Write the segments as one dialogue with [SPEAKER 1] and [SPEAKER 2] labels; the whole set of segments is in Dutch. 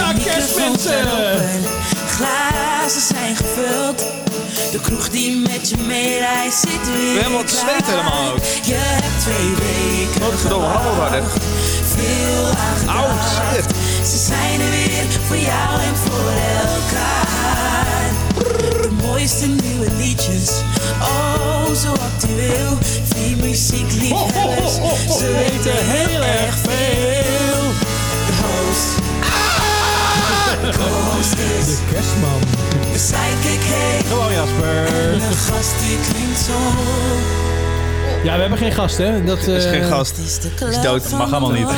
[SPEAKER 1] kerstmensen.
[SPEAKER 2] Glazen zijn gevuld. De kroeg die met je meereist zit weer
[SPEAKER 1] helemaal het
[SPEAKER 2] klaar.
[SPEAKER 1] zweet helemaal ook.
[SPEAKER 2] Je hebt twee weken
[SPEAKER 1] Godverdomme, hallo daar, hè.
[SPEAKER 2] Veel aan
[SPEAKER 1] Au,
[SPEAKER 2] gedacht.
[SPEAKER 1] shit.
[SPEAKER 2] Ze zijn er weer voor jou en voor elkaar. De mooiste nieuwe liedjes, oh zo actueel. Vier muziekliefhebbers,
[SPEAKER 1] Ho, ho, ho, ho, ho.
[SPEAKER 2] ze weten heel erg veel. De host, de host is
[SPEAKER 3] De kerstman.
[SPEAKER 2] de sidekick heen.
[SPEAKER 1] Gewoon Jasper.
[SPEAKER 2] De gast die klinkt zo.
[SPEAKER 3] Ja, we hebben geen gast, hè? Dat
[SPEAKER 1] Er is
[SPEAKER 3] eh,
[SPEAKER 1] geen gast.
[SPEAKER 2] Het is de
[SPEAKER 1] Is dood, mag allemaal niet.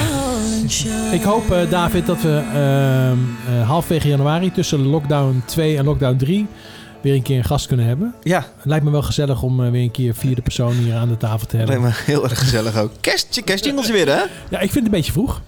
[SPEAKER 3] Ik hoop, eh, David, dat we ehm, eh, halfwege januari tussen lockdown 2 en lockdown 3 weer een keer een gast kunnen hebben.
[SPEAKER 1] Ja,
[SPEAKER 3] Het lijkt me wel gezellig om eh, weer een keer vierde persoon hier aan de tafel te hebben.
[SPEAKER 1] lijkt me heel erg gezellig ook. Kerstje, kerstjingeltje weer, hè?
[SPEAKER 3] Ja, ik vind het een beetje vroeg.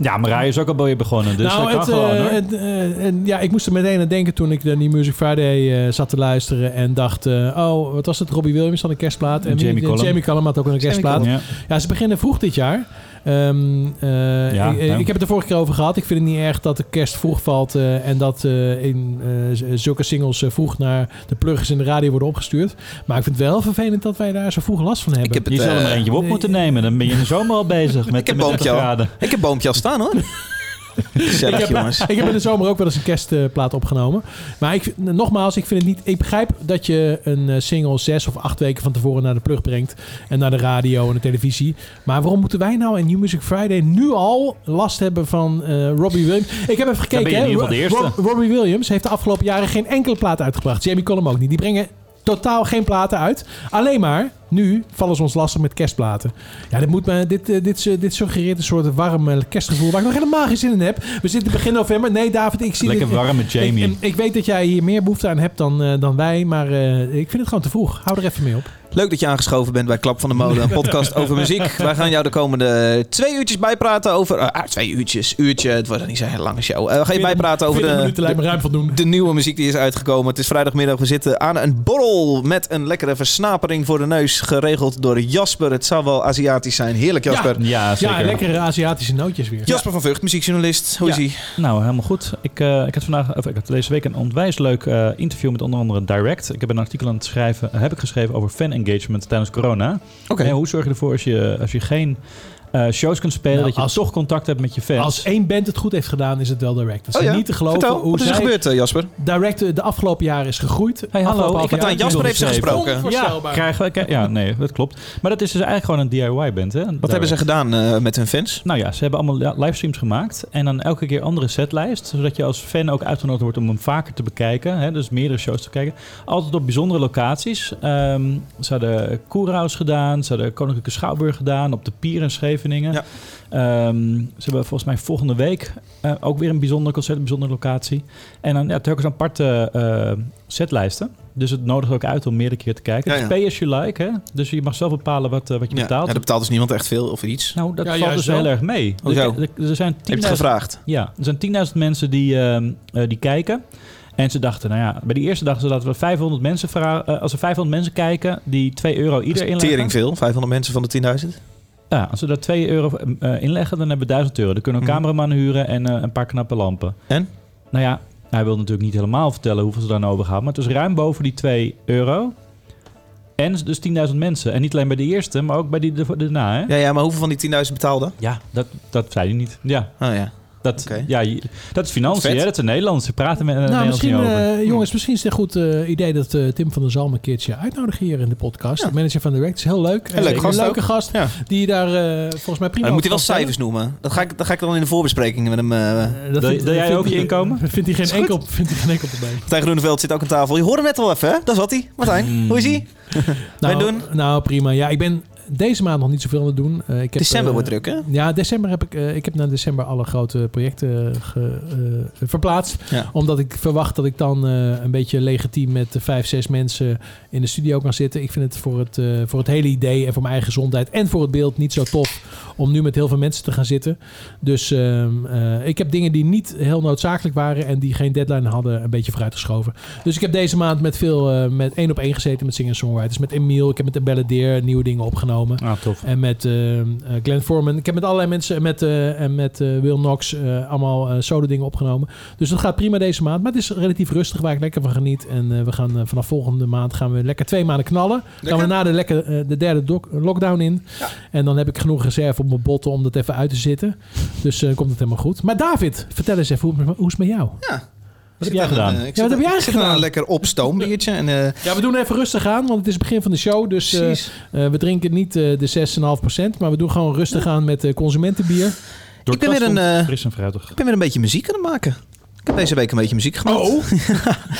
[SPEAKER 4] Ja, Marij is ook al weer begonnen, dus dat kan
[SPEAKER 3] het,
[SPEAKER 4] gewoon
[SPEAKER 3] eh,
[SPEAKER 4] hoor.
[SPEAKER 3] het, eh, en, ja, ik moest er meteen aan denken toen ik naar die Music Friday eh, zat te luisteren en dacht, eh, oh, wat was het? Robbie Williams had een kerstplaat en wie-
[SPEAKER 4] Jamie Cullum.
[SPEAKER 3] Jamie Cullum had ook een kerstplaat.
[SPEAKER 4] ja.
[SPEAKER 3] Ja, ze beginnen vroeg dit jaar. Ehm, eh,
[SPEAKER 4] Ja,
[SPEAKER 3] ik, eh,
[SPEAKER 4] ja.
[SPEAKER 3] ik heb het er vorige keer over gehad. Ik vind het niet erg dat de kerst vroeg valt eh, en dat eh, in, eh, z- zulke singles eh, vroeg naar de pluggers in de radio worden opgestuurd. Maar ik vind het wel vervelend dat wij daar zo vroeg last van hebben.
[SPEAKER 1] Ik heb het,
[SPEAKER 4] Je zou er maar
[SPEAKER 1] eh,
[SPEAKER 4] eentje op
[SPEAKER 3] nee.
[SPEAKER 4] moeten nemen. Dan ben je in de zomer al bezig met,
[SPEAKER 1] ik heb
[SPEAKER 4] met 30
[SPEAKER 1] boompje al.
[SPEAKER 4] graden.
[SPEAKER 1] Ik heb boompje al staan, hoor.
[SPEAKER 3] Ik
[SPEAKER 1] Gezellig,
[SPEAKER 3] heb,
[SPEAKER 1] jongens.
[SPEAKER 3] ik heb in de zomer ook wel eens een kerstplaat opgenomen. Maar ik, vind- nogmaals, ik, vind het niet, ik begrijp dat je een eh, single zes of acht weken van tevoren naar de plug brengt. En naar de radio en de televisie. Maar waarom moeten wij nou in New Music Friday nu al last hebben van eh, Robbie Williams? Ik heb even gekeken.
[SPEAKER 4] ben je in
[SPEAKER 3] hè.
[SPEAKER 4] ieder geval de
[SPEAKER 3] Ro-
[SPEAKER 4] eerste.
[SPEAKER 3] Rob- Robbie Williams heeft de afgelopen jaren geen enkele plaat uitgebracht. Jamie Cullum ook niet. Die brengen totaal geen platen uit. Alleen maar, nu vallen ze ons lastig met kerstplaten. Ja, dit, moet me, dit, eh, dit, eh, dit suggereert een soort warm eh, kerstgevoel waar ik nog helemaal geen zin in heb. We zitten begin november. Nee, David, ik zie
[SPEAKER 4] Lekker
[SPEAKER 3] dit-
[SPEAKER 4] warme Jamie.
[SPEAKER 3] Ik, ik weet dat jij hier meer behoefte aan hebt dan, eh, dan wij, maar eh, ik vind het gewoon te vroeg. Hou er even mee op.
[SPEAKER 1] Leuk dat je aangeschoven bent bij Klap van de Molen, een podcast over muziek. Wij gaan jou de komende twee uurtjes bijpraten over... eh, ah, twee uurtjes, uurtje, het wordt niet zo'n hele lange show. Eh, we gaan je bijpraten over
[SPEAKER 3] 20
[SPEAKER 1] de,
[SPEAKER 3] minuten lijkt me ruim voldoende.
[SPEAKER 1] de nieuwe muziek die is uitgekomen. Het is vrijdagmiddag, we zitten aan een borrel met een lekkere versnapering voor de neus. Geregeld door Jasper, het zou wel Aziatisch zijn. Heerlijk Jasper.
[SPEAKER 4] Ja, zeker.
[SPEAKER 3] Ja, lekkere Aziatische nootjes weer.
[SPEAKER 1] Jasper van Vught, muziekjournalist. Hoe
[SPEAKER 4] Ja.
[SPEAKER 1] is hij?
[SPEAKER 4] Nou, helemaal goed. Ik, eh, ik had vandaag, of ik had deze week een onwijs leuk eh, interview met onder andere Direct. Ik heb een artikel aan het schrijven, eh, heb ik geschreven over fan engagement tijdens corona.
[SPEAKER 1] Oké.
[SPEAKER 4] En hoe zorg je ervoor als je, als je geen eh, shows kunt spelen,
[SPEAKER 3] Nou,
[SPEAKER 4] dat je
[SPEAKER 3] als-
[SPEAKER 4] toch contact hebt met je fans?
[SPEAKER 3] Als één band het goed heeft gedaan, is het wel direct. Dat is
[SPEAKER 1] Oh ja,
[SPEAKER 3] niet te geloven
[SPEAKER 1] Vertel,
[SPEAKER 3] hoe
[SPEAKER 1] wat is er
[SPEAKER 3] zij-
[SPEAKER 1] gebeurd eh, Jasper?
[SPEAKER 3] Direct eh, de afgelopen jaren is gegroeid.
[SPEAKER 4] Hey, hallo,
[SPEAKER 3] Afgelopen
[SPEAKER 4] ik
[SPEAKER 3] half
[SPEAKER 4] heb
[SPEAKER 3] jaar
[SPEAKER 1] aan Jasper heeft ze
[SPEAKER 4] geschreven.
[SPEAKER 1] gesproken.
[SPEAKER 3] Onvoorstelbaar.
[SPEAKER 4] Krijgen we, krijg- ja, nee, dat klopt. Maar dat is dus eigenlijk gewoon een DIY-band, hè?
[SPEAKER 1] Wat hebben ze gedaan eh, met hun fans?
[SPEAKER 4] Nou ja, ze hebben allemaal ja, livestreams gemaakt. En dan elke keer andere setlijst. Zodat je als fan ook uitgenodigd wordt om hem vaker te bekijken. Hè, dus meerdere shows te kijken. Altijd op bijzondere locaties. Ehm, ze hadden Koerhuis gedaan. Ze hadden Koninklijke Schouwburg gedaan. Op de Pier in Scheveningen.
[SPEAKER 1] Ja.
[SPEAKER 4] Ehm, ze hebben volgens mij volgende week eh, ook weer een bijzonder concert. Een bijzondere locatie. En dan ja, telkens aparte eh, setlijsten. Dus het nodigt ook uit om meerdere keer te kijken.
[SPEAKER 1] Ja,
[SPEAKER 4] Het
[SPEAKER 1] ja.
[SPEAKER 4] is pay as you like. Hè? Dus je mag zelf bepalen wat, eh, wat je
[SPEAKER 1] Ja,
[SPEAKER 4] betaalt.
[SPEAKER 1] ja, dat betaalt dus niemand echt veel of iets.
[SPEAKER 4] Nou, dat
[SPEAKER 3] Ja,
[SPEAKER 4] valt
[SPEAKER 3] juist
[SPEAKER 4] dus
[SPEAKER 3] wel.
[SPEAKER 4] heel erg mee.
[SPEAKER 1] Hoezo?
[SPEAKER 4] Er, er- er zijn 10.000
[SPEAKER 1] Heb je het gevraagd?
[SPEAKER 4] ja, er zijn 10.000 mensen die, ehm, eh, die kijken. En ze dachten, nou ja, bij die eerste dag ze dat we 500 mensen vra- eh, als er 500 mensen kijken, die 2 euro ieder inleggen.
[SPEAKER 1] Dus Tering veel, 500 mensen van de 10.000.
[SPEAKER 4] Ja, als ze daar 2 euro eh, inleggen, dan hebben we 1000 euro. Dan kunnen we een
[SPEAKER 1] Mhm.
[SPEAKER 4] cameraman huren en eh, een paar knappe lampen.
[SPEAKER 1] En?
[SPEAKER 4] Nou ja, hij wil natuurlijk niet helemaal vertellen hoeveel ze daar nou overgaan. Maar het is ruim boven die 2 euro. En dus 10.000 mensen. En niet alleen bij de eerste, maar ook bij die ervo- daarna. Hè?
[SPEAKER 1] Ja, ja, maar hoeveel van die 10.000 betaalden?
[SPEAKER 4] Ja, dat, dat zei hij niet. Ja,
[SPEAKER 1] Oh ja.
[SPEAKER 4] dat,
[SPEAKER 1] Oké.
[SPEAKER 4] ja, je- dat is financiën,
[SPEAKER 1] Vet.
[SPEAKER 4] hè? dat is een Nederlands. Ze praten met een
[SPEAKER 3] Nou,
[SPEAKER 4] Nederlands
[SPEAKER 3] misschien,
[SPEAKER 4] niet over. Hmm.
[SPEAKER 3] eh, jongens, misschien is het een goed eh, idee dat eh, Tim van der Zalm een keertje uitnodigt hier in de podcast.
[SPEAKER 1] Ja.
[SPEAKER 3] De manager van Direct is heel leuk.
[SPEAKER 1] leuke
[SPEAKER 3] Een
[SPEAKER 1] gast
[SPEAKER 3] leuke
[SPEAKER 1] ook.
[SPEAKER 3] gast
[SPEAKER 1] Ja.
[SPEAKER 3] die daar eh, volgens mij prima
[SPEAKER 1] Dan
[SPEAKER 3] over
[SPEAKER 1] moet hij wel
[SPEAKER 3] kan
[SPEAKER 1] cijfers noemen. Dat ga, ik, dat ga ik dan in de voorbespreking met hem. eh
[SPEAKER 3] vertellen. Eh, dat
[SPEAKER 4] Wil-
[SPEAKER 3] vindt-
[SPEAKER 4] wil jij
[SPEAKER 3] vindt-
[SPEAKER 4] ook je inkomen?
[SPEAKER 3] Vindt hij
[SPEAKER 1] Is
[SPEAKER 3] geen,
[SPEAKER 1] goed.
[SPEAKER 3] enkel, vindt hij geen enkel probleem.
[SPEAKER 1] Martijn Groeneveld zit ook aan tafel. Je hoorde hem net al even, hè? Dat zat hij. Martijn, hoe is hij?
[SPEAKER 3] Nou,
[SPEAKER 1] doen?
[SPEAKER 3] Nou, prima. Ja, ik ben deze maand nog niet zoveel aan het doen. Eh, ik heb,
[SPEAKER 1] December
[SPEAKER 3] eh,
[SPEAKER 1] wordt druk, hè?
[SPEAKER 3] Ja, december heb ik, eh, ik heb naar december alle grote projecten ge- eh, verplaatst.
[SPEAKER 1] Ja.
[SPEAKER 3] Omdat ik verwacht dat ik dan eh, een beetje legitiem met eh, vijf, zes mensen in de studio kan zitten. Ik vind het voor het, eh, voor het hele idee en voor mijn eigen gezondheid en voor het beeld niet zo tof om nu met heel veel mensen te gaan zitten. Dus ehm, eh, ik heb dingen die niet heel noodzakelijk waren en die geen deadline hadden, een beetje vooruitgeschoven. Dus ik heb deze maand met veel, eh, met één op één gezeten met singer-songwriters. Met Emiel, ik heb met de Belladeer nieuwe dingen opgenomen.
[SPEAKER 4] Ah, tof.
[SPEAKER 3] En met ehm, eh, Glenn Foreman. Ik heb met allerlei mensen, met, eh, en met eh, Will Knox, eh, allemaal eh, solo dingen opgenomen. Dus dat gaat prima deze maand. Maar het is relatief rustig, waar ik lekker van geniet. En eh, we gaan eh, vanaf volgende maand gaan we lekker twee maanden knallen. Dan gaan we na de, lekker, eh, de derde dok- lockdown in. En dan heb ik genoeg reserve op mijn botten om dat even uit te zitten. Dus eh, komt het helemaal goed. Maar David, vertel eens even, hoe, hoe is het met jou?
[SPEAKER 4] heb jij gedaan? Ja,
[SPEAKER 3] wat
[SPEAKER 1] ik zit,
[SPEAKER 3] heb jij
[SPEAKER 1] ik zit aan
[SPEAKER 3] gedaan?
[SPEAKER 1] een lekker opstoombiertje. En, eh,
[SPEAKER 3] Ja, we doen even rustig aan, want het is het begin van de show. Dus eh,
[SPEAKER 1] Precies.
[SPEAKER 3] eh, we drinken niet eh, de 6,5%, maar we doen gewoon rustig aan met eh, consumentenbier.
[SPEAKER 4] Door
[SPEAKER 1] ik ben weer een,
[SPEAKER 4] Tasmans,
[SPEAKER 1] eh,
[SPEAKER 4] fris en fruitig.
[SPEAKER 1] ik ben weer een beetje muziek aan het maken. Ik heb deze week een beetje muziek gemaakt.
[SPEAKER 3] Oh.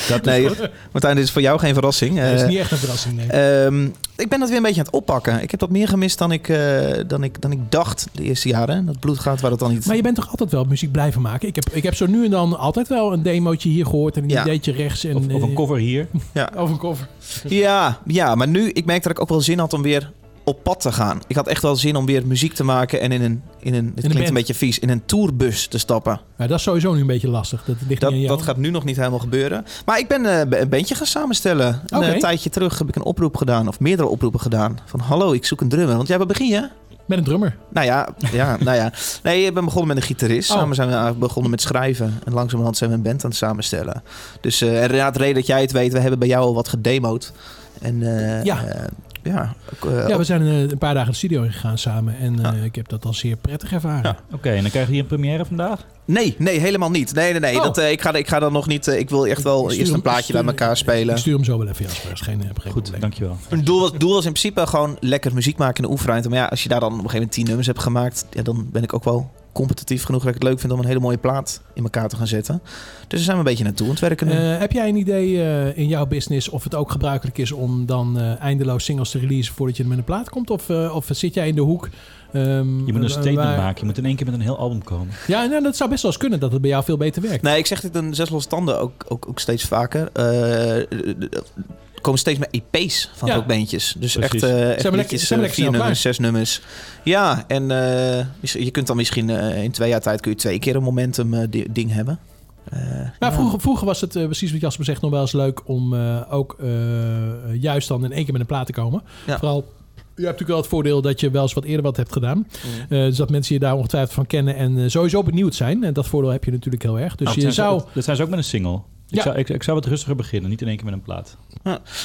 [SPEAKER 4] Dat
[SPEAKER 1] nee,
[SPEAKER 4] is goed.
[SPEAKER 1] Martijn, dit is voor jou geen verrassing.
[SPEAKER 3] dat
[SPEAKER 1] Eh,
[SPEAKER 3] is niet echt een verrassing, nee.
[SPEAKER 1] Ehm, ik ben dat weer een beetje aan het oppakken. Ik heb dat meer gemist dan ik, eh, dan ik, dan ik dacht de eerste jaren. Dat bloed gaat waar het dan niet...
[SPEAKER 3] Maar je bent toch altijd wel muziek blijven maken? Ik heb, ik heb zo nu en dan altijd wel een demootje hier gehoord en een
[SPEAKER 1] Ja.
[SPEAKER 3] ideetje rechts. En,
[SPEAKER 4] Of, of een
[SPEAKER 3] eh,
[SPEAKER 4] cover hier.
[SPEAKER 3] Of een koffer.
[SPEAKER 1] Ja, ja, maar nu, ik merk dat ik ook wel zin had om weer op pad te gaan. Ik had echt wel zin om weer muziek te maken en in een, in een dit klinkt
[SPEAKER 3] band.
[SPEAKER 1] een beetje vies, in een tourbus te stappen.
[SPEAKER 3] Maar dat is sowieso nu een beetje lastig. Dat ligt niet aan
[SPEAKER 1] Dat,
[SPEAKER 3] jou.
[SPEAKER 1] dat gaat nu nog niet helemaal gebeuren. Maar ik ben eh, een bandje gaan samenstellen. Een
[SPEAKER 3] Oké.
[SPEAKER 1] eh, tijdje terug heb ik een oproep gedaan, of meerdere oproepen gedaan. Van hallo, ik zoek een drummer. Want jij bent begin je?
[SPEAKER 3] Met een drummer.
[SPEAKER 1] Nou ja, ja, nou ja. Nee, ik ben begonnen met een gitarist.
[SPEAKER 3] Oh.
[SPEAKER 1] Samen zijn we eigenlijk begonnen met schrijven. En langzamerhand zijn we een band aan het samenstellen. Dus eh, en inderdaad, reden dat jij het weet, we hebben bij jou al wat gedemoed. En eh,
[SPEAKER 3] Ja.
[SPEAKER 1] eh, ja, ook, eh,
[SPEAKER 3] Ja, we zijn eh, een paar dagen de studio ingegaan samen. En eh,
[SPEAKER 1] Ja.
[SPEAKER 3] ik heb dat al zeer prettig ervaren.
[SPEAKER 4] Oké, en dan krijg je hier een première vandaag.
[SPEAKER 1] Nee, nee, helemaal niet. Nee, nee, nee.
[SPEAKER 3] Oh.
[SPEAKER 1] Dat, eh, ik, ga, ik ga dan nog niet. eh, ik wil echt
[SPEAKER 3] Ik
[SPEAKER 1] wel
[SPEAKER 3] stuur
[SPEAKER 1] eerst
[SPEAKER 3] hem-
[SPEAKER 1] een plaatje
[SPEAKER 3] ik stuur-
[SPEAKER 1] bij elkaar
[SPEAKER 3] Ik
[SPEAKER 1] spelen.
[SPEAKER 3] stuur hem zo wel even, Jasper. Dat is geen, eh, geen
[SPEAKER 4] Goed,
[SPEAKER 3] probleem.
[SPEAKER 4] dankjewel.
[SPEAKER 1] Een doel was, doel was in principe gewoon lekker muziek maken en oefenruimte. Maar ja, als je daar dan op een gegeven moment tien nummers hebt gemaakt, ja, dan ben ik ook wel competitief genoeg dat ik het leuk vind om een hele mooie plaat in elkaar te gaan zetten. Dus daar zijn we een beetje naartoe aan het werken. nu.
[SPEAKER 3] Eh, heb jij een idee eh, in jouw business of het ook gebruikelijk is om dan eh, eindeloos singles te releasen voordat je met een plaat komt? Of, eh, of zit jij in de hoek? ehm,
[SPEAKER 4] Je moet een
[SPEAKER 3] waar-
[SPEAKER 4] statement maken. Je moet in één keer met een heel album komen.
[SPEAKER 3] Ja, nou, dat zou best wel eens kunnen dat het bij jou veel beter werkt.
[SPEAKER 1] Nee, ik zeg dit in zes losse tanden ook, ook, ook steeds vaker. Eh, er komen steeds meer EP's van
[SPEAKER 3] Ja.
[SPEAKER 1] rockbandjes. Dus
[SPEAKER 4] Precies.
[SPEAKER 1] echt, eh echt
[SPEAKER 3] lekker-
[SPEAKER 1] liedjes,
[SPEAKER 3] zijn we lekker snel
[SPEAKER 1] eh, vier nummers,
[SPEAKER 3] klaar.
[SPEAKER 1] zes nummers. Ja, en eh, mis- je kunt dan misschien eh, in twee jaar tijd kun je twee keer een momentum eh, di- ding hebben. Eh,
[SPEAKER 3] Nou,
[SPEAKER 1] ja.
[SPEAKER 3] vroeger, vroeger was het, eh, precies wat Jasper zegt, nog wel eens leuk om eh, ook eh, juist dan in één keer met een plaat te komen.
[SPEAKER 1] Ja.
[SPEAKER 3] Vooral, je hebt natuurlijk wel het voordeel dat je wel eens wat eerder wat hebt gedaan. Eh, dus dat mensen je daar ongetwijfeld van kennen en eh, sowieso benieuwd zijn. En dat voordeel heb je natuurlijk heel erg. Dus
[SPEAKER 4] Nou,
[SPEAKER 3] je
[SPEAKER 4] dat zijn
[SPEAKER 3] zou...
[SPEAKER 4] ze- Dat zijn ze ook met een single.
[SPEAKER 3] Ja.
[SPEAKER 4] Ik, zou, ik, ik zou wat rustiger beginnen, niet in één keer met een plaat.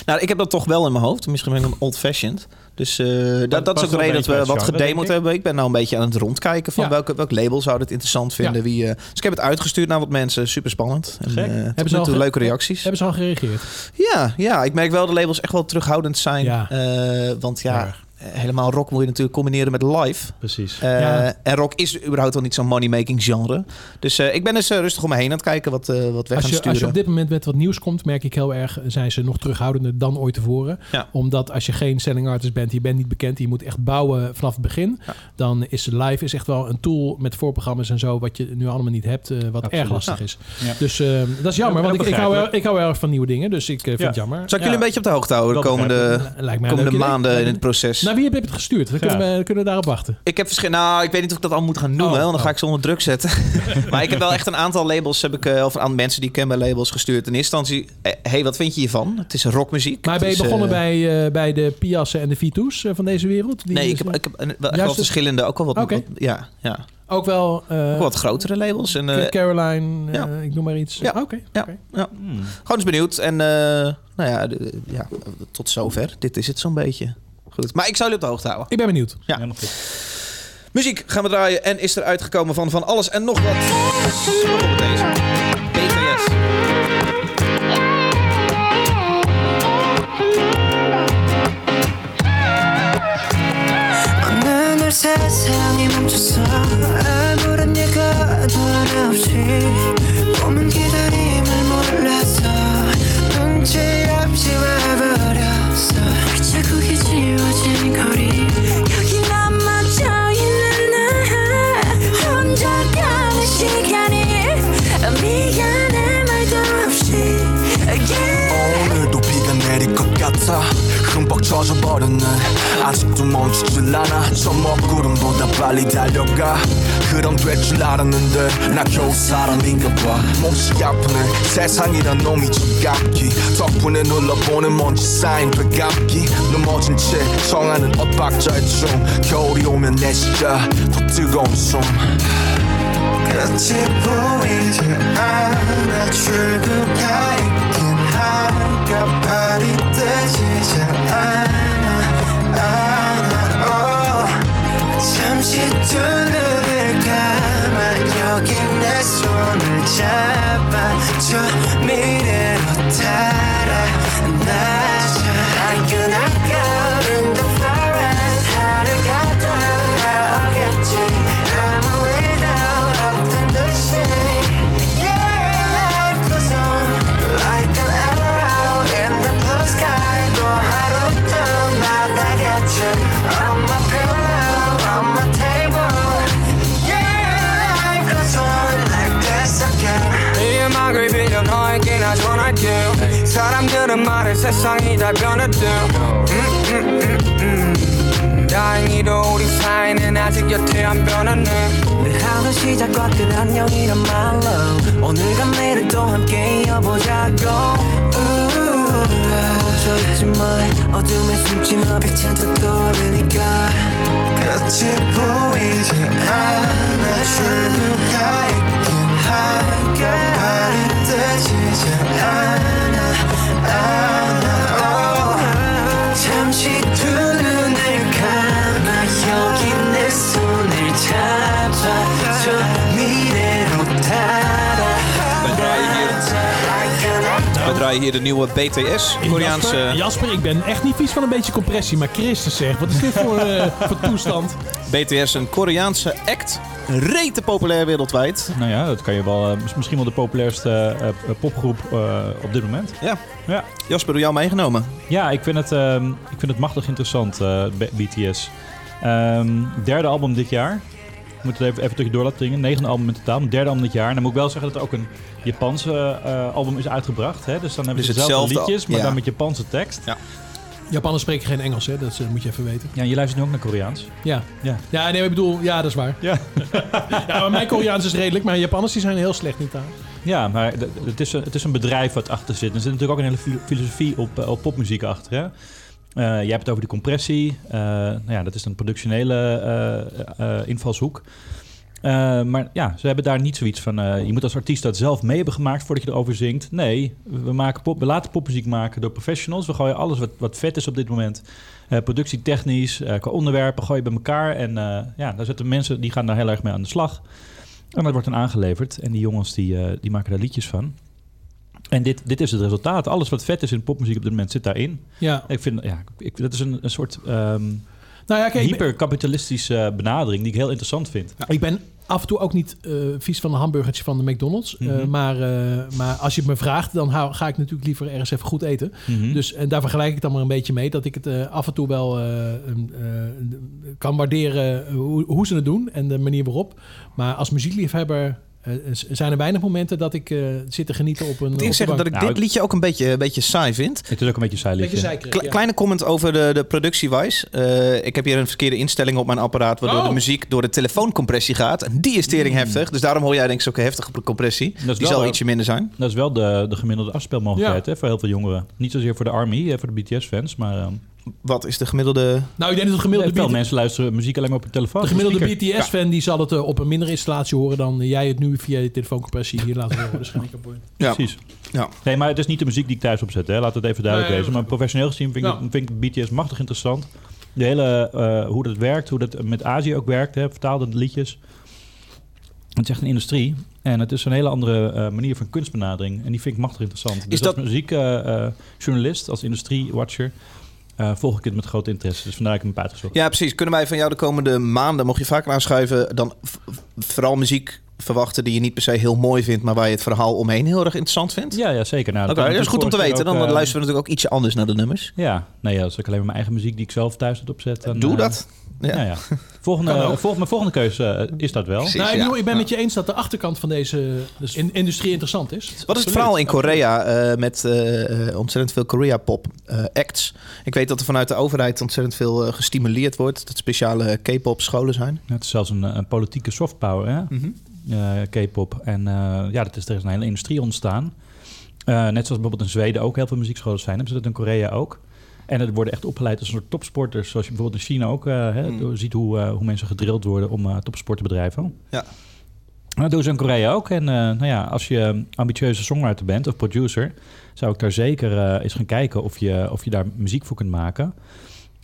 [SPEAKER 1] Nou, ik heb dat toch wel in mijn hoofd. Misschien ben ik een old-fashioned. Dus eh, dat, dat
[SPEAKER 4] past
[SPEAKER 1] is ook de
[SPEAKER 4] wel
[SPEAKER 1] reden
[SPEAKER 4] een
[SPEAKER 1] dat we
[SPEAKER 4] beetje bij
[SPEAKER 1] wat
[SPEAKER 4] het genre, denk
[SPEAKER 1] gedemoed
[SPEAKER 4] ik.
[SPEAKER 1] hebben. Ik ben nou een beetje aan het rondkijken van
[SPEAKER 3] Ja.
[SPEAKER 1] welke, welk label zou dit interessant vinden.
[SPEAKER 3] Ja.
[SPEAKER 1] Wie, eh, dus ik heb het uitgestuurd naar wat mensen. Super spannend. En,
[SPEAKER 4] Gek.
[SPEAKER 1] eh, tot
[SPEAKER 4] Hebben
[SPEAKER 1] nu
[SPEAKER 3] ze al
[SPEAKER 1] toe
[SPEAKER 3] ge-
[SPEAKER 1] leuke reacties.
[SPEAKER 3] Hebben ze al gereageerd?
[SPEAKER 1] Ja, ja, ik merk wel dat labels echt wel terughoudend zijn.
[SPEAKER 3] Ja.
[SPEAKER 1] Eh, want ja,
[SPEAKER 3] Erg.
[SPEAKER 1] eh, helemaal rock moet je natuurlijk combineren met live.
[SPEAKER 4] Precies.
[SPEAKER 1] Eh,
[SPEAKER 3] Ja.
[SPEAKER 1] En rock is überhaupt al niet zo'n money-making genre. Dus eh, ik ben eens eh, rustig om me heen aan het kijken wat, eh, wat weg
[SPEAKER 3] Als
[SPEAKER 1] gaan
[SPEAKER 3] je, als je
[SPEAKER 1] sturen.
[SPEAKER 3] op dit moment met wat nieuws komt, merk ik heel erg, eh, zijn ze nog terughoudender dan ooit tevoren.
[SPEAKER 1] Ja.
[SPEAKER 3] Omdat als je geen selling artist bent, je bent niet bekend, je moet echt bouwen vanaf het begin.
[SPEAKER 1] Ja.
[SPEAKER 3] Dan is live is echt wel een tool met voorprogramma's en zo, wat je nu allemaal niet hebt, eh, wat
[SPEAKER 4] Absoluut.
[SPEAKER 3] erg lastig is.
[SPEAKER 4] Ja.
[SPEAKER 3] Dus eh, dat is jammer,
[SPEAKER 4] Ja,
[SPEAKER 3] want ik, ik, hou,
[SPEAKER 4] begrijpelijk.
[SPEAKER 3] er- ik hou erg van nieuwe dingen, dus ik eh, vind
[SPEAKER 4] Ja.
[SPEAKER 3] het jammer.
[SPEAKER 1] Zal ik jullie een beetje op de hoogte houden de
[SPEAKER 4] Dat
[SPEAKER 1] komende,
[SPEAKER 3] beetje... Lijkt mij een
[SPEAKER 1] eh, komende
[SPEAKER 3] leuk idee. Nou,
[SPEAKER 1] maanden in
[SPEAKER 3] Lijkt
[SPEAKER 1] het
[SPEAKER 3] me-
[SPEAKER 1] proces?
[SPEAKER 3] Naar wie heb je het gestuurd? Dan kunnen, we, kunnen we daarop wachten.
[SPEAKER 1] Ik heb verschillende. Nou, ik weet niet of ik dat al moet gaan noemen,
[SPEAKER 3] Oh,
[SPEAKER 1] want dan
[SPEAKER 3] oh.
[SPEAKER 1] ga ik ze onder druk zetten. maar ik heb wel echt een aantal labels, heb ik, eh, of een aantal mensen die ik ken bij labels gestuurd. In eerste instantie, hé, hey, wat vind je hiervan? Het is rockmuziek.
[SPEAKER 3] Maar ben je
[SPEAKER 1] Het is,
[SPEAKER 3] begonnen
[SPEAKER 1] eh,
[SPEAKER 3] bij, eh, bij de Piassen en de Vito's eh, van deze wereld? Die
[SPEAKER 1] Nee, ik
[SPEAKER 3] is- eh,
[SPEAKER 1] heb, ik heb een, wel echt
[SPEAKER 3] Juist
[SPEAKER 1] wel
[SPEAKER 3] het-
[SPEAKER 1] verschillende, ook wel wat,
[SPEAKER 3] Oké.
[SPEAKER 1] wat- ja, ja.
[SPEAKER 3] Ook wel... eh,
[SPEAKER 1] Ook wat grotere labels. En, eh,
[SPEAKER 3] Caroline, eh,
[SPEAKER 1] ja.
[SPEAKER 3] ik noem maar iets.
[SPEAKER 1] Ja.
[SPEAKER 3] Ah, Oké.
[SPEAKER 1] Ja.
[SPEAKER 3] oké.
[SPEAKER 4] Hmm.
[SPEAKER 1] gewoon eens benieuwd. En eh, nou ja, de- ja, tot zover. Dit is het zo'n beetje. Goed, maar ik zou jullie op de hoogte houden.
[SPEAKER 3] Ik ben benieuwd.
[SPEAKER 1] Ja.
[SPEAKER 4] Helemaal goed.
[SPEAKER 1] Muziek gaan we draaien en is er uitgekomen van van alles en nog wat. Zo, op deze. BVS.
[SPEAKER 2] 걷는 세상이 멈췄어 아무런 예가도 하나 없이 오는 기다림을 몰랐어 눈치 없이 와버렸어 자꾸 기지워진 거리 여기 나만 져 있는 나 혼자 가는 시간이 미안해 말도 없이 yeah.
[SPEAKER 5] 오늘도 비가 내릴 것 같아 흠뻑 젖어버렸는 아직도 멈추질 줄 아나 저 먹구름보다 빨리 달려가 그럼 될 줄 알았는데 나 겨우 사람인가 봐 몹시 아프네 세상이란 놈이 지갑기 덕분에 눌러보는 먼지 쌓인 배갑기 넘어진 채 정하는 엇박자의 춤 겨울이 오면 내 시야 더 뜨거운 숨
[SPEAKER 2] 끝이 보이지 않아 출구가 있긴 한가 발이 뜨지 않아 않아 oh. 잠시 두 눈을 감아 여기 내 손을 잡아줘 미래로 따라 나자 I can I go in the forest 하루가 더 나오겠지 I'm a widow of the nation Yeah, life goes on like an arrow in the blue sky 너 하루도 날아겠지 On my pillow, on my table Yeah, life goes on like this again
[SPEAKER 6] 이 음악을 빌려 너에게 나 전할게 사람들은 말해 세상이 다 변했대 음, 음, 음, 음. 다행히도 우리 사이는 아직 여태 안 변했네
[SPEAKER 2] 내 하루 시작과 끝 안녕이란 말로 오늘과 내일을 또 함께 이어보자고 우우, 멈춰있지 마 어둠에 숨지마 빛은 더 떠오르니까 끝이 보이지 않아 출구가 있긴 한가 발이 뜨지 않아 않아 oh. 잠시 두 눈을 감아 여기 내 손을 잡아줘 미래로 따라
[SPEAKER 1] We draaien hier, we draaien hier de nieuwe BTS,
[SPEAKER 3] Jasper,
[SPEAKER 1] Koreaanse
[SPEAKER 3] Jasper, ik ben echt niet vies van een beetje compressie, maar Christus zegt, wat is dit voor, eh, voor toestand?
[SPEAKER 1] BTS, een Koreaanse act. Rete populair wereldwijd.
[SPEAKER 4] Nou ja, dat kan je wel. eh, is misschien wel de populairste eh, eh, popgroep eh, op dit moment.
[SPEAKER 1] Ja.
[SPEAKER 4] Ja.
[SPEAKER 1] Jasper, door jou meegenomen.
[SPEAKER 4] Ja, ik vind het, ehm, ik vind het machtig interessant, eh, B- BTS. Ehm, derde album dit jaar. Ik moet het even, even tussendoor laten dingen. Negende album in totaal, maar derde album dit jaar. En dan moet ik wel zeggen dat er ook een Japanse eh, album is uitgebracht. Hè? Dus dan hebben ze
[SPEAKER 1] Dus
[SPEAKER 4] dezelfde
[SPEAKER 1] hetzelfde,
[SPEAKER 4] liedjes, maar
[SPEAKER 1] ja.
[SPEAKER 4] dan met Japanse tekst.
[SPEAKER 1] Ja.
[SPEAKER 3] Japanners spreken geen Engels, hè? dat eh, moet je even weten.
[SPEAKER 4] Ja, en je luistert nu ook naar Koreaans.
[SPEAKER 3] Ja.
[SPEAKER 4] Ja.
[SPEAKER 3] ja, nee, ik bedoel, ja, dat is waar.
[SPEAKER 4] Ja.
[SPEAKER 3] Ja, maar mijn Koreaans is redelijk, maar Japanners die zijn heel slecht in taal.
[SPEAKER 4] Ja, maar d- d- het is, een- het is een bedrijf wat achter zit. Er zit natuurlijk ook een hele filo- filosofie op, eh, op popmuziek achter. Hè? Eh, jij hebt het over de compressie. Eh, nou ja, dat is een productionele eh, eh, invalshoek. Eh, maar ja, ze hebben daar niet zoiets van. eh, je moet als artiest dat zelf mee hebben gemaakt voordat je erover zingt. Nee, we, maken pop, we laten popmuziek maken door professionals. We gooien alles wat, wat vet is op dit moment. eh, productietechnisch, eh, qua onderwerpen, gooi je bij elkaar. En eh, ja, daar zitten mensen die gaan daar heel erg mee aan de slag. En dat wordt dan aangeleverd. En die jongens die, eh, die maken daar liedjes van. En dit, dit is het resultaat. Alles wat vet is in popmuziek op dit moment zit daarin.
[SPEAKER 3] Ja.
[SPEAKER 4] Ik vind, ja, ik, dat is een, een soort ehm
[SPEAKER 3] Nou ja, kijk, ik ben,
[SPEAKER 4] hyperkapitalistische eh, benadering die ik heel interessant vind.
[SPEAKER 3] ik ben af en toe ook niet eh, vies van een hamburgertje van de McDonald's. Eh,
[SPEAKER 4] Mhm.
[SPEAKER 3] maar, eh, maar als je het me vraagt, dan hou- ga ik natuurlijk liever ergens even goed eten.
[SPEAKER 4] Mhm.
[SPEAKER 3] Dus en daar vergelijk ik dan maar een beetje mee. Dat ik het eh, af en toe wel eh, een, eh, kan waarderen hoe, hoe ze het doen en de manier waarop. Maar als muziekliefhebber eh, z- zijn er weinig momenten dat ik eh, zit te genieten op een.
[SPEAKER 1] Moet
[SPEAKER 3] op
[SPEAKER 1] ik
[SPEAKER 3] de
[SPEAKER 1] zeggen dat
[SPEAKER 3] bank.
[SPEAKER 1] ik
[SPEAKER 4] Nou,
[SPEAKER 1] dit
[SPEAKER 4] ik-
[SPEAKER 1] liedje ook een beetje, een beetje saai vind.
[SPEAKER 4] het is ook een beetje een saai
[SPEAKER 3] Beetje
[SPEAKER 4] liedje.
[SPEAKER 3] zeikerig,
[SPEAKER 1] Kle-
[SPEAKER 3] ja.
[SPEAKER 1] Kleine comment over de, de productie-wise. Eh, ik heb hier een verkeerde instelling op mijn apparaat... waardoor
[SPEAKER 3] Oh.
[SPEAKER 1] de muziek door de telefooncompressie gaat. En die is tering heftig. Dus daarom hoor jij denk ik zo'n heftige compressie.
[SPEAKER 4] Mm. is
[SPEAKER 1] Die
[SPEAKER 4] wel eh,
[SPEAKER 1] zal
[SPEAKER 4] waar.
[SPEAKER 1] ietsje minder zijn.
[SPEAKER 4] Dat is wel de, de gemiddelde afspeelmogelijkheid hè, voor heel veel jongeren. Niet zozeer voor de Army, hè, voor de BTS-fans, maar ehm,
[SPEAKER 1] Wat is de gemiddelde...
[SPEAKER 3] Nou, ik denk dat de gemiddelde,
[SPEAKER 4] veel
[SPEAKER 3] BT
[SPEAKER 4] mensen luisteren muziek alleen maar op hun telefoon.
[SPEAKER 3] de gemiddelde
[SPEAKER 4] op hun speaker.
[SPEAKER 3] BTS-fan die zal het eh, op een mindere installatie horen dan jij het nu via je telefooncompressie hier laat horen. waarschijnlijk.
[SPEAKER 1] Ja,
[SPEAKER 4] Ja, precies.
[SPEAKER 1] Ja.
[SPEAKER 4] Nee, maar het is niet de muziek die ik thuis opzet. Hè. Laat het even duidelijk
[SPEAKER 3] Nee,
[SPEAKER 4] wezen. Maar professioneel gezien vind ik,
[SPEAKER 3] Ja.
[SPEAKER 4] vind ik BTS machtig interessant. De hele, eh, hoe dat werkt, hoe dat met Azië ook werkt. Hè. Vertaalde liedjes. Het is echt een industrie. En het is een hele andere eh, manier van kunstbenadering. En die vind ik machtig interessant. Dus
[SPEAKER 1] dat-
[SPEAKER 4] als muziekjournalist, als industriewatcher... eh, volg ik het met grote interesse. Dus vandaar dat ik hem heb uitgezocht.
[SPEAKER 1] Ja, precies. Kunnen wij van jou de komende maanden, mocht je vaker aanschuiven, dan v- vooral muziek verwachten die je niet per se heel mooi vindt, maar waar je het verhaal omheen heel erg interessant vindt?
[SPEAKER 4] Ja, ja zeker. Nou,
[SPEAKER 1] Oké, dat is goed om te weten. Dan
[SPEAKER 4] luisteren.
[SPEAKER 1] luisteren we natuurlijk ook ietsje anders naar de nummers.
[SPEAKER 4] Ja, nee, ja, als ik alleen maar mijn eigen muziek die ik zelf thuis had opzet. Dan,
[SPEAKER 1] Doe
[SPEAKER 4] eh,
[SPEAKER 1] dat. Ja.
[SPEAKER 4] Nou ja, Volgende,
[SPEAKER 3] Kan ook.
[SPEAKER 4] volg, mijn volgende keuze eh, is dat wel.
[SPEAKER 5] Precies,
[SPEAKER 3] Nou, ik,
[SPEAKER 5] ja.
[SPEAKER 3] bedoel, ik ben
[SPEAKER 5] Ja.
[SPEAKER 3] met je eens dat de achterkant van deze
[SPEAKER 4] Dus-
[SPEAKER 3] in- industrie interessant is.
[SPEAKER 1] Wat is het verhaal in Korea eh, met eh, eh, ontzettend veel Korea-pop eh, acts? Ik weet dat er vanuit de overheid ontzettend veel eh, gestimuleerd wordt. Dat speciale K-pop scholen zijn.
[SPEAKER 4] Het is zelfs een, een politieke softpower, hè? Eh, K-pop. En eh, ja, dat is, er is een hele industrie ontstaan. Eh, net zoals bijvoorbeeld in Zweden ook heel veel muziekscholen zijn. Hebben ze dat in Korea ook? En het worden echt opgeleid als een soort topsporters. Zoals je bijvoorbeeld in China ook eh, hè, ziet hoe, eh, hoe mensen gedrild worden om eh, topsport te bedrijven.
[SPEAKER 1] Ja.
[SPEAKER 4] Nou, Dat doen ze in Korea ook. En eh, nou ja, als je eh, ambitieuze songwriter bent of producer, zou ik daar zeker eh, eens gaan kijken of je, of je daar muziek voor kunt maken.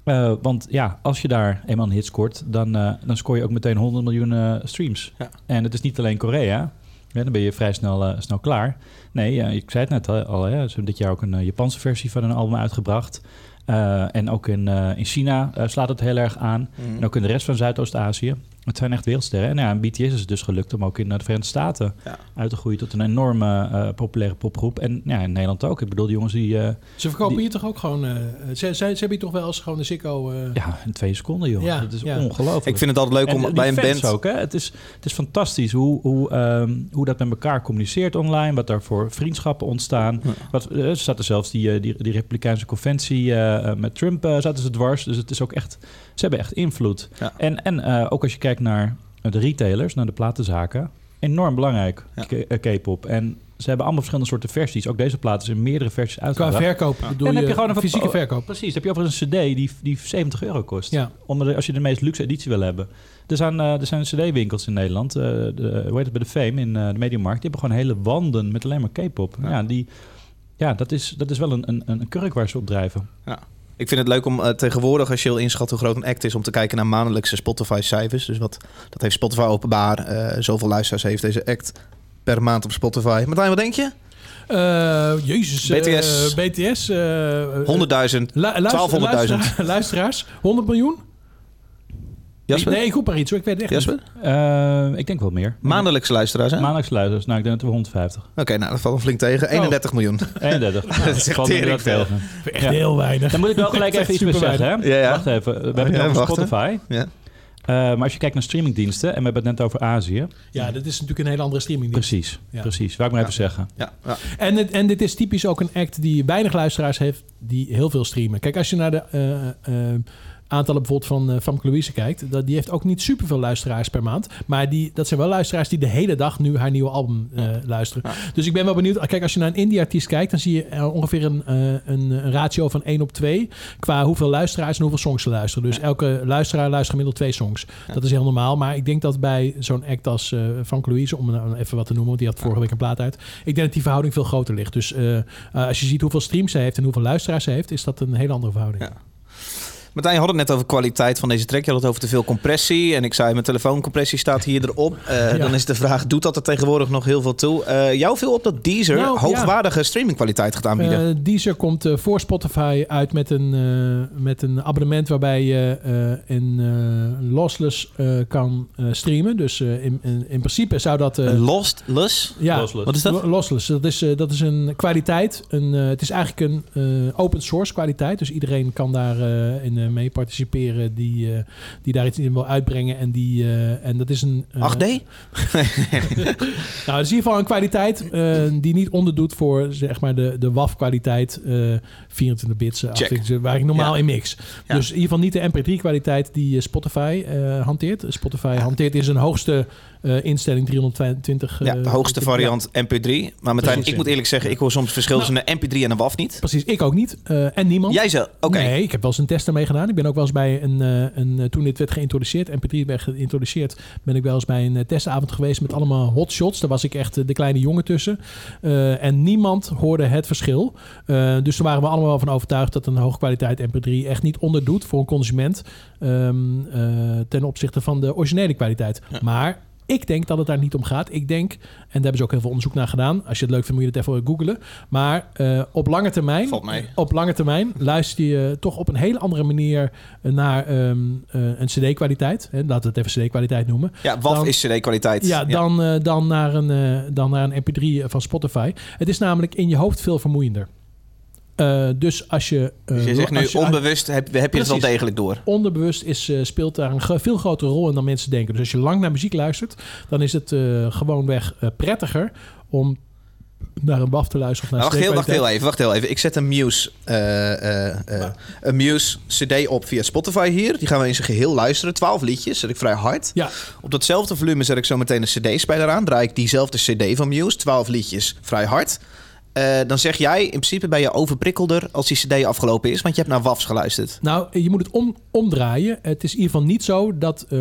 [SPEAKER 4] Eh, want ja, als je daar eenmaal een hit scoort, dan, eh, dan scoor je ook meteen 100 miljoen eh, streams.
[SPEAKER 1] Ja.
[SPEAKER 4] En het is niet alleen Korea. Ja, dan ben je vrij snel, eh, snel klaar. Nee, eh, ik zei het net al, al, hè, ze hebben dit jaar ook een eh, Japanse versie van een album uitgebracht. Eh, en ook in, eh, in China eh, slaat het heel erg aan.
[SPEAKER 1] Mhm.
[SPEAKER 4] En ook in de rest van Zuidoost-Aasië. Het zijn echt wereldsterren. En ja, aan BTS is het dus gelukt om ook in eh, de Verenigde Staten
[SPEAKER 1] Ja.
[SPEAKER 4] uit te groeien tot een enorme eh, populaire popgroep. En ja, in Nederland ook. Ik bedoel, die jongens die eh,
[SPEAKER 3] Ze verkopen
[SPEAKER 4] Die-
[SPEAKER 3] hier toch ook gewoon... eh, ze, ze, ze hebben hier toch wel eens gewoon de Ziggo... eh,
[SPEAKER 4] ja, in twee seconden, joh.
[SPEAKER 3] Ja,
[SPEAKER 4] dat is
[SPEAKER 3] ja.
[SPEAKER 4] ongelooflijk.
[SPEAKER 1] Ik vind het altijd leuk
[SPEAKER 4] En
[SPEAKER 1] om
[SPEAKER 4] die
[SPEAKER 1] bij een
[SPEAKER 4] fans
[SPEAKER 1] band...
[SPEAKER 4] ook, hè? Het, is, het is fantastisch hoe, hoe, ehm, hoe dat met elkaar communiceert online. Wat daar voor vriendschappen ontstaan. Wat, eh, er zaten zelfs die, eh, die, die Republikeinse conventie eh, eh, met Trump eh, zaten ze dwars. Dus het is ook echt... Ze hebben echt invloed.
[SPEAKER 1] Ja.
[SPEAKER 4] En, en eh, ook als je kijkt naar de retailers, naar de platenzaken. Enorm belangrijk,
[SPEAKER 1] Ja.
[SPEAKER 4] K- eh, K-pop. En ze hebben allemaal verschillende soorten versies. Ook deze platen zijn meerdere versies
[SPEAKER 3] Qua
[SPEAKER 4] uitgebracht.
[SPEAKER 3] verkoop bedoel
[SPEAKER 4] En
[SPEAKER 3] je,
[SPEAKER 4] heb je gewoon een
[SPEAKER 3] fysieke
[SPEAKER 4] verpo-
[SPEAKER 3] verkoop.
[SPEAKER 4] Precies, heb je overigens een cd die, die 70 euro kost.
[SPEAKER 3] Ja.
[SPEAKER 4] Om er- als je de meest luxe editie wil hebben. Er zijn, eh, er zijn cd-winkels in Nederland. eh, de, hoe heet het bij de Fame in eh, de Mediamarkt. Die hebben gewoon hele wanden met alleen maar K-pop. Ja, die, ja dat, is, dat is wel een, een, een kurk waar ze op drijven.
[SPEAKER 1] Ik vind het leuk om eh, tegenwoordig, als je wil inschatten hoe groot een act is, om te kijken naar maandelijkse Spotify-cijfers. Dus wat dat heeft Spotify openbaar. eh, zoveel luisteraars heeft deze act per maand op Spotify. Martijn, wat denk je?
[SPEAKER 3] Eh, jezus. eh,
[SPEAKER 1] BTS.
[SPEAKER 3] BTS. eh, eh,
[SPEAKER 1] 100.000.
[SPEAKER 3] lu- luister-
[SPEAKER 1] 1200.000.
[SPEAKER 3] luistera- Luisteraars. 100 miljoen?
[SPEAKER 1] Jasper?
[SPEAKER 3] Nee, ik roep maar iets hoor. Ik weet het echt niet.
[SPEAKER 1] Jasper?
[SPEAKER 4] Eh, ik denk wel meer.
[SPEAKER 1] Maandelijkse luisteraars, hè?
[SPEAKER 4] Maandelijks luisteraars. Nou, ik denk dat we 150.
[SPEAKER 1] Oké, nou, dat valt een flink tegen.
[SPEAKER 3] Oh.
[SPEAKER 1] 31 miljoen.
[SPEAKER 4] 31.
[SPEAKER 1] Dat is echt
[SPEAKER 4] Valt me
[SPEAKER 1] tering
[SPEAKER 4] dat
[SPEAKER 1] veel.
[SPEAKER 4] tegen.
[SPEAKER 3] Echt
[SPEAKER 4] Ja.
[SPEAKER 3] heel weinig.
[SPEAKER 4] Dan moet ik wel gelijk
[SPEAKER 3] Dat is
[SPEAKER 4] even iets meer
[SPEAKER 3] super
[SPEAKER 4] zeggen. Hè?
[SPEAKER 1] weinig. Ja, ja.
[SPEAKER 4] Wacht even. We hebben
[SPEAKER 1] ja,
[SPEAKER 4] het over
[SPEAKER 1] wacht, hè.
[SPEAKER 4] Spotify.
[SPEAKER 1] Ja.
[SPEAKER 4] Eh, maar als je kijkt naar streamingdiensten... en we hebben het net over Azië.
[SPEAKER 3] Ja, dat is natuurlijk een hele andere streaming.
[SPEAKER 4] Precies,
[SPEAKER 3] Ja.
[SPEAKER 4] precies. Wou ik maar even zeggen.
[SPEAKER 1] Ja, ja.
[SPEAKER 3] En, het, en dit is typisch ook een act die weinig luisteraars heeft, die heel veel streamen. Kijk, als je naar de eh, eh, aantallen bijvoorbeeld van eh Famke Louise kijkt, dat, die heeft ook niet superveel luisteraars per maand. Maar die, dat zijn wel luisteraars die de hele dag nu haar nieuwe album eh, luisteren. Dus ik ben wel benieuwd. Kijk, als je naar een indie-artiest kijkt, dan zie je eh, ongeveer een, eh, een, een ratio van 1 op 2 qua hoeveel luisteraars en hoeveel songs ze luisteren. Dus elke luisteraar luistert gemiddeld twee songs. Dat is heel normaal. Maar ik denk dat bij zo'n act als eh Famke Louise, om nou even wat te noemen, want die had vorige week een plaat uit. Ik denk dat die verhouding veel groter ligt. Dus eh, eh, als je ziet hoeveel streams ze heeft en hoeveel luisteraars ze heeft, is dat een hele andere verhouding.
[SPEAKER 1] Ja. Martijn, je had het net over kwaliteit van deze track. Je had het over te veel compressie. En ik zei, mijn telefooncompressie staat hier erop. Eh,
[SPEAKER 3] Ja.
[SPEAKER 1] Dan is de vraag, doet dat er tegenwoordig nog heel veel toe? Eh, jou viel op dat Deezer
[SPEAKER 3] Nou, ja.
[SPEAKER 1] hoogwaardige streamingkwaliteit gaat aanbieden.
[SPEAKER 3] Eh Deezer komt eh, voor Spotify uit met een, eh, met een abonnement waarbij je eh, in eh, lossless eh, kan eh, streamen. Dus eh, in, in, in principe zou dat... eh,
[SPEAKER 1] Een Lost, Lus?
[SPEAKER 3] ja,
[SPEAKER 4] Lossless.
[SPEAKER 1] Wat is dat?
[SPEAKER 3] Lo- Lossless. Dat is, eh, dat is een kwaliteit. Een, eh, het is eigenlijk een eh, open source kwaliteit. Dus iedereen kan daarin in eh, mee participeren die, eh, die daar iets in wil uitbrengen. En, die, eh, en dat is een... eh,
[SPEAKER 1] 8D?
[SPEAKER 3] nou, het is in ieder geval een kwaliteit eh, die niet onderdoet voor zeg maar, de, de WAF-kwaliteit. eh 24 bits, eh,
[SPEAKER 1] Check.
[SPEAKER 3] 28, waar ik normaal
[SPEAKER 1] Ja.
[SPEAKER 3] in mix.
[SPEAKER 1] Ja.
[SPEAKER 3] Dus in ieder geval niet de MP3-kwaliteit die eh, Spotify eh, hanteert. Spotify hanteert in zijn hoogste eh, instelling 322. eh,
[SPEAKER 1] Ja, de hoogste
[SPEAKER 3] ja.
[SPEAKER 1] variant MP3. Maar Martijn,
[SPEAKER 3] Precies.
[SPEAKER 1] ik moet eerlijk zeggen, ik hoor soms verschil
[SPEAKER 3] Nou.
[SPEAKER 1] tussen een MP3 en een WAF niet.
[SPEAKER 3] Precies, ik ook niet. Eh, en niemand.
[SPEAKER 1] Jij zo, oké.
[SPEAKER 3] Nee, ik heb wel eens een test ermee gedaan. Ik ben ook wel eens bij een, eh, een eh, toen dit werd geïntroduceerd, MP3 werd geïntroduceerd, ben ik wel eens bij een eh, testavond geweest met allemaal hotshots. Daar was ik echt eh, de kleine jongen tussen. Eh, en niemand hoorde het verschil. Eh, dus daar waren we allemaal wel van overtuigd dat een hoogkwaliteit MP3 echt niet onderdoet voor een consument ehm, eh, ten opzichte van de originele kwaliteit. Maar ik denk dat het daar niet om gaat. Ik denk, en daar hebben ze ook heel veel onderzoek naar gedaan. Als je het leuk vindt, moet je het even googlen. Maar eh, op lange termijn
[SPEAKER 1] Valt mee.
[SPEAKER 3] op lange termijn luister je toch op een hele andere manier naar ehm, eh, een CD-kwaliteit. Hè, Laten we het even CD-kwaliteit noemen.
[SPEAKER 1] Ja, WAF
[SPEAKER 3] Dan-
[SPEAKER 1] is CD-kwaliteit.
[SPEAKER 3] Ja, dan, eh, dan, naar een, eh, dan naar een MP3 van Spotify. Het is namelijk in je hoofd veel vermoeiender. Eh, dus als je... eh,
[SPEAKER 1] Dus je zegt nu
[SPEAKER 3] als je-
[SPEAKER 1] onbewust heb, heb je het wel
[SPEAKER 3] Precies. Nou,
[SPEAKER 1] degelijk door.
[SPEAKER 3] onderbewust is, eh, speelt daar een gro- veel grotere rol in dan mensen denken. Dus als je lang naar muziek luistert, dan is het eh, gewoonweg eh, prettiger om naar een waf te luisteren. Of
[SPEAKER 1] Maar
[SPEAKER 3] naar
[SPEAKER 1] wacht heel, wacht heel
[SPEAKER 3] steekkwaliteit.
[SPEAKER 1] even, wacht heel even. Ik zet een Muse, eh, eh, eh, een Muse CD op via Spotify hier. Die gaan we in zijn geheel luisteren. Twaalf liedjes, zet ik vrij hard.
[SPEAKER 3] Ja,
[SPEAKER 1] Op datzelfde volume zet ik zo meteen een CD-speler aan. Draai ik diezelfde CD van Muse, 12 liedjes, vrij hard. Eh, dan zeg jij, in principe ben je overprikkelder als die CD afgelopen is, want je hebt naar WAFs geluisterd.
[SPEAKER 3] nou, je moet het om, omdraaien. Het is in ieder geval niet zo dat, eh,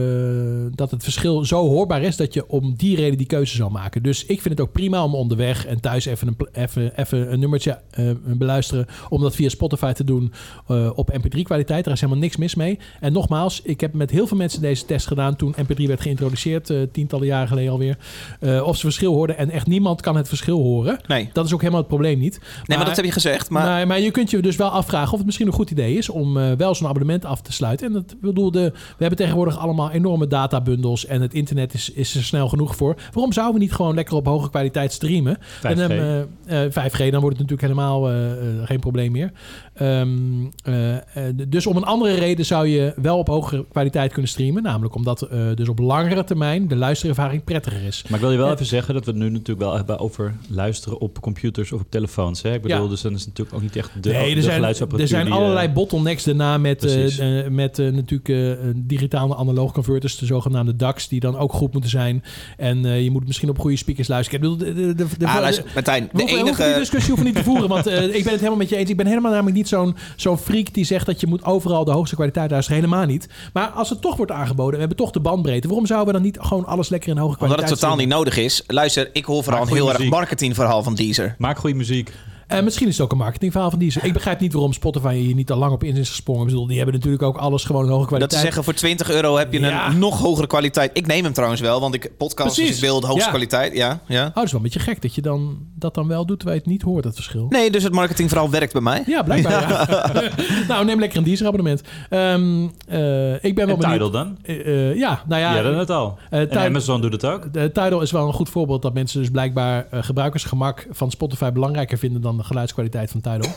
[SPEAKER 3] dat het verschil zo hoorbaar is dat je om die reden die keuze zou maken. Dus ik vind het ook prima om onderweg en thuis even een, pl- even, even een nummertje eh, beluisteren. Om dat via Spotify te doen eh, op MP3-kwaliteit. Daar is helemaal niks mis mee. En nogmaals, ik heb met heel veel mensen deze test gedaan toen MP3 werd geïntroduceerd, eh, tientallen jaren geleden alweer. eh, of ze verschil hoorden en echt niemand kan het verschil horen.
[SPEAKER 1] Nee,
[SPEAKER 3] Dat is ook helemaal het probleem niet.
[SPEAKER 1] nee maar dat heb je gezegd. Maar
[SPEAKER 3] Maar, maar je kunt je dus wel afvragen of het misschien een goed idee is om eh, wel zo'n abonnement af te sluiten. En dat bedoel, de, we hebben tegenwoordig allemaal enorme databundels en het internet is, is er snel genoeg voor. Waarom zouden we niet gewoon lekker op hoge kwaliteit streamen?
[SPEAKER 4] 5G.
[SPEAKER 3] En, dan, eh, eh, 5G, dan wordt het natuurlijk helemaal eh, eh, geen probleem meer. Ehm, eh, eh, dus om een andere reden zou je wel op hogere kwaliteit kunnen streamen. Namelijk omdat eh, dus op langere termijn de luisterervaring prettiger is.
[SPEAKER 4] Maar ik wil je wel
[SPEAKER 3] Ja.
[SPEAKER 4] even zeggen dat we het nu natuurlijk wel hebben over luisteren op computers of op telefoons. Hè? Ik bedoel,
[SPEAKER 3] Ja.
[SPEAKER 4] dus dan is het natuurlijk ook niet echt de,
[SPEAKER 3] nee,
[SPEAKER 4] de
[SPEAKER 3] er zijn,
[SPEAKER 4] geluidsapparatuur
[SPEAKER 3] er zijn
[SPEAKER 4] die, eh,
[SPEAKER 3] allerlei bottlenecks daarna met, eh,
[SPEAKER 4] Precies.
[SPEAKER 3] eh, met eh, natuurlijk eh, digitale analoog converters, de zogenaamde DACs, die dan ook goed moeten zijn. En eh, je moet misschien op goede speakers luisteren. Ik bedoel, de, de, de, de-
[SPEAKER 1] ah,
[SPEAKER 3] de-
[SPEAKER 1] luister, Martijn,
[SPEAKER 3] we
[SPEAKER 1] de
[SPEAKER 3] hoeven- we hoeven die
[SPEAKER 1] enige...
[SPEAKER 3] discussie hoeven we niet dus te voeren, want eh, ik ben het helemaal met je eens. Ik ben helemaal namelijk niet zo'n zo'n freak die zegt dat je moet overal de hoogste kwaliteit luisteren. Helemaal niet. Maar als het toch wordt aangeboden, we hebben toch de bandbreedte. Waarom zouden we dan niet gewoon alles lekker in hoge
[SPEAKER 1] Omdat
[SPEAKER 3] kwaliteit
[SPEAKER 1] het totaal niet
[SPEAKER 3] zenden?
[SPEAKER 1] nodig is. Luister, ik hoor vooral
[SPEAKER 4] Maar
[SPEAKER 1] een
[SPEAKER 4] goede
[SPEAKER 1] heel erg
[SPEAKER 4] muziek.
[SPEAKER 1] marketingverhaal van Deezer.
[SPEAKER 4] Maak goede muziek.
[SPEAKER 3] Eh, misschien is het ook een marketingverhaal van Deezer. Ik begrijp niet waarom Spotify hier niet al lang op in is gesprongen. Ik bedoel, die hebben natuurlijk ook alles gewoon in hoge
[SPEAKER 1] Dat
[SPEAKER 3] kwaliteit. Oh,
[SPEAKER 1] ze zeggen, voor 20 euro heb je
[SPEAKER 3] Ja.
[SPEAKER 1] een nog hogere kwaliteit. Ik neem hem trouwens wel, want ik podcast dus
[SPEAKER 3] Precies.
[SPEAKER 1] ik wil de hoogste
[SPEAKER 3] Ja.
[SPEAKER 1] kwaliteit. Ja, ja.
[SPEAKER 3] Oh, dat is wel een beetje gek dat je dan, dat dan wel doet terwijl je het niet hoort, dat verschil.
[SPEAKER 1] Nee, dus het marketingverhaal werkt bij mij.
[SPEAKER 3] Ja, blijkbaar. ja. nou, neem lekker een Deezer-abonnement. Ehm, eh, ik ben wel
[SPEAKER 4] En
[SPEAKER 3] benieuwd.
[SPEAKER 4] Tidal dan?
[SPEAKER 3] Eh, eh, ja, nou
[SPEAKER 4] Ja,
[SPEAKER 3] ja.
[SPEAKER 4] dat net al.
[SPEAKER 3] eh,
[SPEAKER 4] en
[SPEAKER 3] Tidal-
[SPEAKER 4] Amazon doet het ook.
[SPEAKER 3] de Tidal is wel een goed voorbeeld dat mensen dus blijkbaar eh, gebruikersgemak van Spotify belangrijker vinden dan de geluidskwaliteit van Tidal.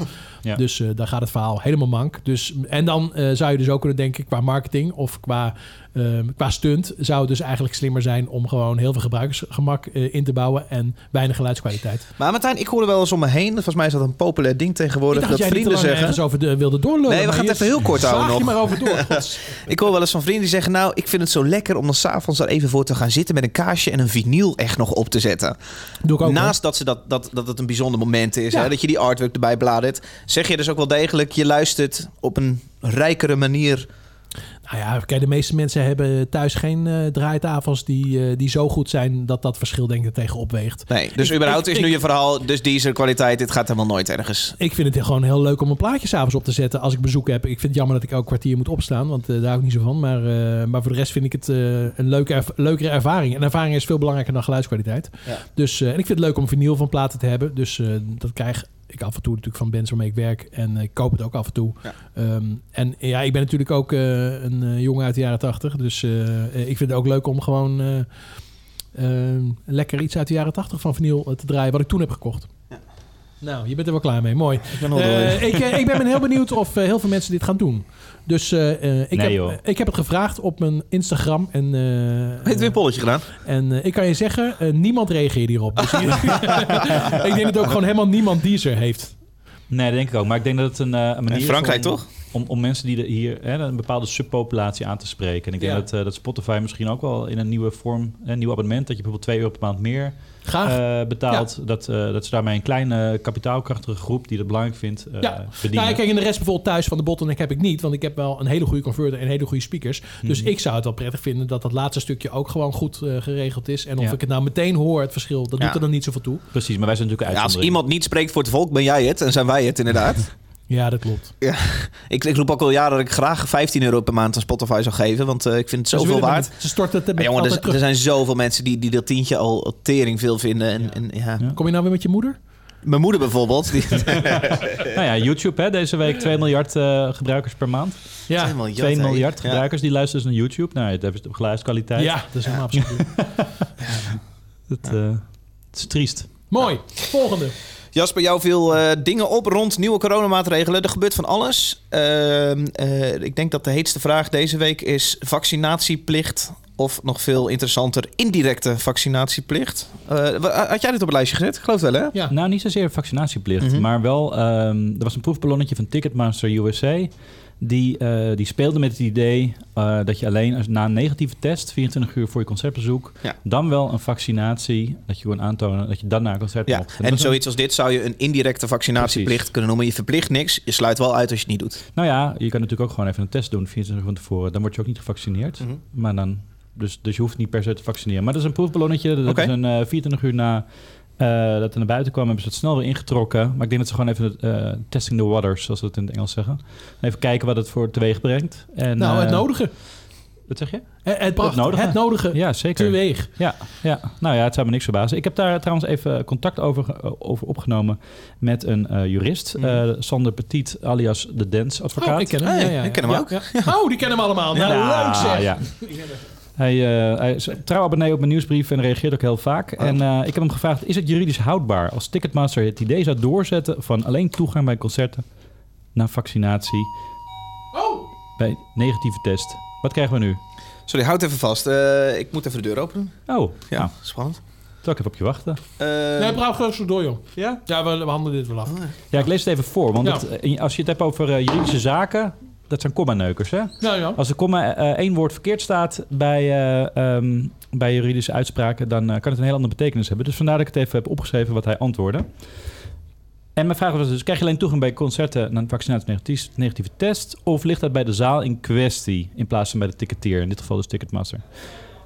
[SPEAKER 4] Ja.
[SPEAKER 3] Dus eh, daar gaat het verhaal helemaal mank. Dus, en dan eh, zou je dus ook kunnen denken qua marketing of qua, ehm, qua stunt zou het dus eigenlijk slimmer zijn om gewoon heel veel gebruikersgemak eh, in te bouwen en weinig geluidskwaliteit.
[SPEAKER 1] Maar Martijn, ik hoorde wel eens om me heen. Volgens mij is dat een populair ding
[SPEAKER 3] Ik
[SPEAKER 1] tegenwoordig.
[SPEAKER 3] dacht
[SPEAKER 1] Dat
[SPEAKER 3] jij niet te
[SPEAKER 1] vrienden
[SPEAKER 3] lang
[SPEAKER 1] zeggen.
[SPEAKER 3] ergens over de, wilde doorlopen.
[SPEAKER 1] Nee, we gaan het even heel kort houden
[SPEAKER 3] je
[SPEAKER 1] nog.
[SPEAKER 3] maar over door. gods.
[SPEAKER 1] Ik hoor wel eens van vrienden die zeggen: Nou, ik vind het zo lekker om dan s'avonds daar even voor te gaan zitten met een kaasje en een vinyl echt nog op te zetten.
[SPEAKER 3] Doe ik ook. hoor.
[SPEAKER 1] Naast dat, ze dat, dat, dat het een bijzonder moment is,
[SPEAKER 3] Ja.
[SPEAKER 1] hè, dat je die artwork erbij bladert, zeg je dus ook wel degelijk: je luistert op een rijkere manier.
[SPEAKER 3] Nou ja, kijk, de meeste mensen hebben thuis geen eh, draaitafels die, eh, die zo goed zijn dat dat verschil denk ik tegen opweegt.
[SPEAKER 1] Nee, dus
[SPEAKER 3] Ik-
[SPEAKER 1] überhaupt
[SPEAKER 3] ik-
[SPEAKER 1] is nu
[SPEAKER 3] ik-
[SPEAKER 1] je verhaal, dus deze kwaliteit, dit gaat helemaal nooit ergens.
[SPEAKER 3] Ik vind het gewoon heel leuk om een plaatje s'avonds op te zetten als ik bezoek heb. Ik vind het jammer dat ik elk kwartier moet opstaan, want eh, daar hou ik niet zo van. Maar, eh, maar voor de rest vind ik het eh, een leuke erv- leukere ervaring. En ervaring is veel belangrijker dan geluidskwaliteit.
[SPEAKER 1] Ja.
[SPEAKER 3] Dus, eh, en ik vind het leuk om vinyl van platen te hebben. Dus eh, dat krijg ik af en toe natuurlijk van bands waarmee ik werk. En eh, ik koop het ook af en toe.
[SPEAKER 1] Ja.
[SPEAKER 3] Ehm, en ja, ik ben natuurlijk ook eh, een eh, jongen uit de jaren tachtig. Dus eh, eh, ik vind het ook leuk om gewoon... eh, ehm, lekker iets uit de jaren 80 van vinyl eh, te draaien, wat ik toen heb gekocht. Nou, je bent er wel klaar mee. Mooi.
[SPEAKER 1] Ik ben
[SPEAKER 3] Eh, ik, eh, ik ben heel benieuwd of eh, heel veel mensen dit gaan doen. Dus eh, eh, ik,
[SPEAKER 4] Nee,
[SPEAKER 3] heb,
[SPEAKER 4] joh.
[SPEAKER 3] eh, ik heb het gevraagd op mijn Instagram. En, eh,
[SPEAKER 1] Heeft weer een polletje gedaan?
[SPEAKER 3] en eh, ik kan je zeggen, eh, niemand reageerde hierop. Dus hier- ik denk dat ook gewoon helemaal niemand Deezer heeft.
[SPEAKER 4] Nee, dat denk ik ook. Maar ik denk dat het een, eh, een manier
[SPEAKER 1] In Frankrijk
[SPEAKER 4] is om,
[SPEAKER 1] toch?
[SPEAKER 4] Om, om mensen die er hier hè, een bepaalde subpopulatie aan te spreken. En ik denk
[SPEAKER 3] Ja.
[SPEAKER 4] dat, eh, dat Spotify misschien ook wel in een nieuwe vorm, een nieuw abonnement, dat je bijvoorbeeld 2 euro per maand meer
[SPEAKER 3] Graag.
[SPEAKER 4] eh, betaalt. Dat, eh, dat ze daarmee een kleine kapitaalkrachtige groep die dat belangrijk vindt, eh
[SPEAKER 3] Ja.
[SPEAKER 4] verdienen.
[SPEAKER 3] nou, ja, kijk, en de rest bijvoorbeeld thuis van de bottleneck heb ik niet. Want ik heb wel een hele goede converter en hele goede speakers. Dus ik zou het wel prettig vinden dat dat laatste stukje ook gewoon goed eh, geregeld is. En of
[SPEAKER 4] Ja.
[SPEAKER 3] ik het nou meteen hoor, het verschil, dat doet
[SPEAKER 1] Ja.
[SPEAKER 3] er dan niet zoveel toe.
[SPEAKER 4] Precies, maar wij zijn natuurlijk
[SPEAKER 1] Ja, als
[SPEAKER 4] uitzondering.
[SPEAKER 1] iemand niet spreekt voor het volk, ben jij het en zijn wij het inderdaad.
[SPEAKER 3] Ja, dat klopt.
[SPEAKER 1] ik, ik roep ook al jaren dat ik graag 15 euro per maand aan Spotify zou geven, want eh, ik vind het
[SPEAKER 3] Ze
[SPEAKER 1] zoveel
[SPEAKER 3] Dus willen maar
[SPEAKER 1] waard.
[SPEAKER 3] niet. Ze storten het
[SPEAKER 1] Maar
[SPEAKER 3] met
[SPEAKER 1] jongen,
[SPEAKER 3] altijd
[SPEAKER 1] er,
[SPEAKER 3] terug.
[SPEAKER 1] er zijn zoveel mensen die, die dat tientje al tering veel vinden. En, en, ja.
[SPEAKER 4] Ja.
[SPEAKER 3] Kom je nou weer met je moeder?
[SPEAKER 1] Mijn moeder bijvoorbeeld, die
[SPEAKER 4] Nou ja, YouTube hè, deze week 2 miljard eh, gebruikers per maand.
[SPEAKER 3] Ja.
[SPEAKER 1] miljard,
[SPEAKER 4] 2
[SPEAKER 1] hè.
[SPEAKER 4] miljard
[SPEAKER 1] Ja.
[SPEAKER 4] gebruikers die luisteren dus naar YouTube. Nou, dat hebben ze geluidskwaliteit.
[SPEAKER 3] Ja, dat is helemaal absoluut.
[SPEAKER 4] Dat, eh, het is triest.
[SPEAKER 3] Mooi. Volgende.
[SPEAKER 1] Jasper, jou viel eh, dingen op rond nieuwe coronamaatregelen. Er gebeurt van alles. Ehm, eh, ik denk dat de heetste vraag deze week is vaccinatieplicht... of nog veel interessanter, indirecte vaccinatieplicht. Eh, wa- had jij dit op een lijstje gezet? Ik geloof het wel, hè?
[SPEAKER 3] Ja.
[SPEAKER 4] Nou, niet zozeer vaccinatieplicht,
[SPEAKER 1] Mhm.
[SPEAKER 4] maar wel... ehm, er was een proefballonnetje van Ticketmaster USA. Die, eh, die speelde met het idee eh, dat je alleen als- na een negatieve test... 24 uur voor je concertbezoek...
[SPEAKER 1] Ja.
[SPEAKER 4] dan wel een vaccinatie... dat je kon aantonen dat je dan naar een concert
[SPEAKER 1] Ja,
[SPEAKER 4] mocht.
[SPEAKER 1] en
[SPEAKER 4] dat was een-
[SPEAKER 1] zoiets als dit zou je een indirecte vaccinatieplicht
[SPEAKER 4] Precies.
[SPEAKER 1] kunnen noemen. Je verplicht niks, je sluit wel uit als je het niet doet.
[SPEAKER 4] Nou ja, je kan natuurlijk ook gewoon even een test doen, 24 uur van tevoren. Dan word je ook niet gevaccineerd.
[SPEAKER 1] Mhm.
[SPEAKER 4] Maar dan, dus, dus je hoeft niet per se te vaccineren. Maar dat is een proefballonnetje. Dat
[SPEAKER 1] Oké.
[SPEAKER 4] is een eh, 24 uur na eh, dat het naar buiten kwam, hebben ze het snel weer ingetrokken. Maar ik denk dat ze gewoon even het, eh, testing the waters, zoals ze dat in het Engels zeggen. Even kijken wat het voor teweeg brengt. En,
[SPEAKER 3] nou, het
[SPEAKER 4] eh,
[SPEAKER 3] nodige.
[SPEAKER 4] Wat zeg je?
[SPEAKER 3] Het, het, bracht, het nodige.
[SPEAKER 4] nodige.
[SPEAKER 3] Het nodige.
[SPEAKER 4] Ja, zeker.
[SPEAKER 3] Teweeg.
[SPEAKER 4] Ja, ja, nou ja, het zou me niks verbazen. Ik heb daar trouwens even contact over, ge- over opgenomen met een eh, jurist.
[SPEAKER 1] Mhm.
[SPEAKER 4] eh, Sander Petit, alias de Dance Advocaat.
[SPEAKER 3] Oh, ik ken hem.
[SPEAKER 1] Hey,
[SPEAKER 3] ja, ja, ja.
[SPEAKER 1] ik ken hem
[SPEAKER 3] Ja,
[SPEAKER 1] ook.
[SPEAKER 3] ja. Oh, die kennen hem allemaal. Nou, leuk zeg.
[SPEAKER 4] Ja. Hij, eh, hij is een trouw abonnee op mijn nieuwsbrief en reageert ook heel vaak.
[SPEAKER 3] Oh.
[SPEAKER 4] En eh, ik heb hem gevraagd, is het juridisch houdbaar als Ticketmaster het idee zou doorzetten van alleen toegang bij concerten na vaccinatie
[SPEAKER 3] Oh,
[SPEAKER 4] bij negatieve test? Wat krijgen we nu?
[SPEAKER 1] Sorry, houd even vast. Eh, ik moet even de deur openen.
[SPEAKER 4] Oh,
[SPEAKER 1] Ja,
[SPEAKER 4] ja. nou,
[SPEAKER 1] spannend.
[SPEAKER 4] zal ik even op je wachten.
[SPEAKER 1] Eh,
[SPEAKER 3] nee, braaf gewoon zo door, joh.
[SPEAKER 4] Ja?
[SPEAKER 3] Ja, we, we handelen dit wel af.
[SPEAKER 1] Oh.
[SPEAKER 4] Ja, ik lees het even voor, want
[SPEAKER 3] Ja.
[SPEAKER 4] het, eh, als je het hebt over eh, juridische zaken, dat zijn comma-neukers, hè?
[SPEAKER 3] Nou ja.
[SPEAKER 4] Als er komma eh, één woord verkeerd staat bij, eh, ehm, bij juridische uitspraken, dan eh, kan het een heel andere betekenis hebben. Dus vandaar dat ik het even heb opgeschreven wat hij antwoordde. En mijn vraag was dus, krijg je alleen toegang bij concerten naar een vaccinatie negatieve test? Of ligt dat bij de zaal in kwestie in plaats van bij de ticketeer? In dit geval dus Ticketmaster.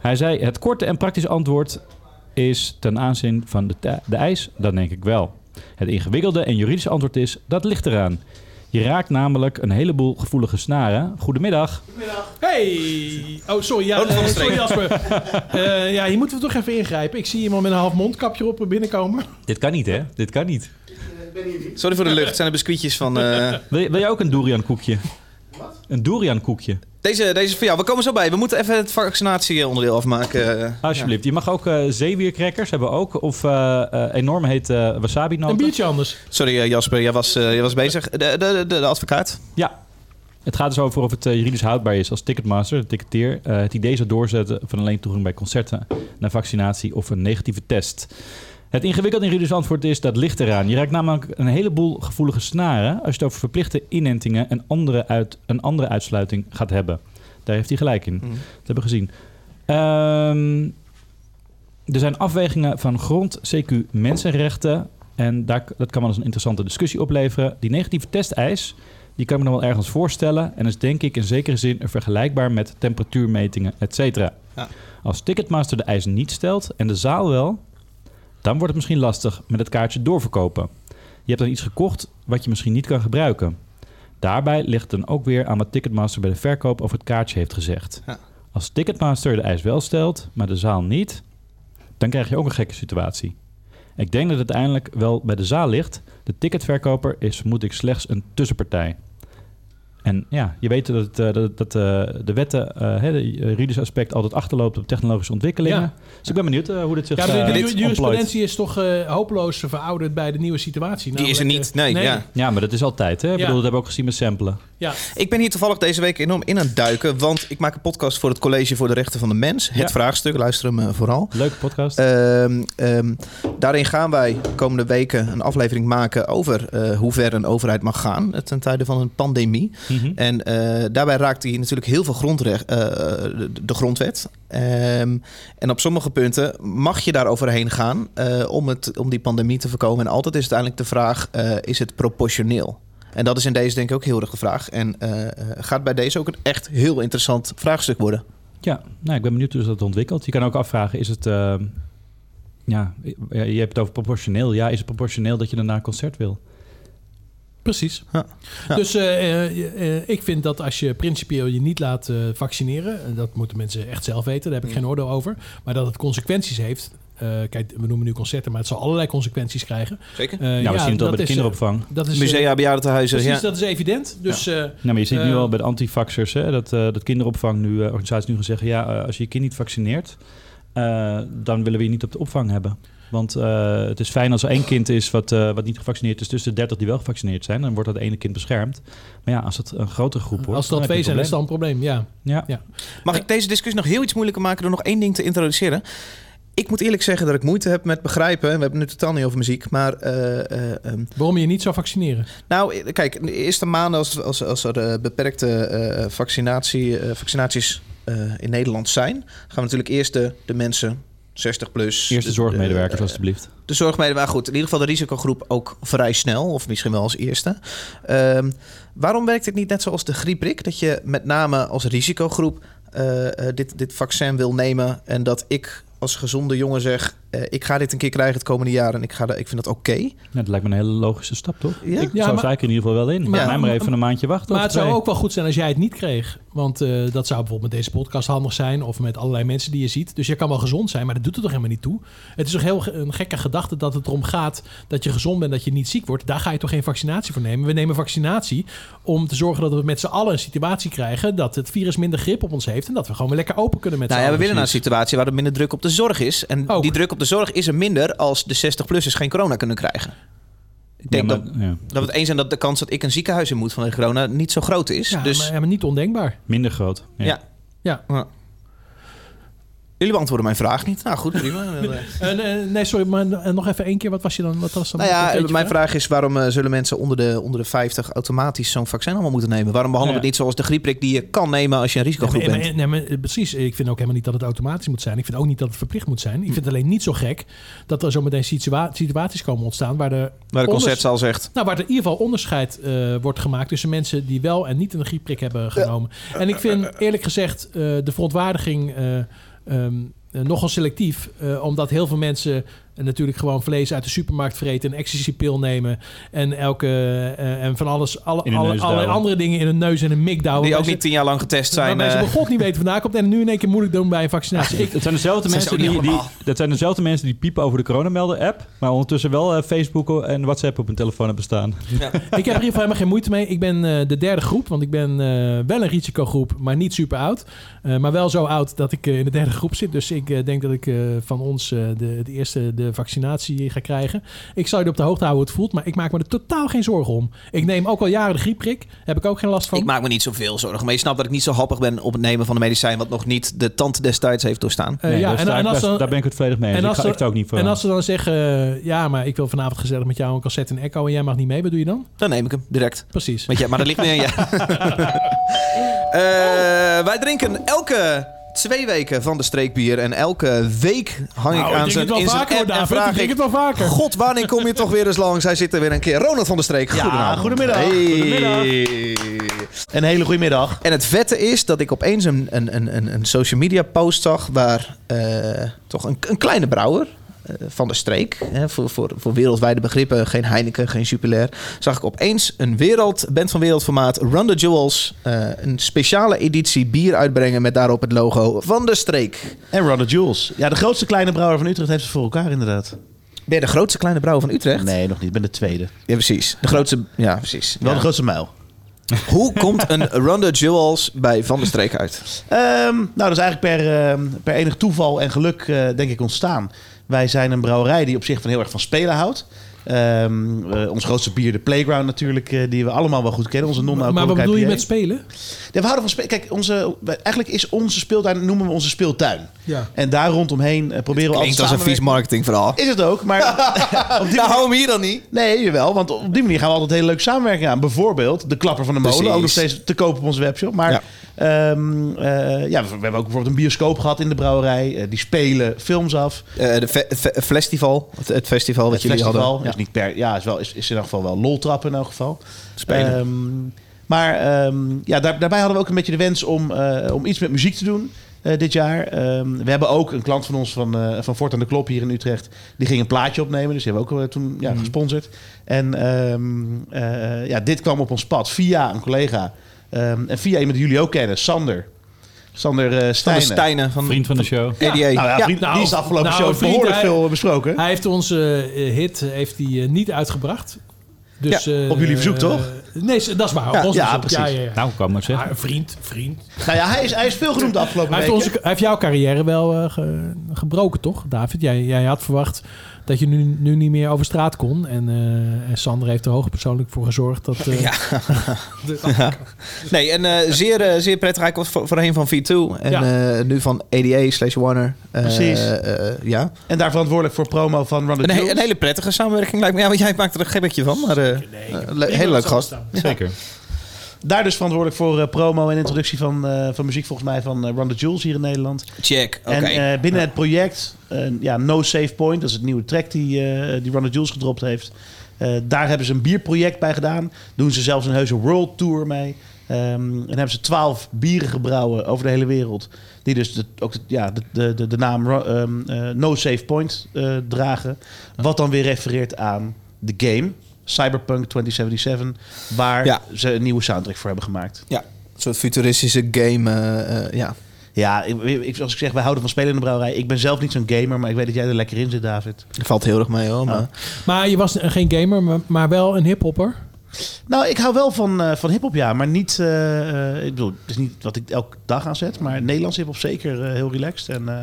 [SPEAKER 4] Hij zei, het korte en praktische antwoord is ten aanzien van de, te- de eis, dan denk ik wel. Het ingewikkelde en juridische antwoord is, dat ligt eraan. Je raakt namelijk een heleboel gevoelige snaren. Goedemiddag.
[SPEAKER 3] Hey! Oh, sorry. Ja,
[SPEAKER 1] Oh, dat is
[SPEAKER 3] eh,
[SPEAKER 1] van de
[SPEAKER 3] sorry
[SPEAKER 1] streek.
[SPEAKER 3] Jasper. Eh, ja, hier moeten we toch even ingrijpen. Ik zie iemand met een half mondkapje op binnenkomen.
[SPEAKER 4] Dit kan niet, hè? Dit kan niet.
[SPEAKER 1] sorry voor de lucht. Het zijn de biscuitjes van... eh,
[SPEAKER 4] Wil, je- wil jij ook een durian koekje? Wat? Een durian koekje.
[SPEAKER 1] Deze, deze is voor jou. We komen zo bij. We moeten even het vaccinatieonderdeel afmaken. Eh,
[SPEAKER 4] Alsjeblieft. Je mag ook eh zeewiercrackers hebben we ook. Of eh, eh, enorm heet eh wasabi
[SPEAKER 3] Een
[SPEAKER 4] noten.
[SPEAKER 3] biertje anders.
[SPEAKER 1] ja. Sorry eh, Jasper, jij was, eh, jij was bezig. De, de, de, de advocaat.
[SPEAKER 4] Ja. Het gaat dus over of het eh, juridisch houdbaar is als Ticketmaster, de ticketeer, eh, het idee zou doorzetten van alleen toegang bij concerten naar vaccinatie of een negatieve test. Het ingewikkelde en juridisch antwoord is dat ligt eraan. Je raakt namelijk een heleboel gevoelige snaren als je het over verplichte inentingen en andere uit, een andere uitsluiting gaat hebben. Daar heeft hij gelijk in. Dat hebben we gezien. Ehm, er zijn afwegingen van grond, CQ, mensenrechten. En daar, dat kan wel eens een interessante discussie opleveren. Die negatieve testeis, die kan ik me nog wel ergens voorstellen. En is denk ik in zekere zin vergelijkbaar met temperatuurmetingen, et cetera.
[SPEAKER 1] Ja.
[SPEAKER 4] Als Ticketmaster de eis niet stelt en de zaal wel... dan wordt het misschien lastig met het kaartje doorverkopen. Je hebt dan iets gekocht wat je misschien niet kan gebruiken. Daarbij ligt dan ook weer aan wat Ticketmaster bij de verkoop over het kaartje heeft gezegd.
[SPEAKER 1] Ja.
[SPEAKER 4] Als Ticketmaster de eis wel stelt, maar de zaal niet, dan krijg je ook een gekke situatie. Ik denk dat het uiteindelijk wel bij de zaal ligt. De ticketverkoper is vermoed ik slechts een tussenpartij. En ja, je weet dat, eh, dat, dat eh, de wetten, eh hè, de juridische aspect, altijd achterloopt op technologische ontwikkelingen.
[SPEAKER 3] Ja.
[SPEAKER 4] Dus ik ben benieuwd eh, hoe dit zich
[SPEAKER 3] Ja,
[SPEAKER 4] eh,
[SPEAKER 3] de, de ju-
[SPEAKER 4] ontplooit.
[SPEAKER 3] jurisprudentie is toch eh, hopeloos verouderd bij de nieuwe situatie.
[SPEAKER 1] Die is er
[SPEAKER 3] Namelijk,
[SPEAKER 1] niet.
[SPEAKER 3] eh,
[SPEAKER 1] Nee, Ja.
[SPEAKER 4] Ja, maar dat is altijd. Hè? Ik
[SPEAKER 3] Ja.
[SPEAKER 4] bedoel, dat hebben we ook gezien met samplen.
[SPEAKER 3] Ja.
[SPEAKER 1] Ik ben hier toevallig deze week enorm in aan het duiken. Want ik maak een podcast voor het College voor de Rechten van de Mens. Het
[SPEAKER 4] Ja.
[SPEAKER 1] vraagstuk, luister hem eh, vooral.
[SPEAKER 4] Leuke podcast.
[SPEAKER 1] Ehm, ehm, daarin gaan wij komende weken een aflevering maken over eh, hoe ver een overheid mag gaan eh, ten tijde van een pandemie.
[SPEAKER 4] Mhm.
[SPEAKER 1] En eh, daarbij raakt hij natuurlijk heel veel grondrecht, eh, de, de grondwet. Ehm, en op sommige punten mag je daar overheen gaan eh, om, het, om die pandemie te voorkomen. En altijd is uiteindelijk de vraag, eh, is het proportioneel? En dat is in deze denk ik ook heel erg de vraag. En eh, eh, gaat bij deze ook een echt heel interessant vraagstuk worden.
[SPEAKER 4] Ja, nou, ik ben benieuwd hoe dat ontwikkelt. Je kan ook afvragen, is het... eh, ja, je je hebt het over proportioneel. Ja, is het proportioneel dat je daarna een concert wil?
[SPEAKER 3] Eh, Precies.
[SPEAKER 1] Ja. Ja.
[SPEAKER 3] Dus eh, eh, eh, ik vind dat als je principieel je niet laat eh, vaccineren, en dat moeten mensen echt zelf weten, daar heb ik
[SPEAKER 4] Mm.
[SPEAKER 3] geen oordeel over, maar dat het consequenties heeft. Eh, kijk, we noemen nu concerten, maar het zal allerlei consequenties krijgen.
[SPEAKER 1] Zeker.
[SPEAKER 3] Eh,
[SPEAKER 4] ja, Nou, we zien het al bij de
[SPEAKER 3] is, eh,
[SPEAKER 4] kinderopvang.
[SPEAKER 3] Dat is, eh,
[SPEAKER 1] Musea, bejaardentehuizen.
[SPEAKER 3] precies,
[SPEAKER 1] Ja.
[SPEAKER 3] dat is evident. Dus eh,
[SPEAKER 4] Nou, maar je ziet nu
[SPEAKER 3] eh,
[SPEAKER 4] al bij de antifaxers, hè, dat, eh, dat kinderopvang nu, eh, organisaties nu gaan zeggen, ja, eh, als je je kind niet vaccineert, eh, dan willen we je niet op de opvang hebben. Want eh, het is fijn als er één kind is wat, eh, wat niet gevaccineerd is, tussen de 30 die wel gevaccineerd zijn, dan wordt dat ene kind beschermd. Maar ja, als het een grotere groep wordt.
[SPEAKER 3] Als dat
[SPEAKER 4] dan heb
[SPEAKER 3] twee
[SPEAKER 4] je
[SPEAKER 3] zijn,
[SPEAKER 4] een
[SPEAKER 3] is dat een probleem. Ja.
[SPEAKER 4] probleem. Ja.
[SPEAKER 3] Ja.
[SPEAKER 1] Mag ik deze discussie nog heel iets moeilijker maken door nog één ding te introduceren? Ik moet eerlijk zeggen dat ik moeite heb met begrijpen. We hebben het nu totaal niet over muziek. Maar eh, eh, ehm,
[SPEAKER 3] Waarom je niet zou vaccineren?
[SPEAKER 1] Nou, i- kijk, in de eerste maanden als, als, als er eh, beperkte eh, vaccinatie, eh, vaccinaties eh, in Nederland zijn, gaan we natuurlijk eerst de, de mensen 60 plus.
[SPEAKER 4] Eerste
[SPEAKER 1] de-
[SPEAKER 4] zorgmedewerkers,
[SPEAKER 1] de-
[SPEAKER 4] alstublieft.
[SPEAKER 1] De zorgmedewerker, goed, in ieder geval de risicogroep ook vrij snel, of misschien wel als eerste. Ehm, waarom werkt het niet net zoals de griepprik? Dat je met name als risicogroep eh, eh, dit, dit vaccin wil nemen en dat ik als gezonde jongen zeg, eh, ik ga dit een keer krijgen het komende jaar en ik, ga, daar- ik vind dat oké.
[SPEAKER 4] Nou, dat lijkt me een hele logische stap, toch?
[SPEAKER 1] Ja?
[SPEAKER 4] Ik
[SPEAKER 3] Ja,
[SPEAKER 4] zou
[SPEAKER 3] maar-
[SPEAKER 4] het eigenlijk in ieder geval wel in.
[SPEAKER 3] Maar-
[SPEAKER 4] Maar, mij maar even een maandje wachten.
[SPEAKER 3] Maar
[SPEAKER 4] of
[SPEAKER 3] het zou
[SPEAKER 4] twee.
[SPEAKER 3] ook wel goed zijn als jij het niet kreeg. Want eh, dat zou bijvoorbeeld met deze podcast handig zijn. Of met allerlei mensen die je ziet. Dus je kan wel gezond zijn, maar dat doet er toch helemaal niet toe. Het is toch heel ge- een gekke gedachte dat het erom gaat dat je gezond bent, dat je niet ziek wordt. Daar ga je toch geen vaccinatie voor nemen. We nemen vaccinatie om te zorgen dat we met z'n allen een situatie krijgen dat het virus minder grip op ons heeft. En dat we gewoon weer lekker open kunnen met
[SPEAKER 1] Nou
[SPEAKER 3] z'n
[SPEAKER 1] ja, we
[SPEAKER 3] allen.
[SPEAKER 1] willen naar een situatie waar er minder druk op de zorg is. En
[SPEAKER 3] dus Ook.
[SPEAKER 1] die druk op de zorg is er minder als de 60-plussers geen corona kunnen krijgen. Ik denk
[SPEAKER 4] Ja,
[SPEAKER 1] dat,
[SPEAKER 4] maar- ja.
[SPEAKER 1] dat we het eens zijn dat de kans dat ik een ziekenhuis in moet vanwege corona niet zo groot is.
[SPEAKER 3] Ja,
[SPEAKER 1] dus
[SPEAKER 3] maar, ja, maar niet ondenkbaar.
[SPEAKER 4] Minder groot. Ja.
[SPEAKER 1] Ja.
[SPEAKER 3] Ja.
[SPEAKER 1] ja. jullie beantwoorden mijn vraag niet. Nou goed, prima. nou
[SPEAKER 3] Eh, nee, nee, sorry, maar eh, nog even één keer. Wat was je dan? Wat was dan
[SPEAKER 1] ja,
[SPEAKER 3] Weet je
[SPEAKER 1] mijn
[SPEAKER 3] vraag?
[SPEAKER 1] vraag is waarom eh, zullen mensen onder de, onder de 50 automatisch zo'n vaccin allemaal moeten nemen? Waarom behandelen we
[SPEAKER 4] Ja.
[SPEAKER 1] het niet zoals de griepprik die je kan nemen als je een risicogroep
[SPEAKER 3] Nee, maar-
[SPEAKER 1] bent?
[SPEAKER 3] nee, maar, eh, precies. Ik vind ook helemaal niet dat het automatisch moet zijn. Ik vind ook niet dat het verplicht moet zijn. Ik vind het alleen niet zo gek dat er zometeen situa- situaties komen ontstaan waar er,
[SPEAKER 1] Waar de
[SPEAKER 3] onders-
[SPEAKER 1] conceptzaal zegt.
[SPEAKER 3] nou, waar er in ieder geval onderscheid eh, wordt gemaakt tussen mensen die wel en niet een griepprik hebben genomen. En ik vind eerlijk gezegd eh, de verontwaardiging eh, ehm, eh, nogal selectief. eh, omdat heel veel mensen eh, natuurlijk gewoon vlees uit de supermarkt vreten, een ecstasypil nemen en, elke, eh, en van alles, alle,
[SPEAKER 4] In hun
[SPEAKER 3] alle,
[SPEAKER 4] neus
[SPEAKER 3] allerlei
[SPEAKER 4] douwen.
[SPEAKER 3] andere dingen in een neus en een mik douwen.
[SPEAKER 1] Die ook
[SPEAKER 3] Mensen-
[SPEAKER 1] niet tien jaar lang getest zijn.
[SPEAKER 3] Waarbij ze
[SPEAKER 1] eh,
[SPEAKER 3] bij God niet weten vandaan komt en nu in één keer moeilijk doen bij een vaccinatie. Ik,
[SPEAKER 4] Het zijn dezelfde
[SPEAKER 1] Zijn ze
[SPEAKER 4] mensen
[SPEAKER 1] ook
[SPEAKER 4] die,
[SPEAKER 1] niet
[SPEAKER 4] die,
[SPEAKER 1] allemaal?
[SPEAKER 4] dat zijn dezelfde mensen die piepen over de coronamelder-app, maar ondertussen wel eh, Facebook en WhatsApp op hun telefoon hebben staan.
[SPEAKER 3] ik heb er in ieder geval helemaal geen moeite mee. Ik ben eh, de derde groep, want ik ben eh, wel een risicogroep, maar niet super oud. Eh, maar wel zo oud dat ik eh, in de derde groep zit. Dus ik eh, denk dat ik eh, van ons eh, de, de eerste de vaccinatie ga krijgen. Ik zal je op de hoogte houden hoe het voelt, maar ik maak me er totaal geen zorgen om. Ik neem ook al jaren de griepprik, heb ik ook geen last van.
[SPEAKER 1] Ik maak me niet zoveel zorgen. Maar je snapt dat ik niet zo happig ben op het nemen van een medicijn... wat nog niet de tand destijds heeft doorstaan.
[SPEAKER 3] Eh,
[SPEAKER 4] Nee,
[SPEAKER 3] ja,
[SPEAKER 4] daar,
[SPEAKER 3] en,
[SPEAKER 4] sta ik
[SPEAKER 3] en als
[SPEAKER 4] best-
[SPEAKER 3] dan,
[SPEAKER 4] daar ben ik het volledig mee. eens. ik, ga,
[SPEAKER 3] ze-
[SPEAKER 4] ik sta ook niet voor.
[SPEAKER 3] en als ze dan zeggen, eh, ja, maar ik wil vanavond gezellig met jou een cassette en echo en jij mag niet mee, wat doe je dan?
[SPEAKER 1] Dan neem ik hem direct.
[SPEAKER 3] Precies.
[SPEAKER 1] Weet je, maar dat ligt meer aan je. Eh, wij drinken elke twee weken van de streekbier. En elke week hang
[SPEAKER 3] Nou,
[SPEAKER 1] ik aan
[SPEAKER 3] drink
[SPEAKER 1] zijn
[SPEAKER 3] het wel
[SPEAKER 1] in zijn
[SPEAKER 3] vaker,
[SPEAKER 1] app
[SPEAKER 3] hoor,
[SPEAKER 1] en
[SPEAKER 3] David.
[SPEAKER 1] vraag
[SPEAKER 3] Ik drink
[SPEAKER 1] ik...
[SPEAKER 3] het wel vaker.
[SPEAKER 1] God, wanneer kom je toch weer eens langs? Hij zit er weer een keer. Ronald van der Streek, goedenavond.
[SPEAKER 7] goedemiddag.
[SPEAKER 1] Goedemiddag.
[SPEAKER 7] Een hele goede middag.
[SPEAKER 1] En het vette is dat ik opeens een, een, een, een, een social media post zag waar eh, toch een, een kleine brouwer. eh, Van de streek, hè, voor, voor, voor wereldwijde begrippen, geen Heineken, geen Jupiler. Zag ik opeens een wereld, band van wereldformaat, Run the Jewels. eh, een speciale editie bier uitbrengen met daarop het logo van de streek.
[SPEAKER 7] En Ronald Jules. Ja, de grootste kleine brouwer van Utrecht heeft het voor elkaar inderdaad.
[SPEAKER 1] Ben je de grootste kleine brouwer van Utrecht?
[SPEAKER 7] Nee, nog niet. Ik ben de tweede.
[SPEAKER 1] Ja, precies. De grootste, ja, precies.
[SPEAKER 7] Wel
[SPEAKER 1] Ja.
[SPEAKER 7] de grootste muil.
[SPEAKER 1] Hoe komt een Run the Jewels bij Van der Streek uit?
[SPEAKER 7] Ehm, nou, dat is eigenlijk per, ehm, per enig toeval en geluk, eh, denk ik, ontstaan. Wij zijn een brouwerij die op zich van heel erg van spelen houdt. Ehm, eh, ons grootste bier, de Playground natuurlijk, eh, die we allemaal wel goed kennen. Onze non
[SPEAKER 3] maar wat bedoel je met spelen?
[SPEAKER 7] Ja, we houden van spelen. Kijk, onze, wij- eigenlijk is onze speeltuin, noemen we onze speeltuin.
[SPEAKER 3] Ja.
[SPEAKER 7] En daar rondomheen eh, proberen we altijd
[SPEAKER 1] Klinkt als een vies
[SPEAKER 7] samenwerken.
[SPEAKER 1] marketingverhaal.
[SPEAKER 7] Is het ook, maar op die
[SPEAKER 1] Nou, hou hem hier dan niet.
[SPEAKER 7] Nee, jawel. Want op die manier gaan we altijd hele leuke samenwerking aan. Bijvoorbeeld de Klapper van de Molen.
[SPEAKER 1] Precies.
[SPEAKER 7] Ook nog steeds te koop op onze webshop. Maar
[SPEAKER 1] Ja.
[SPEAKER 7] ehm, eh, ja, we, we hebben ook bijvoorbeeld een bioscoop gehad in de brouwerij. Eh, die spelen films af.
[SPEAKER 1] Eh, de fe- fe- festival, het, het festival wat
[SPEAKER 7] Het
[SPEAKER 1] jullie
[SPEAKER 7] festival
[SPEAKER 1] hadden.
[SPEAKER 7] is, niet per, ja, is, wel, is, is in elk geval wel loltrap in elk geval.
[SPEAKER 1] Spelen.
[SPEAKER 7] Ehm, maar ehm, ja, daar, daarbij hadden we ook een beetje de wens om, eh, om iets met muziek te doen eh, dit jaar. Ehm, we hebben ook een klant van ons van, eh van Fort aan de Klop hier in Utrecht. Die ging een plaatje opnemen, dus die hebben we ook eh, toen ja, gesponsord. En ehm, eh, ja, dit kwam op ons pad via een collega. Ehm, en via iemand die jullie ook kennen, Sander. Sander eh
[SPEAKER 1] Van de
[SPEAKER 7] Stijnen.
[SPEAKER 1] Stijnen van
[SPEAKER 4] Vriend van de show.
[SPEAKER 1] ADA.
[SPEAKER 7] Nou ja,
[SPEAKER 1] Ja.
[SPEAKER 7] vriend,
[SPEAKER 3] nou,
[SPEAKER 7] die is de afgelopen
[SPEAKER 3] nou,
[SPEAKER 7] show
[SPEAKER 3] vriend,
[SPEAKER 7] behoorlijk
[SPEAKER 3] hij-
[SPEAKER 7] veel eh, besproken.
[SPEAKER 3] Hij heeft onze eh, hit eh, heeft hij, eh, niet uitgebracht. Dus,
[SPEAKER 1] Ja,
[SPEAKER 3] eh,
[SPEAKER 7] op jullie verzoek,
[SPEAKER 3] eh,
[SPEAKER 7] toch?
[SPEAKER 3] Nee, s- dat is waar. op
[SPEAKER 1] Ja,
[SPEAKER 3] ons
[SPEAKER 7] ja,
[SPEAKER 3] verzoek.
[SPEAKER 7] precies.
[SPEAKER 3] Ja, ja, ja.
[SPEAKER 4] Nou, kan maar zeggen.
[SPEAKER 3] Ah, vriend, vriend.
[SPEAKER 7] Nou ja, hij is, hij is veel genoemd de afgelopen
[SPEAKER 3] Hij heeft,
[SPEAKER 7] weken.
[SPEAKER 3] onze, hij heeft jouw carrière wel eh, ge- gebroken, toch, David? Jij, jij had verwacht dat je nu, nu niet meer over straat kon. En, eh, en Sander heeft er hoogpersoonlijk voor gezorgd dat... eh,
[SPEAKER 1] Ja. Nee, en eh, zeer, eh, zeer prettig. Hij was voor- voorheen van V2 en eh, nu van ADA slash Warner. Eh,
[SPEAKER 7] Precies.
[SPEAKER 1] eh, eh, ja.
[SPEAKER 7] En daar verantwoordelijk voor promo van Run the
[SPEAKER 1] Een, he-
[SPEAKER 7] Jewels.
[SPEAKER 1] een hele prettige samenwerking lijkt me. Ja, want jij maakt er een gebbetje van. Maar, eh eh, le- hele leuk gast.
[SPEAKER 4] Zeker.
[SPEAKER 7] Daar dus verantwoordelijk voor eh, promo en introductie van, eh, van muziek volgens mij van eh, Run the Jewels hier in Nederland.
[SPEAKER 1] Check. Oké.
[SPEAKER 7] En eh, binnen het project, eh, ja, No Save Point, dat is het nieuwe track die, eh die Run the Jewels gedropt heeft. Eh, daar hebben ze een bierproject bij gedaan. Doen ze zelfs een heuse world tour mee. Ehm, en hebben ze twaalf bieren gebrouwen over de hele wereld. Die dus de, ook de, ja, de- de, de, de naam Ru- ehm, eh, No Save Point eh, dragen. Wat dan weer refereert aan de game Cyberpunk 2077. Waar
[SPEAKER 1] Ja.
[SPEAKER 7] ze een nieuwe soundtrack voor hebben gemaakt.
[SPEAKER 1] ja, een soort futuristische game. eh, eh, ja.
[SPEAKER 7] Ja, ik, ik- als ik zeg, wij houden van spelen in de brouwerij. Ik ben zelf niet zo'n gamer, maar ik weet dat jij er lekker in zit, David.
[SPEAKER 1] Dat valt heel erg mee hoor. Maar...
[SPEAKER 3] Maar je was eh, geen gamer, maar, maar wel een hiphopper.
[SPEAKER 7] Nou, ik hou wel van, eh van hip-hop, ja. Maar niet. eh, eh, ik bedoel, het is niet wat ik elke dag aanzet. Maar Nederlands hip-hop zeker eh, heel relaxed. En, eh,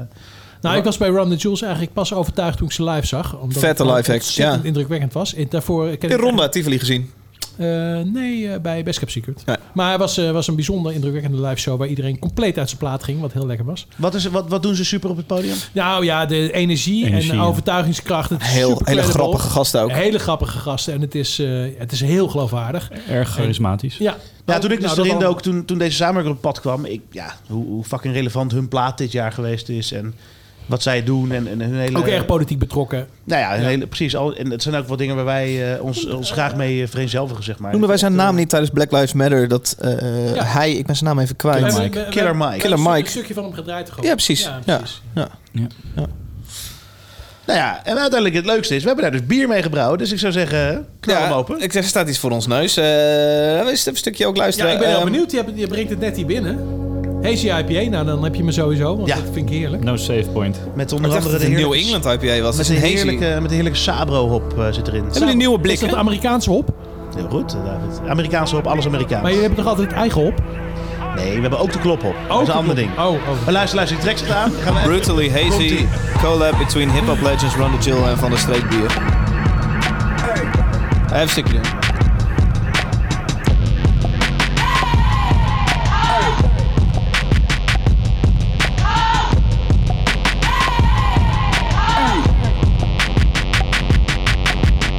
[SPEAKER 3] Nou, ik was bij Ron the Jules eigenlijk pas overtuigd toen ik ze live zag. Omdat
[SPEAKER 1] Vette
[SPEAKER 3] het
[SPEAKER 1] live act,
[SPEAKER 3] ontzettend
[SPEAKER 1] ja.
[SPEAKER 3] indrukwekkend was. En daarvoor ken
[SPEAKER 1] In
[SPEAKER 3] ik-
[SPEAKER 1] Ronda Tivoli gezien.
[SPEAKER 3] Eh, nee, eh, bij Best Cap Secret.
[SPEAKER 1] Nee.
[SPEAKER 3] Maar het was, eh, was een bijzonder indrukwekkende live show... waar iedereen compleet uit zijn plaat ging, wat heel lekker was.
[SPEAKER 7] wat, is, wat, wat doen ze super op het podium?
[SPEAKER 3] Nou ja, de energie,
[SPEAKER 4] Energie,
[SPEAKER 3] en
[SPEAKER 4] ja.
[SPEAKER 3] overtuigingskracht. Het is
[SPEAKER 1] Heel,
[SPEAKER 3] super
[SPEAKER 1] hele
[SPEAKER 3] credible.
[SPEAKER 1] grappige gast ook.
[SPEAKER 3] Hele grappige gasten. En het is, eh, het is heel geloofwaardig.
[SPEAKER 4] Erg charismatisch.
[SPEAKER 3] Ja,
[SPEAKER 7] Ja,
[SPEAKER 3] Nou,
[SPEAKER 7] toen ik dus
[SPEAKER 3] nou, dat
[SPEAKER 7] erin
[SPEAKER 3] allemaal.
[SPEAKER 7] dook, toen, toen deze samenwerking op het pad kwam. Ik, ja, hoe, hoe fucking relevant hun plaat dit jaar geweest is. En wat zij doen. En, en hun hele.
[SPEAKER 3] Ook erg politiek betrokken.
[SPEAKER 7] Nou ja, hun hele, precies. Al, en het zijn ook wel dingen waar wij eh, ons, ons graag mee eh, vereenzelvigen, zeg maar.
[SPEAKER 1] Noemden wij zijn naam niet tijdens Black Lives Matter. Dat eh, eh,
[SPEAKER 3] Ja.
[SPEAKER 1] hij, ik ben zijn naam even
[SPEAKER 3] We
[SPEAKER 1] kwijt.
[SPEAKER 3] hebben- we- we- we-
[SPEAKER 7] Killer Mike.
[SPEAKER 1] Killer
[SPEAKER 3] we hebben
[SPEAKER 1] Mike.
[SPEAKER 3] Een stukje van hem gedraaid gewoon.
[SPEAKER 1] Ja, precies. Ja. Ja.
[SPEAKER 7] Nou ja, en uiteindelijk het leukste is, we hebben daar dus bier mee gebrouwen. Dus ik zou zeggen, knal hem open.
[SPEAKER 1] Ik zeg, er staat iets voor ons neus. Eh we eens een stukje ook
[SPEAKER 3] Ja,
[SPEAKER 1] luisteren.
[SPEAKER 3] ik ben
[SPEAKER 1] Ehm,
[SPEAKER 3] heel benieuwd. Je, hebt- je brengt het net hier binnen. Hazy IPA, nou dan heb je me sowieso, want
[SPEAKER 7] Ja.
[SPEAKER 3] dat vind ik heerlijk.
[SPEAKER 4] No save point.
[SPEAKER 7] Met
[SPEAKER 1] Ik
[SPEAKER 7] onder
[SPEAKER 1] dacht
[SPEAKER 7] andere
[SPEAKER 1] dat het
[SPEAKER 7] de
[SPEAKER 1] een New
[SPEAKER 7] heerlijke,
[SPEAKER 1] England IPA was.
[SPEAKER 7] met
[SPEAKER 1] Dat
[SPEAKER 7] de
[SPEAKER 1] is een heerlijke...
[SPEAKER 7] heerlijke, met de heerlijke Sabro-hop eh, zit erin.
[SPEAKER 1] Hebben jullie nieuwe
[SPEAKER 3] Is dat
[SPEAKER 1] blikken?
[SPEAKER 3] Amerikaanse hop?
[SPEAKER 7] Heel goed, eh, David. Amerikaanse hop, alles
[SPEAKER 3] Maar
[SPEAKER 7] Amerikaans.
[SPEAKER 3] jullie hebben toch altijd eigen hop?
[SPEAKER 7] Nee, we hebben ook de klophop. Dat is een ander ding.
[SPEAKER 3] Oh, oh.
[SPEAKER 7] Maar luister, luister, die tracks gedaan. Gaan we even-
[SPEAKER 1] Brutally Hazy collab between hip-hop legends Ron the Jill en Van der Streek Bier. Even stukje doen.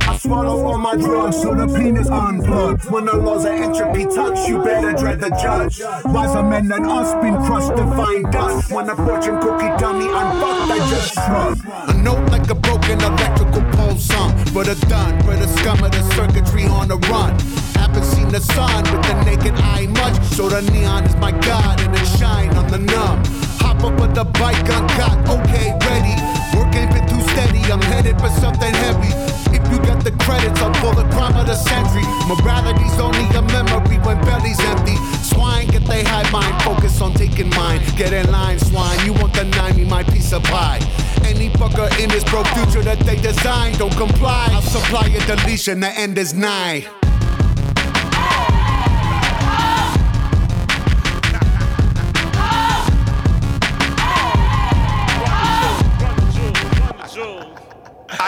[SPEAKER 8] I swallow all my drugs so the penis unplugged. When the laws of entropy touch, you better dread the judge. Wiser men than us been crushed to find dust. When a fortune cookie dummy unfucked, I just shrug. A note like a broken electrical pole song. But a done, for the scum of the circuitry on the run. Haven't seen the sun with the naked eye much. So the neon is my god and it shine on the numb. Hop up with the bike uncut, okay, ready. Work ain't been too steady, I'm headed for something heavy. If you got the credits, I'm for the crime of the century. Morality's only a memory when belly's empty. Swine, get they high mind, focus on taking mine. Get in line, swine, you won't deny me my piece of pie. Any fucker in this broke future that they design, don't comply. I'll supply a deletion, the end is nigh.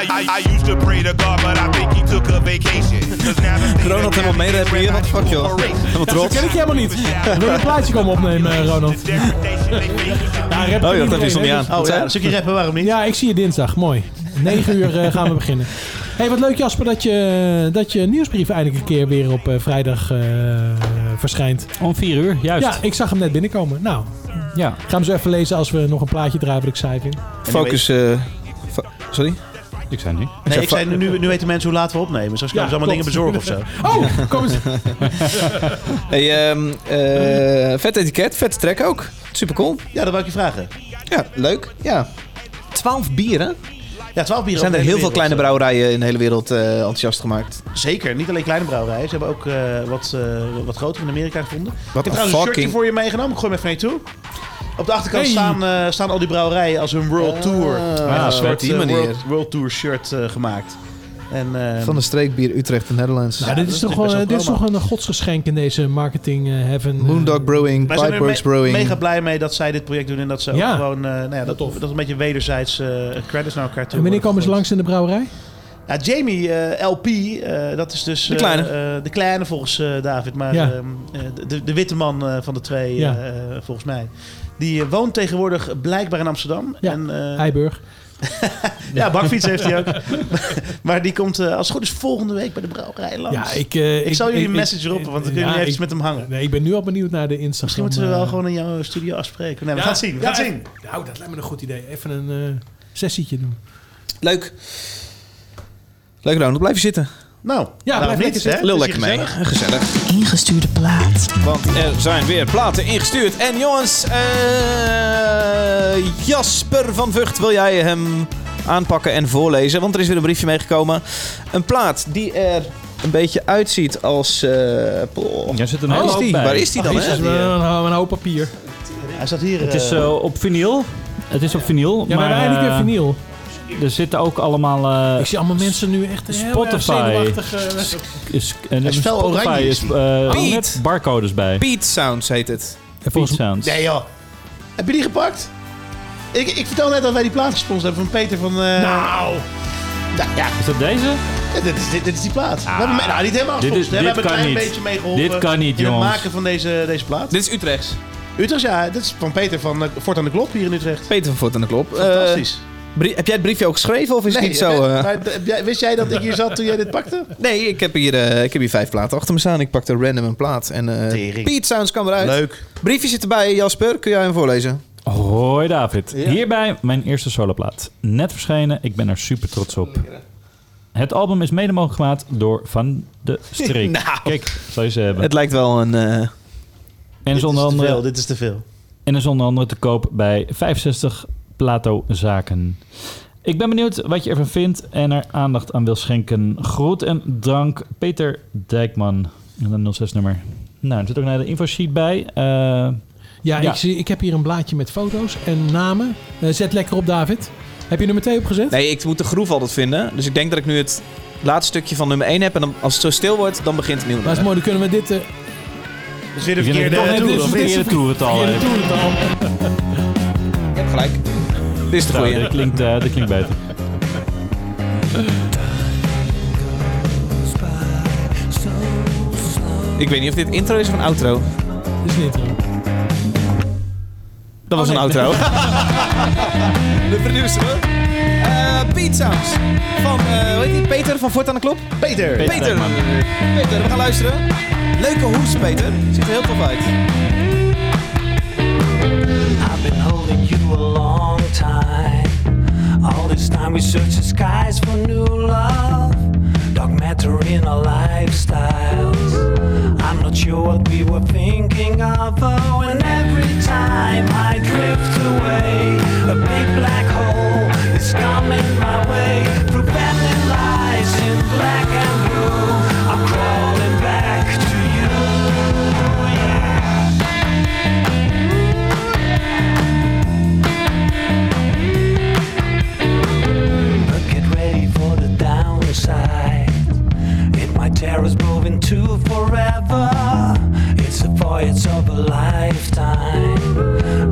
[SPEAKER 9] I, I, I used to pray
[SPEAKER 7] Oh
[SPEAKER 9] to God, but I think he took a vacation. 'Cause now the thing
[SPEAKER 1] Ronald
[SPEAKER 9] that
[SPEAKER 1] helemaal
[SPEAKER 9] happens
[SPEAKER 1] meereppen
[SPEAKER 9] when
[SPEAKER 1] hier,
[SPEAKER 9] I
[SPEAKER 1] wat
[SPEAKER 9] do
[SPEAKER 1] fuck, joh.
[SPEAKER 9] a race.
[SPEAKER 1] Helemaal
[SPEAKER 3] Dat
[SPEAKER 1] trots.
[SPEAKER 3] ken ik helemaal niet. Wil je een plaatje komen opnemen, eh,
[SPEAKER 9] The
[SPEAKER 3] Ronald?
[SPEAKER 9] degradation they make you do.
[SPEAKER 3] Ja, rap
[SPEAKER 1] Oh, joh, dat
[SPEAKER 3] iedereen,
[SPEAKER 1] is nog niet
[SPEAKER 3] hè,
[SPEAKER 1] aan.
[SPEAKER 3] dus-
[SPEAKER 7] Oh ja, een stukje rappen, waarom niet?
[SPEAKER 3] Ja, ik zie je dinsdag. Mooi. 9 uur eh, gaan we beginnen. hey, wat leuk Jasper dat je, dat je nieuwsbrief eindelijk een keer weer op eh, vrijdag eh, verschijnt.
[SPEAKER 4] Om vier uur, juist.
[SPEAKER 3] Ja, ik zag hem net binnenkomen. Nou,
[SPEAKER 4] ja.
[SPEAKER 3] ga hem zo even lezen als we nog een plaatje draaien wat ik saai vind.
[SPEAKER 1] Focus... eh, fo- Sorry?
[SPEAKER 4] Ik zei nu.
[SPEAKER 7] Nee, ik zei, nu- nu, nu weten mensen hoe laat we opnemen. Straks
[SPEAKER 3] Ja,
[SPEAKER 7] kunnen ze allemaal
[SPEAKER 3] klopt.
[SPEAKER 7] dingen bezorgen of zo.
[SPEAKER 3] Oh, kom eens.
[SPEAKER 1] Hey, ehm, eh, vet etiket, vette track ook. Super cool.
[SPEAKER 7] Ja, dat wou ik je vragen.
[SPEAKER 1] Ja, leuk. Ja. 12 bieren.
[SPEAKER 7] Ja, twaalf bieren.
[SPEAKER 1] Er zijn
[SPEAKER 7] over de
[SPEAKER 1] er heel
[SPEAKER 7] hele
[SPEAKER 1] veel kleine
[SPEAKER 7] wereld.
[SPEAKER 1] brouwerijen in de hele wereld eh, enthousiast gemaakt.
[SPEAKER 7] Zeker, niet alleen kleine brouwerijen. Ze hebben ook eh, wat, eh, wat groter in Amerika gevonden. ik
[SPEAKER 1] een
[SPEAKER 7] heb trouwens een shirtje
[SPEAKER 1] fucking-
[SPEAKER 7] voor je meegenomen. Ik gooi hem even naar je toe. Op de achterkant
[SPEAKER 3] Hey.
[SPEAKER 7] staan, eh, staan al die brouwerijen als hun World Tour. Met
[SPEAKER 1] op
[SPEAKER 7] een soort
[SPEAKER 1] die
[SPEAKER 7] eh,
[SPEAKER 1] manier.
[SPEAKER 7] World, World Tour shirt eh, gemaakt. En, eh,
[SPEAKER 10] Van de streekbier Utrecht en Netherlands.
[SPEAKER 3] Nou, dit is toch,
[SPEAKER 7] best
[SPEAKER 3] gewoon-
[SPEAKER 7] wel
[SPEAKER 3] dit is toch
[SPEAKER 7] programma.
[SPEAKER 3] een godsgeschenk in deze marketing eh, heaven. eh,
[SPEAKER 10] Moondog Brewing,
[SPEAKER 7] wij zijn er
[SPEAKER 10] Pipeworks
[SPEAKER 7] me-
[SPEAKER 10] Brewing.
[SPEAKER 7] mega blij mee dat zij dit project doen en dat ze
[SPEAKER 3] Ja.
[SPEAKER 7] ook gewoon eh, nou ja, dat,
[SPEAKER 3] tof.
[SPEAKER 7] dat een beetje wederzijds eh, credits naar elkaar toe.
[SPEAKER 3] en wanneer
[SPEAKER 7] worden
[SPEAKER 3] komen ze
[SPEAKER 7] gegooid.
[SPEAKER 3] langs in de brouwerij?
[SPEAKER 7] Ja, Jamie eh, LP, eh, dat is dus.
[SPEAKER 1] De
[SPEAKER 7] eh,
[SPEAKER 1] kleine.
[SPEAKER 7] eh, de kleine volgens eh, David, maar
[SPEAKER 3] Ja.
[SPEAKER 7] ehm, eh, de, de witte man eh, van de twee, eh,
[SPEAKER 3] Ja.
[SPEAKER 7] eh, volgens mij. Die eh, woont tegenwoordig blijkbaar in Amsterdam.
[SPEAKER 3] Ja.
[SPEAKER 7] En, eh,
[SPEAKER 3] Eiburg.
[SPEAKER 7] ja, bakfiets heeft hij ook. maar die komt eh, als het goed is volgende week bij de brouwerij langs.
[SPEAKER 3] Ja, ik, eh,
[SPEAKER 7] ik, zal jullie een message
[SPEAKER 3] ik-
[SPEAKER 7] roepen, want dan
[SPEAKER 3] ja,
[SPEAKER 7] kunnen
[SPEAKER 3] ik-
[SPEAKER 7] jullie even met hem hangen.
[SPEAKER 3] Nee, ik ben nu al benieuwd naar de Insta.
[SPEAKER 7] Misschien moeten we
[SPEAKER 3] eh,
[SPEAKER 7] wel gewoon in jouw studio afspreken. Nee, we gaan het zien. We gaan het zien.
[SPEAKER 3] Nou, dat lijkt me een goed idee. Even een eh, sessietje doen.
[SPEAKER 1] Leuk. Leuk, Ronald. Blijf je zitten.
[SPEAKER 7] Nou,
[SPEAKER 3] blijf
[SPEAKER 7] waarom
[SPEAKER 3] lekker
[SPEAKER 7] niet,
[SPEAKER 3] zitten.
[SPEAKER 7] hè?
[SPEAKER 1] Lul
[SPEAKER 7] Is
[SPEAKER 1] lekker
[SPEAKER 7] hier
[SPEAKER 1] mee.
[SPEAKER 7] gezellig.
[SPEAKER 1] Gezellig.
[SPEAKER 2] Ingestuurde plaat.
[SPEAKER 1] Want er zijn weer platen ingestuurd. En jongens, eh, Jasper van Vught, wil jij hem aanpakken en voorlezen? Want er is weer een briefje meegekomen. Een plaat die er een beetje uitziet als... eh, poh.
[SPEAKER 4] Daar zit een
[SPEAKER 1] Waar
[SPEAKER 4] hele
[SPEAKER 1] is
[SPEAKER 4] hoop
[SPEAKER 1] die?
[SPEAKER 4] bij.
[SPEAKER 1] Waar is die
[SPEAKER 7] Oh,
[SPEAKER 1] dan?
[SPEAKER 3] Dat is
[SPEAKER 1] Hè?
[SPEAKER 3] een, een, een hoop papier.
[SPEAKER 7] Hij staat hier.
[SPEAKER 4] Het is
[SPEAKER 7] eh,
[SPEAKER 4] eh, op vinyl. Het is op vinyl.
[SPEAKER 3] Ja, maar,
[SPEAKER 4] maar
[SPEAKER 3] eigenlijk
[SPEAKER 4] eh,
[SPEAKER 3] eindelijk weer vinyl.
[SPEAKER 4] Er zitten ook allemaal... eh,
[SPEAKER 3] Ik zie allemaal mensen nu echt heel erg
[SPEAKER 4] Spotify.
[SPEAKER 3] zenuwachtig. eh,
[SPEAKER 4] is, en
[SPEAKER 7] is fel
[SPEAKER 4] Spotify
[SPEAKER 7] oranje, is
[SPEAKER 4] is, eh,
[SPEAKER 1] Piet.
[SPEAKER 4] met barcodes bij.
[SPEAKER 1] Beat Sounds heet het.
[SPEAKER 4] Piet Sounds.
[SPEAKER 7] Nee joh. Heb je die gepakt? Ik, ik vertel net dat wij die plaat gesponsord hebben van Peter van... eh,
[SPEAKER 4] Nou!
[SPEAKER 7] Nou ja,
[SPEAKER 4] Is dat deze?
[SPEAKER 7] dit is, dit, dit is die plaat. we hebben, me- nou, niet helemaal
[SPEAKER 4] Ah. dit is-
[SPEAKER 7] gesponsord. hè.
[SPEAKER 4] dit
[SPEAKER 7] We hebben een
[SPEAKER 4] kan
[SPEAKER 7] klein
[SPEAKER 4] niet.
[SPEAKER 7] beetje meegeholpen.
[SPEAKER 4] Dit kan niet,
[SPEAKER 7] In het
[SPEAKER 4] jongens.
[SPEAKER 7] maken van deze, deze plaat.
[SPEAKER 1] Dit is Utrechts.
[SPEAKER 7] Utrecht, ja. Dit is van Peter van eh, Fort aan de Klop hier in Utrecht.
[SPEAKER 4] Eh,
[SPEAKER 1] Peter van Voort aan de Klop.
[SPEAKER 7] Fantastisch.
[SPEAKER 1] Eh, brie- heb jij het briefje ook geschreven of is het niet zo...
[SPEAKER 7] eh,
[SPEAKER 1] eh?
[SPEAKER 7] maar d- heb jij- wist jij dat ik hier zat toen jij dit pakte?
[SPEAKER 1] Nee, ik heb, hier, eh, ik heb hier vijf platen achter me staan. Ik pakte random een plaat. En eh
[SPEAKER 7] Tering.
[SPEAKER 1] Beat Sounds kwam eruit.
[SPEAKER 7] Leuk.
[SPEAKER 1] Briefje zit erbij, Jasper. Kun jij hem voorlezen?
[SPEAKER 4] Hoi David. Hierbij mijn eerste soloplaat. Net verschenen, ik ben er super trots op. Het album is mede mogelijk gemaakt door Van de Streek.
[SPEAKER 1] Nou.
[SPEAKER 4] Kijk, zou je ze hebben.
[SPEAKER 1] Het lijkt wel een... eh,
[SPEAKER 4] en, is onder
[SPEAKER 7] Dit is te
[SPEAKER 4] andere,
[SPEAKER 7] veel. Dit is te veel.
[SPEAKER 4] en is onder andere te koop bij 65 Plato Zaken. Ik ben benieuwd wat je ervan vindt en er aandacht aan wil schenken. Groet en drank, Peter Dijkman. En dan 06-nummer. Nou, er zit ook naar de infosheet bij. Eh,
[SPEAKER 3] Ja,
[SPEAKER 4] Ja.
[SPEAKER 3] Ik, zie, ik heb hier een blaadje met foto's en namen. Eh, zet lekker op, David. Heb je nummer 2 opgezet?
[SPEAKER 1] Nee, ik moet de groef altijd vinden. Dus ik denk dat ik nu het laatste stukje van nummer 1 heb. En dan, als het zo stil wordt, dan begint het nieuw
[SPEAKER 3] Maar is
[SPEAKER 1] nummer.
[SPEAKER 3] mooi, dan kunnen we dit... eh
[SPEAKER 7] Dus weer de
[SPEAKER 4] Ik vind
[SPEAKER 7] verkeerde
[SPEAKER 4] dat het
[SPEAKER 7] eh,
[SPEAKER 4] toch
[SPEAKER 7] toer,
[SPEAKER 4] net
[SPEAKER 7] of
[SPEAKER 4] is-
[SPEAKER 7] niet?
[SPEAKER 4] verkeerde toerental
[SPEAKER 3] verkeerde
[SPEAKER 4] heeft.
[SPEAKER 3] toerental.
[SPEAKER 1] Je hebt gelijk. Dit is de
[SPEAKER 4] nou,
[SPEAKER 1] goeie.
[SPEAKER 4] dat klinkt, eh, dat klinkt beter.
[SPEAKER 1] Ik weet niet of dit intro is of een outro.
[SPEAKER 3] Dit is een intro.
[SPEAKER 1] Dat was een outro. Oh, de producer. Eh Beat Sounds. Van, eh, hoe heet die? Peter van Voort aan de Klop?
[SPEAKER 7] Peter.
[SPEAKER 1] Peter.
[SPEAKER 4] Dijkman.
[SPEAKER 1] Peter, we gaan luisteren. Leuke hoes, Peter. Ziet er heel tof uit.
[SPEAKER 11] I've been holding you a long time. All this time we search the skies for new love. Dark matter in our lifestyles. I'm not sure what we were thinking of. Oh, and every time I drift away, a big black hole is coming my way. Through bending lies in black and blue, I'm crawling back to you. Yeah. But get ready for the downside. It might tear us both into forever. It's a voyage of a lifetime.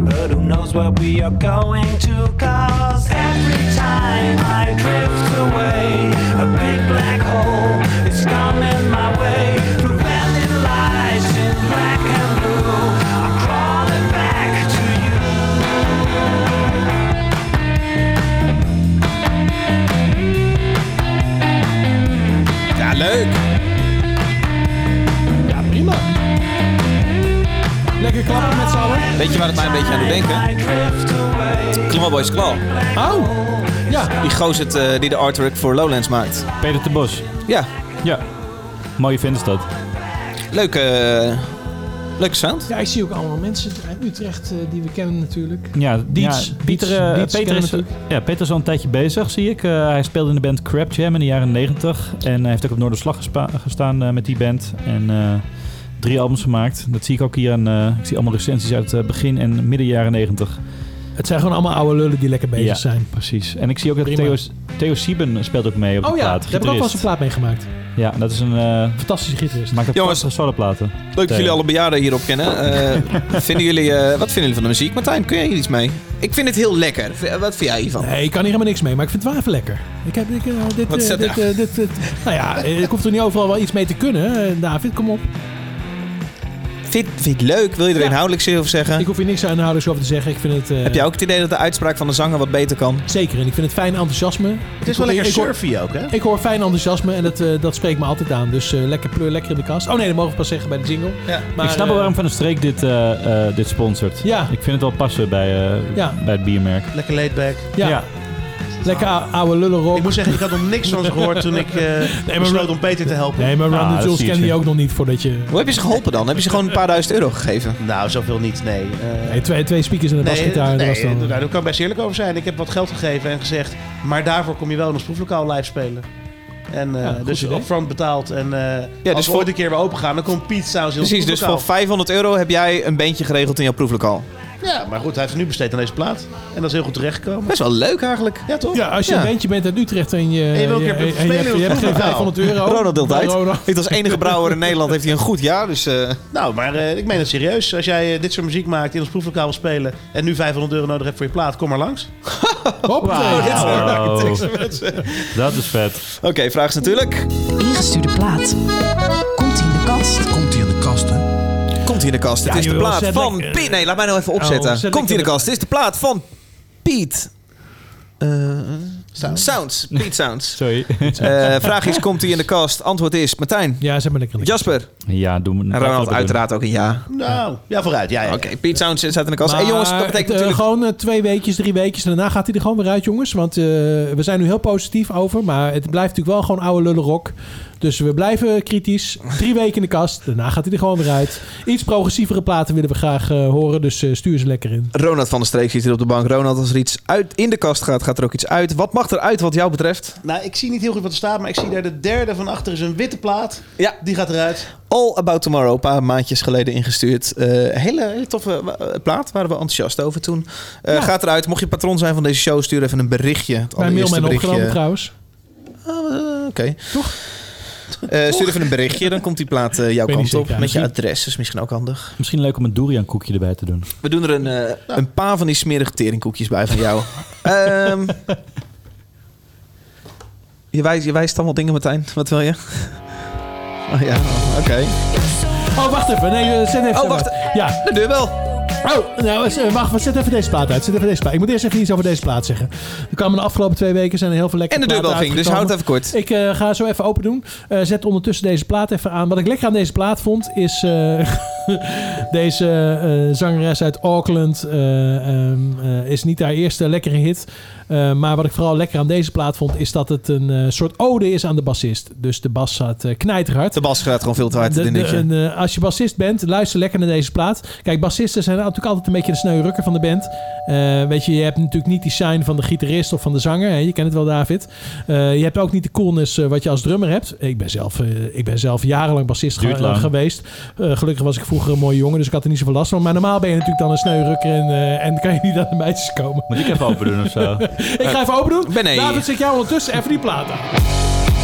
[SPEAKER 11] But who knows where we are going to? Cause every time I drift away, a big black hole is coming my way. Through bending lies in black and blue, I'm crawling back to you.
[SPEAKER 1] Ja, leuk.
[SPEAKER 3] Ja, prima. Lekker klappen met z'n allen.
[SPEAKER 1] Weet je waar het mij een beetje aan doet denken?
[SPEAKER 11] I drift away.
[SPEAKER 1] Claw Boys Claw.
[SPEAKER 3] Oh, ja.
[SPEAKER 1] Die gozer eh, die de artwork voor Lowlands maakt.
[SPEAKER 4] Peter de Bos.
[SPEAKER 1] Ja,
[SPEAKER 4] Ja. Mooie vent is dat.
[SPEAKER 1] leuke, eh, leuke sound.
[SPEAKER 3] Ja, ik zie ook allemaal mensen uit Utrecht eh, die we kennen natuurlijk.
[SPEAKER 4] Ja,
[SPEAKER 3] Dietz.
[SPEAKER 4] ja, Pieter, eh,
[SPEAKER 3] Dietz
[SPEAKER 4] Peter,
[SPEAKER 3] kennen
[SPEAKER 4] is,
[SPEAKER 3] we
[SPEAKER 4] ja, Peter is al een tijdje bezig, zie ik. Eh, hij speelde in de band Crab Jam in de jaren 90. En hij heeft ook op Noorderslag gespa- gestaan eh, met die band. En eh, drie albums gemaakt. Dat zie ik ook hier. Aan, eh, ik zie allemaal recensies uit eh, begin en midden jaren 90.
[SPEAKER 3] Het zijn gewoon allemaal oude lullen die lekker bezig
[SPEAKER 4] Ja,
[SPEAKER 3] zijn.
[SPEAKER 4] precies. En ik zie ook dat
[SPEAKER 3] Prima.
[SPEAKER 4] Theo, Theo Sieben speelt ook mee op
[SPEAKER 3] Oh
[SPEAKER 4] de
[SPEAKER 3] ja, daar
[SPEAKER 4] plaat.
[SPEAKER 3] heb ik ook wel eens een
[SPEAKER 4] gitarist.
[SPEAKER 3] plaat meegemaakt.
[SPEAKER 4] Ja, dat is een... eh,
[SPEAKER 3] Fantastische gitarist.
[SPEAKER 4] maakt ook
[SPEAKER 1] Jongens,
[SPEAKER 4] prachtige soloplaten.
[SPEAKER 1] Leuk dat
[SPEAKER 4] Theo.
[SPEAKER 1] jullie alle bejaarden hierop kennen. Eh, vinden jullie, eh, wat vinden jullie van de muziek? Martijn, kun jij hier iets mee? Ik vind het heel lekker. V- Wat vind jij hiervan?
[SPEAKER 3] Nee, ik kan hier helemaal niks mee, maar ik vind het wel even lekker. Ik heb ik, eh, dit,
[SPEAKER 1] Wat
[SPEAKER 3] eh,
[SPEAKER 1] zet-
[SPEAKER 3] dit, eh, dit, dit- Nou ja, eh, ik hoef er niet overal wel iets mee te kunnen. Eh, David, kom op.
[SPEAKER 1] Vind, vind je het leuk? Wil je er
[SPEAKER 3] Ja.
[SPEAKER 1] inhoudelijk iets over zeggen?
[SPEAKER 3] Ik hoef hier niks aanhouders over te zeggen. Ik vind het... eh,
[SPEAKER 1] Heb jij ook het idee dat de uitspraak van de zanger wat beter kan?
[SPEAKER 3] Zeker, en ik vind het fijn enthousiasme.
[SPEAKER 7] Het is wel lekker surfy ook, hè?
[SPEAKER 3] Ik hoor fijn enthousiasme en dat, eh, dat spreekt me altijd aan. Dus eh, lekker pleur, lekker in de kast. Oh nee, dat mogen we pas zeggen bij de jingle.
[SPEAKER 1] Ja.
[SPEAKER 3] Maar,
[SPEAKER 4] ik snap
[SPEAKER 3] eh,
[SPEAKER 4] wel waarom Van der Streek dit, eh, eh, dit sponsort.
[SPEAKER 3] Ja.
[SPEAKER 4] Ik vind het wel passen bij, eh,
[SPEAKER 3] Ja.
[SPEAKER 4] bij het biermerk.
[SPEAKER 7] Lekker laid back.
[SPEAKER 3] Ja, lekker ou- oude lullenrock.
[SPEAKER 7] Ik moet zeggen, ik had nog niks van ze gehoord toen ik eh
[SPEAKER 3] maar-
[SPEAKER 7] besloot om Peter te helpen.
[SPEAKER 3] Nee, maar Run
[SPEAKER 4] Ah,
[SPEAKER 3] the
[SPEAKER 4] dat
[SPEAKER 3] Jewels
[SPEAKER 4] zie je
[SPEAKER 3] kende je
[SPEAKER 4] het.
[SPEAKER 3] ook nog niet voordat je...
[SPEAKER 1] Hoe heb je ze geholpen dan? Heb je ze gewoon een paar duizend euro gegeven?
[SPEAKER 7] Nou, zoveel niet, nee. Eh,
[SPEAKER 3] Nee, twee, twee speakers en een basgitaar. en dat was dan,
[SPEAKER 7] nee, daar kan ik best eerlijk over zijn. Ik heb wat geld gegeven en gezegd, maar daarvoor kom je wel in ons proeflokaal live spelen. En eh,
[SPEAKER 3] Ja, goed
[SPEAKER 7] dus
[SPEAKER 3] idee.
[SPEAKER 7] upfront betaald. En eh
[SPEAKER 1] dus
[SPEAKER 7] als we
[SPEAKER 1] voor-
[SPEAKER 7] ooit een keer weer open gaan, dan komt Piet Saus in ons
[SPEAKER 1] Precies, dus voor
[SPEAKER 7] proeflokaal.
[SPEAKER 1] 500 euro heb jij een bandje geregeld in jouw proeflokaal.
[SPEAKER 7] Ja, maar goed, hij heeft het nu besteed aan deze plaat. En dat is heel goed terechtgekomen.
[SPEAKER 1] Best wel leuk eigenlijk.
[SPEAKER 7] Ja, toch?
[SPEAKER 3] ja, als je
[SPEAKER 1] Ja. Nou,
[SPEAKER 3] een bandje bent uit Utrecht en je,
[SPEAKER 7] En je wil een
[SPEAKER 3] je,
[SPEAKER 7] keer
[SPEAKER 3] en je
[SPEAKER 7] spelen
[SPEAKER 3] hebt,
[SPEAKER 7] in
[SPEAKER 3] je hebt
[SPEAKER 7] het
[SPEAKER 3] geen
[SPEAKER 7] Bloemendaal.
[SPEAKER 3] 500 euro.
[SPEAKER 1] Ronald deelt uit.
[SPEAKER 3] Oh, Ronald.
[SPEAKER 1] Heeft als enige brouwer in Nederland heeft hij een goed jaar, dus... eh,
[SPEAKER 7] Nou, maar eh, ik meen het serieus. Als jij eh, dit soort muziek maakt, in ons proeflokaal wil spelen... en nu 500 euro nodig hebt voor je plaat, kom maar langs.
[SPEAKER 3] Hop,
[SPEAKER 4] Wow.
[SPEAKER 3] eh,
[SPEAKER 4] Dat is vet.
[SPEAKER 1] Oké, vraag is natuurlijk...
[SPEAKER 2] Ingestuurde plaat. Komt ie in de kast?
[SPEAKER 5] Komt hier in de kast, hè?
[SPEAKER 1] Komt hier in de kast. Het
[SPEAKER 3] Ja,
[SPEAKER 1] is de
[SPEAKER 3] joh,
[SPEAKER 1] plaat
[SPEAKER 3] zet
[SPEAKER 1] van
[SPEAKER 3] lekker-
[SPEAKER 1] Piet. Nee, laat mij nou even
[SPEAKER 3] Oh, zet
[SPEAKER 1] opzetten.
[SPEAKER 3] lekker
[SPEAKER 1] Komt hier in de
[SPEAKER 3] de-
[SPEAKER 1] kast. Het is de plaat van Piet. Eh, Sounds. Piet Sounds.
[SPEAKER 4] Sorry.
[SPEAKER 1] Eh, vraag is, komt hij in de kast? Antwoord is, Martijn,
[SPEAKER 3] Ja, zet maar lekker in.
[SPEAKER 1] Jasper
[SPEAKER 4] ja, doen we
[SPEAKER 1] en Ronald uiteraard ook een ja.
[SPEAKER 7] Nou, ja, vooruit. Ja, ja.
[SPEAKER 1] Oké, Piet Sounds staat in de kast. hey, jongens, dat
[SPEAKER 3] Maar,
[SPEAKER 1] betekent
[SPEAKER 3] eh,
[SPEAKER 1] natuurlijk...
[SPEAKER 3] Gewoon eh, twee weekjes, drie weekjes. En daarna gaat hij er gewoon weer uit, jongens. Want eh, we zijn nu heel positief over. Maar het blijft natuurlijk wel gewoon oude lullenrok. Dus we blijven kritisch. Drie weken in de kast. Daarna gaat hij er gewoon weer uit. Iets progressievere platen willen we graag eh, horen. Dus eh, stuur ze lekker in.
[SPEAKER 1] Ronald van der Streek zit hier op de bank. Ronald, als er iets uit in de kast gaat, gaat er ook iets uit. Wat mag er uit wat jou betreft?
[SPEAKER 7] Nou, ik zie niet heel goed wat er staat, maar ik zie daar de derde van achter is een witte plaat.
[SPEAKER 1] Ja.
[SPEAKER 7] Die gaat eruit.
[SPEAKER 1] All About Tomorrow, een paar maandjes geleden ingestuurd. Eh, hele, hele toffe eh, plaat, waren we enthousiast over toen. Eh, Gaat eruit. Mocht je patroon zijn van deze show, stuur even een berichtje. Het
[SPEAKER 3] Bij
[SPEAKER 1] allereerste
[SPEAKER 3] Mailman
[SPEAKER 1] berichtje.
[SPEAKER 3] opgenomen trouwens.
[SPEAKER 1] Ah, Oké. Eh, stuur even een berichtje, dan komt die plaat eh, jouw
[SPEAKER 3] Ik weet niet
[SPEAKER 1] kant
[SPEAKER 3] zeker.
[SPEAKER 1] op. Met je
[SPEAKER 3] Misschien-
[SPEAKER 1] adres, dat is misschien ook handig.
[SPEAKER 4] Misschien leuk om een durian koekje erbij te doen.
[SPEAKER 1] We doen er een, eh, een paar van die smerige teringkoekjes bij van jou. Ehm, je, wijst, je wijst allemaal dingen, Martijn. Wat wil je? Oh ja, oké.
[SPEAKER 3] Oh, wacht even. Nee, eh, zet even.
[SPEAKER 1] Oh, wacht.
[SPEAKER 3] Ja.
[SPEAKER 1] De deur wel.
[SPEAKER 3] Oh, nou, eh, wacht. maar Zet even deze plaat uit. Zet even deze plaat. Ik moet eerst even iets over deze plaat zeggen. Er kwamen de afgelopen twee weken zijn er heel veel
[SPEAKER 1] En
[SPEAKER 3] lekkere
[SPEAKER 1] de deur wel
[SPEAKER 3] platen
[SPEAKER 1] ging, dus
[SPEAKER 3] uitgekomen.
[SPEAKER 1] houd het even kort.
[SPEAKER 3] Ik eh, ga zo even open doen. Eh, zet ondertussen deze plaat even aan. Wat ik lekker aan deze plaat vond, is eh, deze eh, zangeres uit Auckland. eh, ehm, eh, is niet haar eerste lekkere hit. Eh, maar wat ik vooral lekker aan deze plaat vond, is dat het een eh, soort ode is aan de bassist. Dus de bas staat eh, knijterhard.
[SPEAKER 1] De bas gaat gewoon veel te hard,
[SPEAKER 3] De-
[SPEAKER 1] dit
[SPEAKER 3] de-
[SPEAKER 1] dingetje.
[SPEAKER 3] een, eh, als je bassist bent, luister lekker naar deze plaat. Kijk, bassisten zijn natuurlijk altijd een beetje de sneu rukker van de band. Eh, weet je, je hebt natuurlijk niet die sign van de gitarist of van de zanger. Hè? Je kent het wel, David. Eh, je hebt ook niet de coolness eh, wat je als drummer hebt. Ik ben zelf, eh, ik ben zelf jarenlang bassist ge-
[SPEAKER 4] Duurt lang.
[SPEAKER 3] eh, geweest. Eh, gelukkig was ik vroeger een mooie jongen, dus ik had er niet zoveel last van. Maar normaal ben je natuurlijk dan een sneu rukker en, eh, en kan je niet aan de meisjes komen.
[SPEAKER 4] Moet ik even open doen of zo?
[SPEAKER 3] Ik ga even open doen.
[SPEAKER 1] Benny.
[SPEAKER 3] David, zit jij ondertussen even die plaat aan.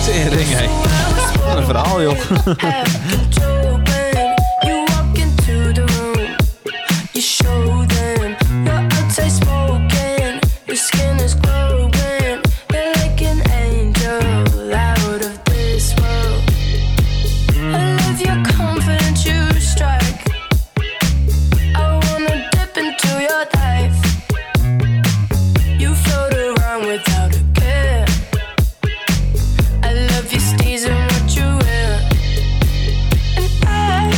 [SPEAKER 1] Tering, hé. Wat een verhaal, joh.
[SPEAKER 2] You float around without a care. I love your steez and what you wear. And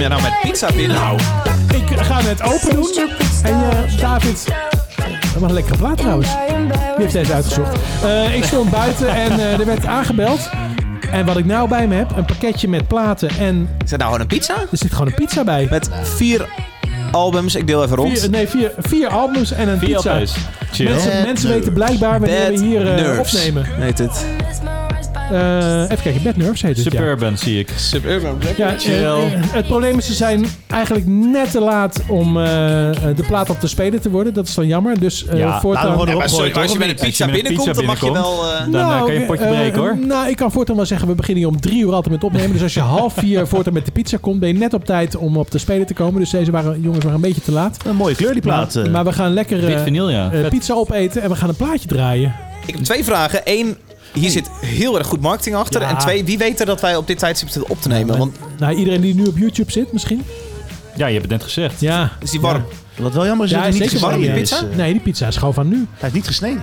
[SPEAKER 1] je nou met pizza binnen? Nou.
[SPEAKER 3] Ik ga het open doen. En eh, David... Dat was een lekkere plaat trouwens. Wie heeft deze uitgezocht? Eh, ik stond buiten en eh, er werd aangebeld. En wat ik nou bij me heb, een pakketje met platen en...
[SPEAKER 1] Is dat nou gewoon een pizza?
[SPEAKER 3] Er zit gewoon een pizza bij.
[SPEAKER 1] Met vier albums. Ik deel even rond.
[SPEAKER 3] Vier, nee, vier, vier albums en een
[SPEAKER 1] Vier
[SPEAKER 3] pizza.
[SPEAKER 1] LP's. Chill.
[SPEAKER 3] Mensen,
[SPEAKER 1] Bad
[SPEAKER 3] mensen weten
[SPEAKER 1] nerves.
[SPEAKER 3] blijkbaar wanneer
[SPEAKER 1] Bad
[SPEAKER 3] we hier eh,
[SPEAKER 1] nerves.
[SPEAKER 3] opnemen.
[SPEAKER 1] Heet het.
[SPEAKER 3] Eh, even kijken, Bad Nerves heet het, ja.
[SPEAKER 4] Suburban zie ik. Suburban.
[SPEAKER 3] Ja, eh, eh, het probleem is, ze zijn eigenlijk net te laat om eh, eh, de plaat op te spelen te worden. Dat is dan jammer. Dus eh
[SPEAKER 4] Ja, laten we
[SPEAKER 3] voortaan...
[SPEAKER 4] gewoon erop Ja, maar gooien, sorry, toch, als je of met niet? een pizza Als je met een binnenkomt, pizza dan mag je binnenkomt, wel, eh, dan, eh, kan je een potje
[SPEAKER 3] eh,
[SPEAKER 4] breken, hoor.
[SPEAKER 3] Nou, ik kan voortaan wel zeggen, we beginnen hier om drie uur altijd met opnemen. Dus als je half vier voortaan met de pizza komt, ben je net op tijd om op te spelen te komen. Dus deze waren, jongens waren een beetje te laat.
[SPEAKER 7] Een mooie kleur die plaat.
[SPEAKER 3] Maar, maar we gaan lekker eh,
[SPEAKER 1] Wit vinyl, ja.
[SPEAKER 3] eh,
[SPEAKER 1] Vet.
[SPEAKER 3] pizza opeten en we gaan een plaatje draaien.
[SPEAKER 1] Ik heb twee vragen. Eén, hier zit heel erg goed marketing achter.
[SPEAKER 3] Ja.
[SPEAKER 1] En twee, wie weet er dat wij op dit tijdstip zitten op te nemen? Want
[SPEAKER 3] Nou, iedereen die nu op YouTube zit misschien.
[SPEAKER 4] Ja, je hebt het net gezegd.
[SPEAKER 3] Ja.
[SPEAKER 1] is die warm?
[SPEAKER 7] Wat wel jammer is,
[SPEAKER 3] Ja,
[SPEAKER 7] dat hij niet
[SPEAKER 3] zeker
[SPEAKER 7] gesneden
[SPEAKER 3] warm,
[SPEAKER 7] is.
[SPEAKER 3] ja.
[SPEAKER 7] Eh,
[SPEAKER 3] Nee, die pizza is gewoon van nu.
[SPEAKER 7] Hij is niet gesneden.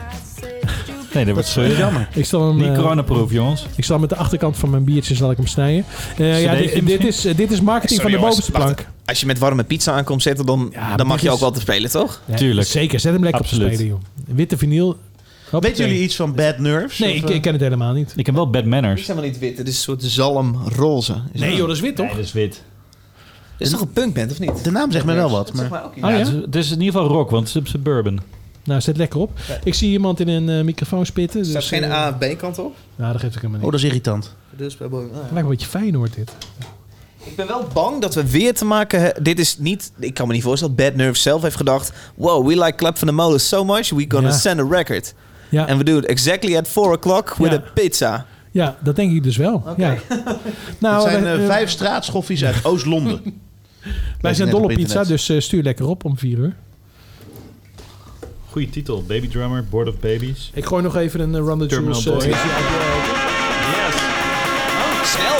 [SPEAKER 4] Nee, dat wordt zo
[SPEAKER 3] is jammer. Ik zal hem,
[SPEAKER 4] Niet
[SPEAKER 3] eh,
[SPEAKER 4] coronaproof, jongens.
[SPEAKER 3] Ik zal met de achterkant van mijn biertje zal ik hem snijden. Eh, ja,
[SPEAKER 4] Cd'tje
[SPEAKER 3] dit, dit,
[SPEAKER 4] misschien?
[SPEAKER 3] is, eh, dit is marketing van
[SPEAKER 1] Sorry,
[SPEAKER 3] de
[SPEAKER 1] jongens,
[SPEAKER 3] bovenste
[SPEAKER 1] wacht.
[SPEAKER 3] plank.
[SPEAKER 1] Als je met warme pizza aankomt zetten, dan, dan mag
[SPEAKER 3] precies.
[SPEAKER 1] je ook wel te spelen, toch?
[SPEAKER 3] Ja, Zeker, zet hem lekker op te spelen, joh. Witte vinyl. Hoppakee.
[SPEAKER 7] Weten jullie iets van Bad Nerves?
[SPEAKER 3] Nee, ik, ik ken het helemaal niet.
[SPEAKER 4] Ik heb wel Bad Manners.
[SPEAKER 1] helemaal niet wit. Het is een soort zalmroze. Is
[SPEAKER 3] Nee
[SPEAKER 1] dat-
[SPEAKER 3] joh, dat is wit toch?
[SPEAKER 4] dat is wit.
[SPEAKER 1] Is toch een punkband, of niet?
[SPEAKER 7] De naam zegt mij wel
[SPEAKER 1] Dat
[SPEAKER 7] wat.
[SPEAKER 1] zegt
[SPEAKER 7] Maar...
[SPEAKER 1] mij ook iets.
[SPEAKER 3] Oh, ja?
[SPEAKER 4] ja? het, is, het is in ieder geval rock, want het is op Suburban.
[SPEAKER 3] Nou, zet lekker op. Ik zie iemand in een eh, microfoon spitten.
[SPEAKER 1] Er
[SPEAKER 3] Dus,
[SPEAKER 1] staat geen
[SPEAKER 3] eh,
[SPEAKER 1] A of B kant op.
[SPEAKER 3] Nou, dat geeft ik helemaal
[SPEAKER 7] Oh,
[SPEAKER 3] niet.
[SPEAKER 7] dat is irritant.
[SPEAKER 1] Dus bij Boeing- ah, ja.
[SPEAKER 3] Het lijkt me een beetje fijn hoor dit.
[SPEAKER 1] Ik ben wel bang dat we weer te maken hebben. Dit is niet. Ik kan me niet voorstellen dat Bad Nerve zelf heeft gedacht. Wow, we like Clap van the Molen so much, we gonna
[SPEAKER 3] Ja.
[SPEAKER 1] send a record.
[SPEAKER 3] Ja.
[SPEAKER 1] And we do it exactly at 4 o'clock with
[SPEAKER 3] Ja.
[SPEAKER 1] a pizza.
[SPEAKER 3] Ja, dat denk ik dus wel. Ja.
[SPEAKER 7] Het
[SPEAKER 3] Nou,
[SPEAKER 7] zijn
[SPEAKER 3] wij,
[SPEAKER 7] eh,
[SPEAKER 3] eh,
[SPEAKER 7] vijf straatschoffies uit Oost-Londen.
[SPEAKER 3] wij
[SPEAKER 7] Lees je
[SPEAKER 3] zijn
[SPEAKER 7] net
[SPEAKER 3] dol
[SPEAKER 7] op
[SPEAKER 3] op pizza,
[SPEAKER 7] internet.
[SPEAKER 3] dus eh, stuur lekker op om vier uur.
[SPEAKER 4] Goeie titel. Baby Drummer, Board of Babies.
[SPEAKER 3] Ik gooi nog even een uh, Run the
[SPEAKER 4] Terminal
[SPEAKER 3] Jewels.
[SPEAKER 4] Boy.
[SPEAKER 1] Oh, Snel!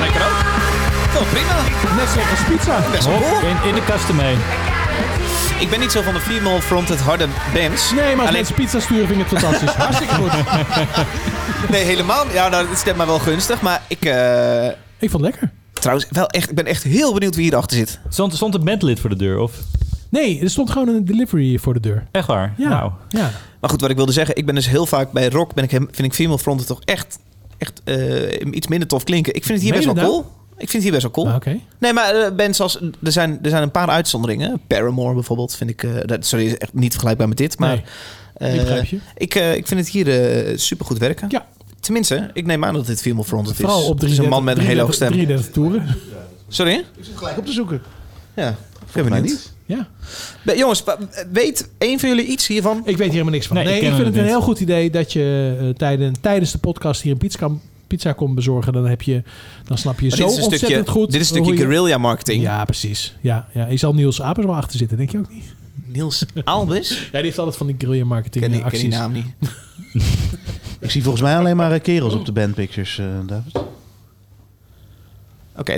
[SPEAKER 1] Nou, prima.
[SPEAKER 3] Net zoals pizza.
[SPEAKER 1] Best wel
[SPEAKER 4] Hop,
[SPEAKER 1] cool.
[SPEAKER 4] in, in de kasten mee.
[SPEAKER 1] Ik ben niet zo van de female fronted harde bands.
[SPEAKER 3] Nee, maar als
[SPEAKER 1] Alleen,
[SPEAKER 3] mensen pizza sturen vind ik het fantastisch. Hartstikke goed.
[SPEAKER 1] nee, helemaal. Ja, nou, dat stemt mij wel gunstig. Maar ik. eh,
[SPEAKER 3] Ik vond het lekker.
[SPEAKER 1] trouwens, wel echt, ik ben echt heel benieuwd wie hierachter zit.
[SPEAKER 4] Stond, stond een bandlid voor de deur, of?
[SPEAKER 3] Nee, er stond gewoon een delivery voor de deur.
[SPEAKER 4] Echt waar?
[SPEAKER 3] Ja.
[SPEAKER 4] Nou,
[SPEAKER 3] Ja.
[SPEAKER 1] Maar goed, wat ik wilde zeggen, ik ben dus heel vaak bij rock, ben ik, hem- vind ik female fronten toch echt, echt eh, iets minder tof klinken. Ik vind het hier
[SPEAKER 3] Meen
[SPEAKER 1] best
[SPEAKER 3] je
[SPEAKER 1] wel
[SPEAKER 3] dat?
[SPEAKER 1] cool. Ik vind het hier best wel cool.
[SPEAKER 3] Ah, Oké.
[SPEAKER 1] Nee, maar eh, bands als, er zijn, er zijn een paar uitzonderingen. Paramore bijvoorbeeld vind ik, eh, dat, sorry, is echt niet vergelijkbaar met dit, maar...
[SPEAKER 3] Nee,
[SPEAKER 1] eh,
[SPEAKER 3] ik begrijp je.
[SPEAKER 1] ik, eh, ik vind het hier eh supergoed werken.
[SPEAKER 3] Ja.
[SPEAKER 1] Tenminste, ik neem aan dat dit female fronted is.
[SPEAKER 3] Vooral op 33,
[SPEAKER 1] het is een man met een hele hoge
[SPEAKER 3] 33
[SPEAKER 1] stem.
[SPEAKER 3] 33 toeren.
[SPEAKER 1] Sorry?
[SPEAKER 7] Gelijk op te zoeken.
[SPEAKER 1] Ja, ik ben
[SPEAKER 7] mij
[SPEAKER 1] benieuwd.
[SPEAKER 3] Ja.
[SPEAKER 1] Be- Jongens, wa- weet één van jullie iets hiervan?
[SPEAKER 3] Ik weet hier helemaal niks van.
[SPEAKER 4] Nee,
[SPEAKER 3] Nee,
[SPEAKER 4] ik
[SPEAKER 3] ik,
[SPEAKER 4] ken
[SPEAKER 3] vind
[SPEAKER 4] het
[SPEAKER 3] het een
[SPEAKER 4] niet.
[SPEAKER 3] heel goed idee dat je eh, tijden, tijdens de podcast hier een pizza, kan, pizza komt bezorgen, dan, heb je, dan snap je
[SPEAKER 1] Maar
[SPEAKER 3] zo
[SPEAKER 1] dit is een
[SPEAKER 3] ontzettend
[SPEAKER 1] stukje,
[SPEAKER 3] goed.
[SPEAKER 1] dit is een
[SPEAKER 3] hoe
[SPEAKER 1] stukje
[SPEAKER 3] je-
[SPEAKER 1] guerrilla marketing.
[SPEAKER 3] Ja, precies. Ja, ja. Je zal Niels Apers wel achter zitten, denk je ook niet?
[SPEAKER 1] Niels Albers?
[SPEAKER 3] ja, die heeft altijd van die guerrilla marketing
[SPEAKER 1] Ken die-
[SPEAKER 3] eh,
[SPEAKER 1] ken
[SPEAKER 3] acties.
[SPEAKER 1] die naam niet.
[SPEAKER 7] Ik zie volgens mij alleen maar eh, kerels op de bandpictures, eh David. Oké,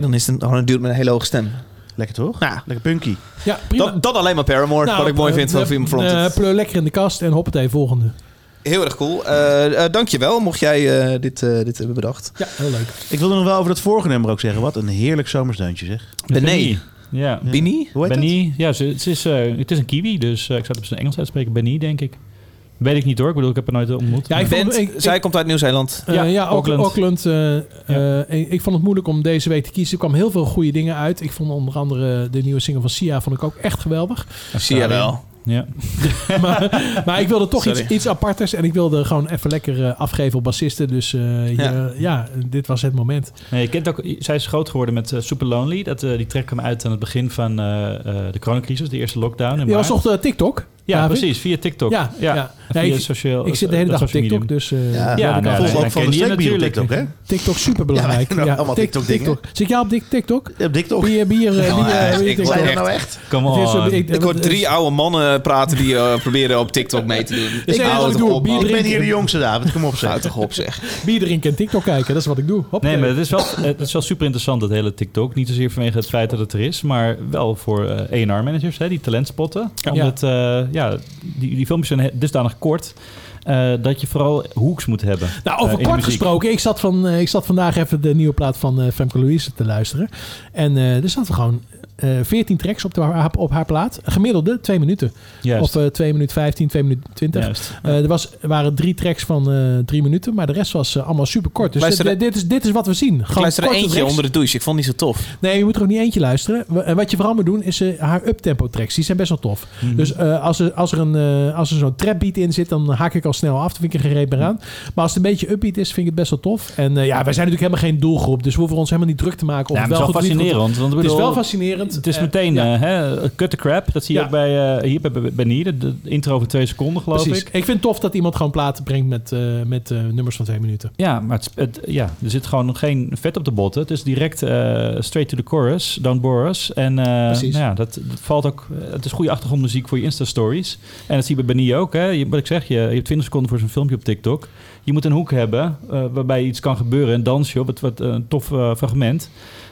[SPEAKER 1] dan is het een, gewoon een dude met een hele hoge stem.
[SPEAKER 7] Lekker toch?
[SPEAKER 1] Nou,
[SPEAKER 7] Lekker punky.
[SPEAKER 3] Ja, prima.
[SPEAKER 1] Dat, dat alleen maar Paramore,
[SPEAKER 3] Nou,
[SPEAKER 1] wat ik mooi
[SPEAKER 3] eh,
[SPEAKER 1] vind van
[SPEAKER 3] eh,
[SPEAKER 1] Film Fronted.
[SPEAKER 3] eh, pleur lekker in de kast en hoppatee, volgende.
[SPEAKER 1] Heel erg cool. Eh eh dankjewel, mocht jij eh, dit, eh, dit hebben bedacht.
[SPEAKER 3] Ja, heel leuk.
[SPEAKER 7] Ik wilde nog wel over dat vorige nummer ook zeggen. Wat een heerlijk zomersdeuntje zeg.
[SPEAKER 1] Benet.
[SPEAKER 4] Ja.
[SPEAKER 1] Bini?
[SPEAKER 7] Hoe heet
[SPEAKER 4] Benny. Ja, ze- het is, eh, het is een kiwi, dus eh, ik zou het op zijn Engels uitspreken. Benny, denk ik. Weet ik niet hoor. Ik bedoel, ik heb haar nooit ontmoet.
[SPEAKER 3] Ja, ik vond- ik- ik-
[SPEAKER 1] Zij komt uit Nieuw-Zeeland.
[SPEAKER 3] Eh,
[SPEAKER 4] Ja,
[SPEAKER 3] ja, Auckland.
[SPEAKER 4] Auckland.
[SPEAKER 3] eh, eh, ik- ik vond het moeilijk om deze week te kiezen. Er kwam heel veel goede dingen uit. Ik vond onder andere de nieuwe single van Sia vond ik ook echt geweldig.
[SPEAKER 1] Zie je wel.
[SPEAKER 4] Ja.
[SPEAKER 3] maar, maar ik wilde toch
[SPEAKER 1] Sorry.
[SPEAKER 3] iets, iets aparters. En ik wilde gewoon even lekker eh, afgeven op bassisten. Dus eh, hier,
[SPEAKER 1] Ja.
[SPEAKER 3] ja. dit was het moment.
[SPEAKER 4] Nee, je kent ook, zij is groot geworden met eh, Super Lonely. Dat, eh, die trek kwam uit aan het begin van eh, eh, de coronacrisis, de eerste lockdown. In
[SPEAKER 3] Je
[SPEAKER 4] maart.
[SPEAKER 3] was toch de TikTok?
[SPEAKER 4] Ja,
[SPEAKER 3] David?
[SPEAKER 4] precies. Via TikTok.
[SPEAKER 3] Ja, ja.
[SPEAKER 4] Via
[SPEAKER 3] Nee, ik,
[SPEAKER 4] sociaal,
[SPEAKER 3] ik zit de hele dag op
[SPEAKER 4] social
[SPEAKER 3] Tiktok,
[SPEAKER 4] medium.
[SPEAKER 3] dus eh,
[SPEAKER 7] Ja,
[SPEAKER 3] dat
[SPEAKER 4] ja,
[SPEAKER 3] ik
[SPEAKER 4] nou,
[SPEAKER 3] al-
[SPEAKER 4] dat-
[SPEAKER 7] Volgens mij
[SPEAKER 4] dan
[SPEAKER 7] van
[SPEAKER 4] ken
[SPEAKER 7] de
[SPEAKER 4] je
[SPEAKER 7] snackbier op
[SPEAKER 4] natuurlijk
[SPEAKER 7] Tiktok, hè?
[SPEAKER 3] TikTok superbelangrijk.
[SPEAKER 7] Ja, wij doen allemaal
[SPEAKER 3] Tik-
[SPEAKER 7] TikTok-dingen.
[SPEAKER 3] Zit jij op Tik- TikTok?
[SPEAKER 7] Ja, op TikTok.
[SPEAKER 3] Bier, bier, eh, bier, eh, bier,
[SPEAKER 1] ik
[SPEAKER 3] TikTok.
[SPEAKER 1] word
[SPEAKER 7] Zijn
[SPEAKER 1] echt-
[SPEAKER 7] dat nou echt?
[SPEAKER 4] Come
[SPEAKER 3] dus- Het is op-
[SPEAKER 4] on.
[SPEAKER 3] ik-
[SPEAKER 1] Ik hoor drie oude mannen praten die eh, proberen op TikTok mee te doen.
[SPEAKER 3] Ik
[SPEAKER 1] Hou
[SPEAKER 3] weet wat
[SPEAKER 1] het
[SPEAKER 3] ik doe.
[SPEAKER 1] op,
[SPEAKER 3] Bier
[SPEAKER 1] man.
[SPEAKER 7] Ik ben hier de
[SPEAKER 3] drinken.
[SPEAKER 7] jongste, David. Kom op, zeg.
[SPEAKER 1] Houd toch op, zeg.
[SPEAKER 3] bier drinken en TikTok kijken. Dat is wat ik doe. Hop,
[SPEAKER 4] Nee, maar het is, wel, eh, het is wel super interessant, dat hele TikTok. Niet zozeer vanwege het feit dat het er is, maar wel voor eh ER-managers, die talentspotten.
[SPEAKER 3] Ja.
[SPEAKER 4] Omdat eh, ja, die, die filmpjes zijn he- dusdanig kort eh, dat je vooral hoeks moet hebben.
[SPEAKER 3] Nou,
[SPEAKER 4] eh, in
[SPEAKER 3] over
[SPEAKER 4] de
[SPEAKER 3] kort
[SPEAKER 4] muziek.
[SPEAKER 3] gesproken. Ik zat, van, eh, ik zat vandaag even de nieuwe plaat van eh, Femke Louise te luisteren. En eh, er zaten gewoon eh 14 tracks op, de, haar- op haar plaat. Gemiddelde 2 minuten.
[SPEAKER 4] Juist.
[SPEAKER 3] Of eh 2 minuten 15, 2 minuten 20.
[SPEAKER 4] Juist.
[SPEAKER 3] Eh, er was, er waren drie tracks van eh, drie minuten. Maar de rest was eh, allemaal super kort. Dus
[SPEAKER 1] Luister-
[SPEAKER 3] dit, dit is, dit is wat we zien.
[SPEAKER 1] Ik luister er
[SPEAKER 3] korte
[SPEAKER 1] eentje
[SPEAKER 3] tracks.
[SPEAKER 1] onder de douche. Ik vond die zo tof.
[SPEAKER 3] Nee, je moet er ook niet eentje luisteren. W- En wat je vooral moet doen, is eh, haar uptempo tracks. Die zijn best wel tof.
[SPEAKER 4] Mhm.
[SPEAKER 3] Dus eh, als er, als er, een, eh, als er zo'n trapbeat in zit, dan haak ik al snel af. Dan vind ik er geen reet meer aan. Maar als het een beetje upbeat is, vind ik het best wel tof. En eh, ja, wij zijn natuurlijk helemaal geen doelgroep. Dus we hoeven ons helemaal niet druk te maken. Of
[SPEAKER 4] Ja, maar
[SPEAKER 3] het
[SPEAKER 4] het is
[SPEAKER 3] wel
[SPEAKER 4] wel
[SPEAKER 3] goed of niet
[SPEAKER 4] fascinerend.
[SPEAKER 3] goed-
[SPEAKER 4] Want ik
[SPEAKER 3] Het is
[SPEAKER 4] bedoel,
[SPEAKER 3] wel fascinerend.
[SPEAKER 4] Het is
[SPEAKER 3] Eh,
[SPEAKER 4] meteen eh, hè, cut the crap. Dat zie je
[SPEAKER 3] Ja.
[SPEAKER 4] ook bij, eh, hier bij, bij, bij Nier. De intro van twee seconden, geloof
[SPEAKER 3] Precies.
[SPEAKER 4] ik.
[SPEAKER 3] Ik vind het tof dat iemand gewoon platen brengt met, eh, met eh, nummers van twee minuten.
[SPEAKER 4] Ja, maar het, het- ja, er zit gewoon geen vet op de botten. Het is direct eh, straight to the chorus, don't bore us. En eh,
[SPEAKER 3] Precies.
[SPEAKER 4] nou ja, dat, dat valt ook, eh, het is goede achtergrondmuziek voor je Insta-stories. En dat zie je bij Benny ook. Hè. Je, wat ik zeg, je, je hebt 20 seconden voor zo'n filmpje op TikTok. Je moet een hoek hebben eh, waarbij iets kan gebeuren. Een dansje op, het, wat, een tof eh, fragment.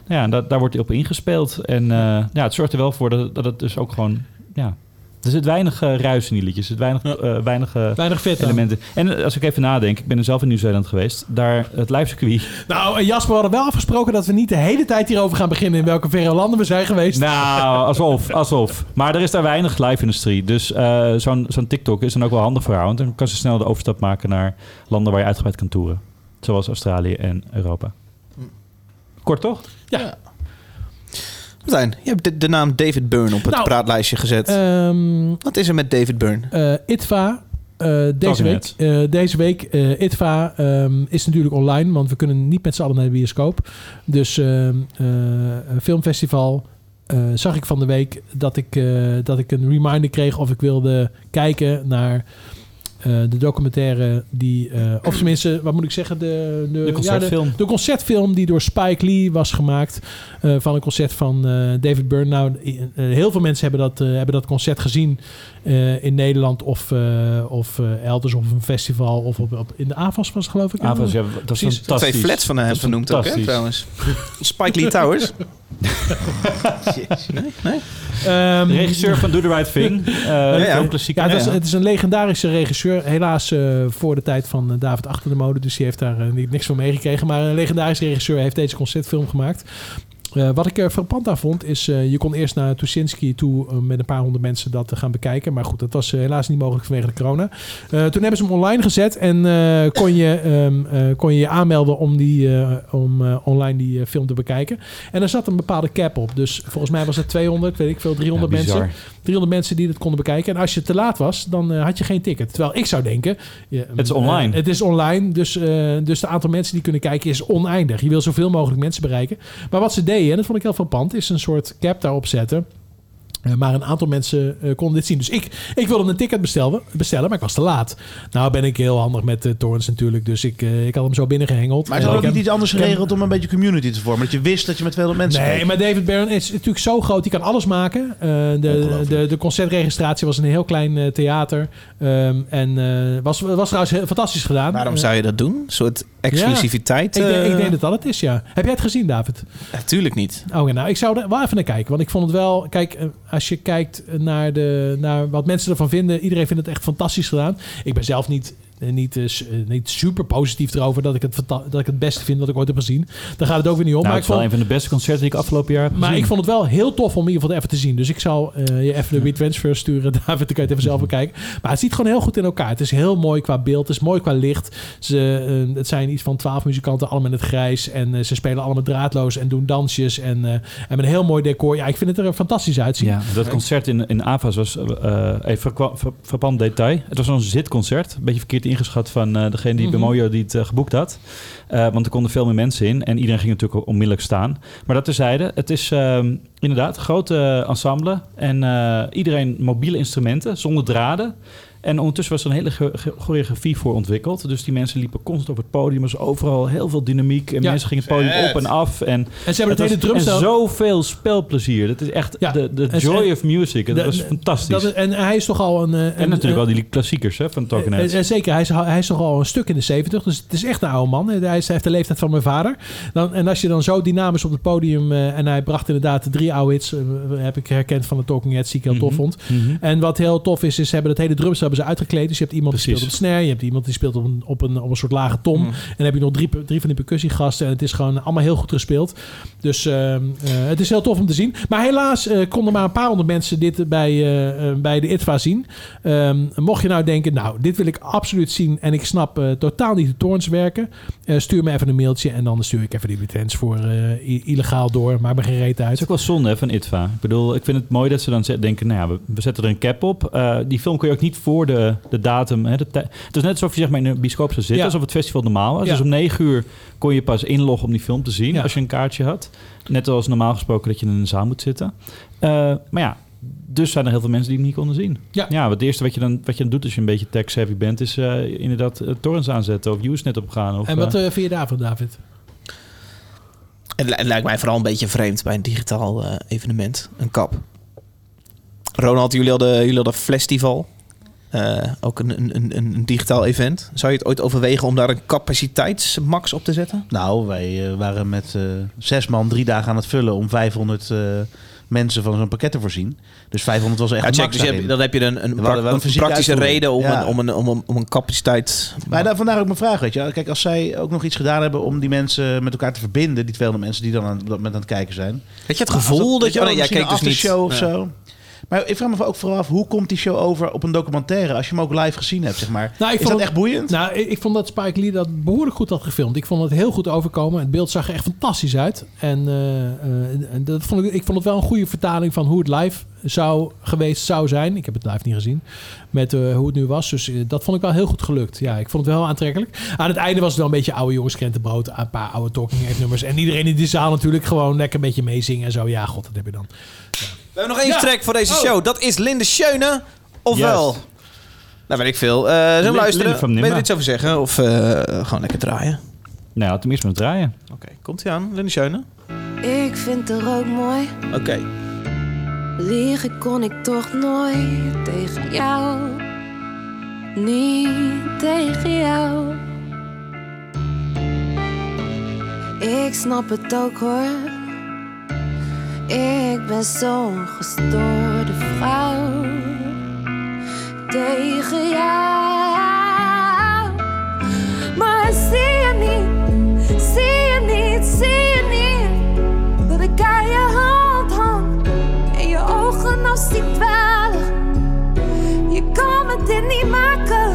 [SPEAKER 4] Nou ja, dat, daar wordt op ingespeeld. En eh, ja, het zorgt er wel voor dat, dat het dus ook gewoon... Ja, er zit weinig eh, ruis in die liedjes. Er zit weinig... eh, weinig eh,
[SPEAKER 3] Weinig vet aan.
[SPEAKER 4] elementen. En als ik even nadenk, ik ben er zelf in Nieuw-Zeeland geweest. Daar het lijfcircuit.
[SPEAKER 3] Nou, eh, Jasper, we hadden wel afgesproken dat we niet de hele tijd hierover gaan beginnen. In welke verre landen we zijn geweest.
[SPEAKER 4] Nou, alsof, alsof. Maar er is daar weinig live-industrie. Dus eh, zo'n zo'n TikTok is dan ook wel handig voor haar. Want dan kan ze snel de overstap maken naar landen waar je uitgebreid kan toeren. Zoals Australië en Europa. Kort toch?
[SPEAKER 3] Eh,
[SPEAKER 1] Martijn, je hebt de, de naam David Byrne op het
[SPEAKER 3] Nou,
[SPEAKER 1] praatlijstje gezet.
[SPEAKER 3] Ehm,
[SPEAKER 1] Wat is er met David Byrne?
[SPEAKER 3] Eh, ITVA. eh, deze,
[SPEAKER 4] Talking
[SPEAKER 3] week, eh, deze week, eh, ITVA ehm, is natuurlijk online, want we kunnen niet met z'n allen naar de bioscoop. Dus ehm, eh, een filmfestival eh, zag ik van de week dat ik, eh, dat ik een reminder kreeg of ik wilde kijken naar eh, de documentaire die, eh, of tenminste, wat moet ik zeggen, de, de,
[SPEAKER 4] De
[SPEAKER 3] ja,
[SPEAKER 4] concertfilm.
[SPEAKER 3] de, de concertfilm die door Spike Lee was gemaakt eh, van een concert van eh, David Byrne. Nou, eh, heel veel mensen hebben dat, eh, hebben dat concert gezien eh, in Nederland of, eh, of eh, elders of op een festival of op, op, in de AFAS was het, geloof ik.
[SPEAKER 4] Avans, ja, dat is
[SPEAKER 3] Precies.
[SPEAKER 4] fantastisch.
[SPEAKER 1] Twee flats van
[SPEAKER 4] Dat
[SPEAKER 1] hem
[SPEAKER 4] is
[SPEAKER 1] vernoemd ook, hè,
[SPEAKER 4] fantastisch.
[SPEAKER 1] trouwens. Spike Lee Towers.
[SPEAKER 3] Ehm,
[SPEAKER 4] De regisseur van Do the Right Thing. eh ja,
[SPEAKER 1] ja.
[SPEAKER 4] Klassiek.
[SPEAKER 3] Ja, het, is, het is een legendarische regisseur. Helaas eh, voor de tijd van eh, David Achter de Mode. Dus die heeft daar eh, niet niks van meegekregen. Maar een legendarische regisseur heeft deze concertfilm gemaakt. Eh, wat ik er frappant aan vond, is eh, je kon eerst naar Tuschinski toe eh, met een paar honderd mensen dat te gaan bekijken. Maar goed, dat was eh, helaas niet mogelijk vanwege de corona. Eh, toen hebben ze hem online gezet en eh, kon, je, ehm, eh, kon je je aanmelden om, die, eh, om eh, online die eh, film te bekijken. En er zat een bepaalde cap op. Dus volgens mij was het 200, weet ik veel, 300
[SPEAKER 4] Ja, bizar.
[SPEAKER 3] mensen. 300 mensen die dat konden bekijken. En als je te laat was, dan eh, had je geen ticket. Terwijl ik zou denken... ja,
[SPEAKER 4] Het is
[SPEAKER 3] eh,
[SPEAKER 4] online.
[SPEAKER 3] het is online, dus, eh, dus de aantal mensen die kunnen kijken is oneindig. Je wil zoveel mogelijk mensen bereiken. Maar wat ze deden, en dat vond ik heel frappant, is een soort cap daarop zetten... Eh, maar een aantal mensen eh, konden dit zien. Dus ik, ik wilde een ticket bestellen, bestellen, maar ik was te laat. Nou ben ik heel handig met eh Torrens natuurlijk. Dus ik, eh, ik had hem zo binnengehengeld.
[SPEAKER 7] Maar is
[SPEAKER 3] Eh,
[SPEAKER 7] er
[SPEAKER 3] ik
[SPEAKER 7] ook
[SPEAKER 3] heb-
[SPEAKER 7] niet iets anders
[SPEAKER 3] ik heb-
[SPEAKER 7] geregeld om een beetje community te vormen? Dat je wist dat je met 200 mensen
[SPEAKER 3] Nee,
[SPEAKER 7] spreekt?
[SPEAKER 3] maar David Barron is natuurlijk zo groot. Die kan alles maken. Eh, de, de, de concertregistratie was in een heel klein eh, theater. Ehm, en eh, was, was trouwens heel fantastisch gedaan.
[SPEAKER 1] Waarom
[SPEAKER 3] Eh,
[SPEAKER 1] zou je dat doen? Een soort exclusiviteit?
[SPEAKER 3] Ja, ik, denk, ik
[SPEAKER 1] eh,
[SPEAKER 3] denk dat dat het is, ja. Heb jij het gezien, David?
[SPEAKER 1] Natuurlijk niet.
[SPEAKER 3] Oh, ja, nou, ik zou er wel even naar kijken. Want ik vond het wel... Kijk, eh, als je kijkt eh, naar, de, naar wat mensen ervan vinden... Iedereen vindt het echt fantastisch gedaan. Ik ben zelf niet... eh, Niet, eh, su- eh, niet super positief erover dat ik, het fanta- dat ik het beste vind wat ik ooit heb gezien. Daar gaat het ook weer niet om.
[SPEAKER 4] Nou, het
[SPEAKER 3] maar ik
[SPEAKER 4] is wel
[SPEAKER 3] vond,
[SPEAKER 4] een van de beste concerten die ik afgelopen jaar heb gezien.
[SPEAKER 3] maar ik vond het wel heel tof om in ieder geval even te zien. Dus ik zal eh, je even de WeTransfer sturen, David. Dan kan je het even
[SPEAKER 4] Mhm.
[SPEAKER 3] zelf bekijken. Maar het ziet gewoon heel goed in elkaar. Het is heel mooi qua beeld. Het is mooi qua licht. Ze, eh, het zijn iets van twaalf muzikanten, allemaal in het grijs. En eh, ze spelen allemaal draadloos en doen dansjes. En, eh, en met een heel mooi decor. Ja, ik vind het er fantastisch uitzien.
[SPEAKER 4] Ja, dat concert in, in Avas was eh, even verkwa- ver- verpand detail. Het was een zitconcert. Een beetje verkeerd ingeschat van eh, degene die
[SPEAKER 3] Mhm.
[SPEAKER 4] bij Mojo die het eh, geboekt had. Eh, want er konden veel meer mensen in. En iedereen ging natuurlijk onmiddellijk staan. Maar dat terzijde. Het is ehm, inderdaad een grote ensemble. En eh, iedereen mobiele instrumenten zonder draden. En ondertussen was er een hele ge- ge- choreografie voor ontwikkeld. Dus die mensen liepen constant op het podium. Er was overal heel veel dynamiek. En
[SPEAKER 3] Ja.
[SPEAKER 4] mensen gingen het podium
[SPEAKER 3] Vet.
[SPEAKER 4] op en af. En,
[SPEAKER 3] En ze hebben het hele
[SPEAKER 4] was- en
[SPEAKER 3] drumstel-
[SPEAKER 4] zoveel spelplezier. Dat is echt de, de
[SPEAKER 3] En ze-
[SPEAKER 4] joy of music. Dat
[SPEAKER 3] Da-
[SPEAKER 4] was fantastisch.
[SPEAKER 3] dat is- en hij is toch al een... eh, een-
[SPEAKER 4] en natuurlijk
[SPEAKER 3] een-
[SPEAKER 4] al die klassiekers hè, van Tokenet.
[SPEAKER 3] Eh, eh, zeker, hij is, hij is toch al een stuk in de 70, dus het is echt een oude man. Hij, is, hij heeft de leeftijd van mijn vader. Dan, en als je dan zo dynamisch op het podium. eh, en hij bracht inderdaad de drie oude hits, eh, heb ik herkend van de Talking Heads, die ik heel tof
[SPEAKER 4] Mhm,
[SPEAKER 3] vond.
[SPEAKER 4] mhm.
[SPEAKER 3] En wat heel tof is, is ze hebben dat hele drums hebben ze uitgekleed. Dus je hebt iemand die speelt op snare, je hebt iemand die speelt op een, op een, op een soort lage tom. En dan heb je nog drie, drie van die percussiegasten. En het is gewoon allemaal heel goed gespeeld. Dus ehm, eh, het is heel tof om te zien. Maar helaas eh, konden maar een paar honderd mensen dit bij, eh, eh, bij de ITVA zien. Ehm, mocht je nou denken, nou, dit wil ik absoluut zien en ik snap eh, totaal niet de torens werken, eh, stuur me even een mailtje en dan stuur ik even die returns voor eh, i- illegaal door. Maar ik ben geen reet uit.
[SPEAKER 4] Het is ook wel zonde hè, van ITVA. Ik bedoel, ik vind het mooi dat ze dan ze- denken... nou ja, we, we zetten er een cap op. Eh, die film kun je ook niet voor de, de datum... Hè, de tij- het is net alsof je zeg maar, in een bioscoop zou zitten...
[SPEAKER 3] Ja.
[SPEAKER 4] alsof het festival normaal was.
[SPEAKER 3] Ja.
[SPEAKER 4] Dus om negen uur kon je pas inloggen om die film te zien...
[SPEAKER 3] Ja.
[SPEAKER 4] als je een kaartje had. Net als normaal gesproken dat je in een zaal moet zitten. Eh, maar ja, dus zijn er heel veel mensen die hem niet konden zien.
[SPEAKER 3] Ja,
[SPEAKER 4] ja want het eerste wat je, dan, wat je dan doet als je een beetje tax-heavy bent... is eh, inderdaad eh, torrents aanzetten of Usenet opgaan. Of,
[SPEAKER 3] en wat
[SPEAKER 4] eh,
[SPEAKER 3] eh, vind je daarvan, David?
[SPEAKER 1] Het, li- het lijkt mij vooral een beetje vreemd bij een digitaal eh, evenement. Een kap. Ronald, jullie hadden, jullie hadden Festival. Eh, ook een, een, een, een digitaal event. Zou je het ooit overwegen om daar een capaciteitsmax op te zetten?
[SPEAKER 7] Nou, wij eh, waren met eh, zes man drie dagen aan het vullen om 500 eh, mensen van zo'n pakket te voorzien. Dus 500 was echt
[SPEAKER 1] Ja,
[SPEAKER 7] een
[SPEAKER 1] check,
[SPEAKER 7] max
[SPEAKER 1] dus je hebt,
[SPEAKER 7] daarin.
[SPEAKER 1] dan heb je een, een,
[SPEAKER 7] We hadden
[SPEAKER 1] pra-
[SPEAKER 7] wel een
[SPEAKER 1] een
[SPEAKER 7] fysieke
[SPEAKER 1] praktische
[SPEAKER 7] uitvoering.
[SPEAKER 1] reden om,
[SPEAKER 7] Ja.
[SPEAKER 1] een, om, een, om, een, om een capaciteit...
[SPEAKER 7] Maar daar, vandaar ook mijn vraag, weet je wel. Kijk, als zij ook nog iets gedaan hebben om die mensen met elkaar te verbinden, die 200 mensen die dan aan, op dat moment aan het kijken zijn.
[SPEAKER 1] Had je het gevoel dat, je...
[SPEAKER 7] wel,
[SPEAKER 1] Oh, nee,
[SPEAKER 7] misschien
[SPEAKER 1] jij kijkt dus
[SPEAKER 7] een
[SPEAKER 1] niet.
[SPEAKER 7] show of
[SPEAKER 1] Ja.
[SPEAKER 7] zo. Maar ik vraag me ook vooral af, hoe komt die show over op een documentaire als je hem ook live gezien hebt, zeg maar?
[SPEAKER 3] Nou, ik
[SPEAKER 7] Is dat
[SPEAKER 3] vond het-
[SPEAKER 7] echt boeiend?
[SPEAKER 3] Nou, ik, ik vond dat Spike Lee dat behoorlijk goed had gefilmd. Ik vond het heel goed overkomen. Het beeld zag er echt fantastisch uit. En eh, eh, en dat vond ik, ik vond het wel een goede vertaling van hoe het live zou geweest zou zijn. Ik heb het live niet gezien. Met eh, hoe het nu was. Dus eh, dat vond ik wel heel goed gelukt. Ja, ik vond het wel aantrekkelijk. Aan het einde was het wel een beetje oude jongens krentenbrood. Een paar oude talking head nummers. En iedereen in die zaal natuurlijk gewoon lekker een beetje meezingen en zo. Ja, god, dat heb je dan.
[SPEAKER 1] We hebben nog één
[SPEAKER 3] Ja.
[SPEAKER 1] track voor deze
[SPEAKER 3] Oh.
[SPEAKER 1] show. Dat is Linde Schöne. Ofwel...
[SPEAKER 4] Juist.
[SPEAKER 1] Nou, weet ik veel. Eh zullen we
[SPEAKER 4] Linde
[SPEAKER 1] luisteren?
[SPEAKER 4] van
[SPEAKER 1] Weet je
[SPEAKER 4] Nimma.
[SPEAKER 1] er iets over zeggen? Of eh, gewoon lekker draaien?
[SPEAKER 3] eh,
[SPEAKER 4] Nou, laat hem eerst maar draaien.
[SPEAKER 1] Oké, komt ie aan. Linde Schöne.
[SPEAKER 12] Ik vind de rook mooi,
[SPEAKER 1] Oké.
[SPEAKER 12] liegen kon ik toch nooit tegen jou. Niet tegen jou. Ik snap het ook hoor. Ik ben zo'n gestoorde vrouw. Tegen jou. Maar zie je niet, zie je niet, zie je niet. Dat ik aan je hand hang en je ogen als die dwalen. Je kan me dit niet maken.